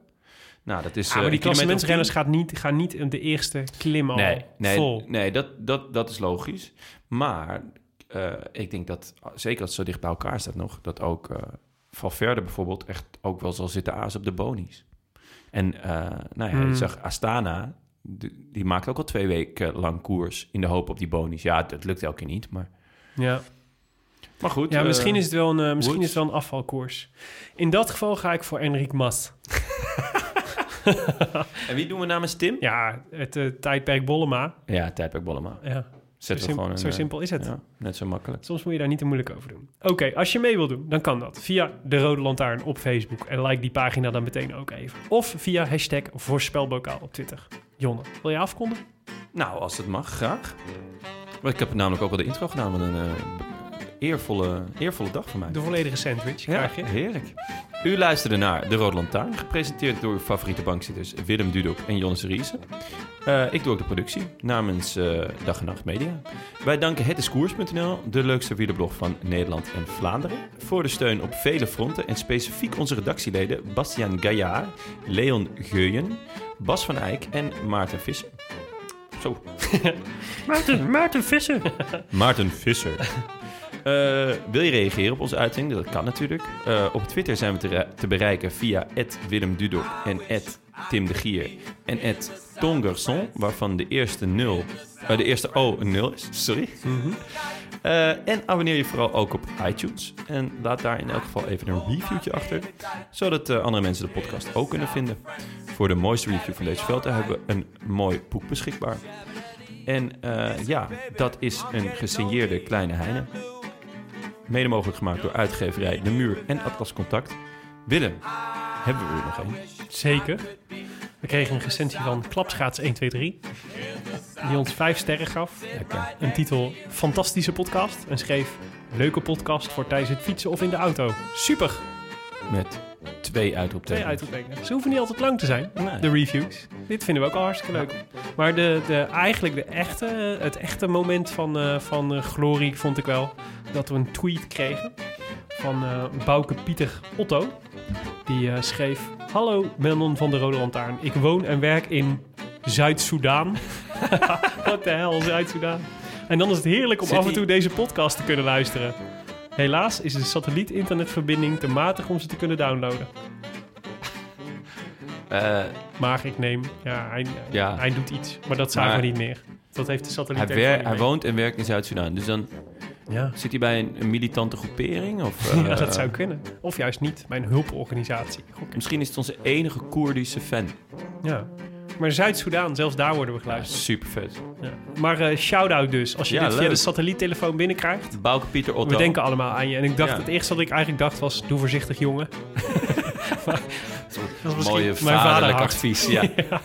[SPEAKER 2] Nou, dat is...
[SPEAKER 1] Ja, Ah, maar
[SPEAKER 2] eh,
[SPEAKER 1] die
[SPEAKER 2] een kilometer of tien.
[SPEAKER 1] klassementsrenners gaan niet, gaan niet in de eerste klim al
[SPEAKER 2] nee, nee,
[SPEAKER 1] Oh, vol.
[SPEAKER 2] Nee, dat, dat, dat is logisch. Maar eh, ik denk dat, zeker als het zo dicht bij elkaar staat nog... dat ook eh, Valverde bijvoorbeeld echt ook wel zal zitten aas op de bonies. En eh, nou ja,
[SPEAKER 1] Hmm.
[SPEAKER 2] je zag Astana, de- die maakt ook al twee weken lang koers in de hoop op die bonus. Ja, dat lukt elke keer niet, maar,
[SPEAKER 1] Ja,
[SPEAKER 2] maar goed.
[SPEAKER 1] ja
[SPEAKER 2] eh,
[SPEAKER 1] misschien, is het wel een, eh, misschien is
[SPEAKER 2] Woods.
[SPEAKER 1] het wel een afvalkoers. In dat geval ga ik voor Enric Mas.
[SPEAKER 2] En wie doen we namens Tim?
[SPEAKER 1] Ja, het eh, tijdperk Bollema.
[SPEAKER 2] Ja, tijdperk Bollema.
[SPEAKER 1] Ja, zo,
[SPEAKER 2] Zet we
[SPEAKER 1] sim-
[SPEAKER 2] gewoon een,
[SPEAKER 1] zo
[SPEAKER 2] eh,
[SPEAKER 1] simpel is het.
[SPEAKER 2] Ja, net zo makkelijk.
[SPEAKER 1] Soms moet je daar niet te moeilijk over doen. Oké, als je mee wil doen, dan kan dat. Via de Rode Lantaarn op Facebook. En like die pagina dan meteen ook even. Of via hashtag voorspelbokaal op Twitter. Jonne, wil je afkondigen?
[SPEAKER 2] Nou, als het mag, graag. Want Ik heb namelijk ook al de intro gedaan, wat een eh, eervolle, eervolle dag voor mij.
[SPEAKER 1] De volledige sandwich
[SPEAKER 2] Ja,
[SPEAKER 1] krijg je.
[SPEAKER 2] heerlijk. U luisterde naar De Rode Lantaarn, gepresenteerd door uw favoriete bankzitters Willem Dudok en Jonas Riesen. Eh, ik doe ook de productie namens eh, Dag en Nacht Media. Wij danken hetiskoers.nl, de leukste wielerblog van Nederland en Vlaanderen, voor de steun op vele fronten en specifiek onze redactieleden Bastiaan Gaillard, Leon Geuyen, Bas van Eyck en Maarten Visser. Zo,
[SPEAKER 1] Maarten, Maarten Visser.
[SPEAKER 2] Maarten Visser. Eh, wil je reageren op onze uitzending? Dat kan natuurlijk. Eh, op Twitter zijn we te, ra- te bereiken via Willem Dudok en Tim de Gier en Tongerson, waarvan de eerste, nul, eh, de eerste O een nul is. Sorry. Eh, en abonneer je vooral ook op iTunes. En laat daar in elk geval even een reviewtje achter, zodat eh, andere mensen de podcast ook kunnen vinden. Voor de mooiste review van deze veld hebben we een mooi boek beschikbaar. En eh, ja, dat is een gesigneerde kleine heine. Mede mogelijk gemaakt door uitgeverij De Muur en Atlas Contact. Willem, hebben we er nog één?
[SPEAKER 1] Zeker. We kregen een recensie van Klapschaats 123. Die ons vijf sterren gaf.
[SPEAKER 2] Lekker.
[SPEAKER 1] Een titel Fantastische podcast. En schreef Leuke podcast voor tijdens het fietsen of in de auto. Super.
[SPEAKER 2] Met twee uitroeptekens. Nou,
[SPEAKER 1] Twee uitroeptekens. Ze hoeven niet altijd lang te zijn.
[SPEAKER 2] Nee.
[SPEAKER 1] De reviews. Dit vinden we ook al hartstikke leuk. Maar de, de, eigenlijk de echte, het echte moment van, eh, van eh, glorie vond ik wel dat we een tweet kregen van eh Bouke Pieter Otto. Die eh, schreef: Hallo Melon van de Rode Lantaarn. Ik woon en werk in Zuid-Soedan. Wat de hel, Zuid-Soedan. En dan is het heerlijk om
[SPEAKER 2] Zit
[SPEAKER 1] af en
[SPEAKER 2] die-
[SPEAKER 1] toe deze podcast te kunnen luisteren. Helaas is de satelliet-internetverbinding te matig om ze te kunnen downloaden.
[SPEAKER 2] Eh,
[SPEAKER 1] Maar ik neem, ja, hij,
[SPEAKER 2] Ja.
[SPEAKER 1] hij doet iets. Maar dat zagen
[SPEAKER 2] Maar-
[SPEAKER 1] we niet meer. Dat heeft de
[SPEAKER 2] hij,
[SPEAKER 1] satelliet.
[SPEAKER 2] wer- hij woont en werkt in Zuid-Soedan. Dus dan
[SPEAKER 1] Ja.
[SPEAKER 2] zit hij bij een, een militante groepering? Of, eh,
[SPEAKER 1] ja, dat zou kunnen. Of juist niet, bij een hulporganisatie. Gok ik.
[SPEAKER 2] Misschien is het onze enige Koerdische fan.
[SPEAKER 1] Ja. Maar Zuid-Soedan, zelfs daar worden we geluisterd.
[SPEAKER 2] Super vet.
[SPEAKER 1] Ja. Maar eh shout-out dus, als je
[SPEAKER 2] Ja,
[SPEAKER 1] dit via
[SPEAKER 2] leuk.
[SPEAKER 1] de satelliettelefoon binnenkrijgt.
[SPEAKER 2] Bouke Pieter Otto.
[SPEAKER 1] We denken allemaal aan je. En ik dacht,
[SPEAKER 2] Ja.
[SPEAKER 1] het eerste wat ik eigenlijk dacht was, doe voorzichtig jongen. Maar- dat was
[SPEAKER 2] Mooie
[SPEAKER 1] misschien mijn vader
[SPEAKER 2] vaderlijk advies. Ja. Oh,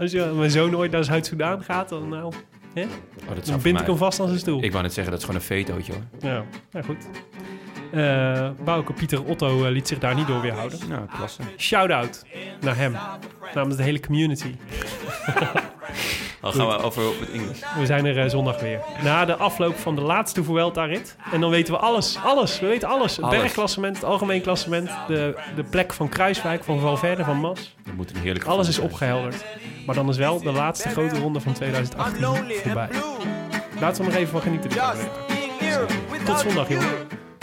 [SPEAKER 1] Als je, mijn zoon ooit naar Zuid-Soedan gaat, dan, nou, hè,
[SPEAKER 2] Oh, dat zou
[SPEAKER 1] dan
[SPEAKER 2] voor
[SPEAKER 1] bind
[SPEAKER 2] mij-
[SPEAKER 1] ik hem vast aan zijn stoel.
[SPEAKER 2] Ik wou net zeggen, dat is gewoon een vetootje hoor.
[SPEAKER 1] Ja, nou goed. Eh Bouke Pieter Otto eh, liet zich daar niet door weerhouden.
[SPEAKER 2] Nou, klasse.
[SPEAKER 1] Shout-out naar hem. Namens de hele community.
[SPEAKER 2] Dan gaan we over op het Engels.
[SPEAKER 1] We zijn er eh, zondag weer. Na de afloop van de laatste Vuelta-rit. En dan weten we alles. Alles. We weten alles. Het
[SPEAKER 2] Alles.
[SPEAKER 1] bergklassement, het algemeen klassement. De, de plek van Kruiswijk, van Valverde, van Mas.
[SPEAKER 2] Dat moet een heerlijk
[SPEAKER 1] Alles is
[SPEAKER 2] gevoel zijn.
[SPEAKER 1] opgehelderd. Maar dan is wel de laatste grote ronde van 2018 voorbij. Laten we nog even van genieten. dit jaar. Tot zondag, jongen.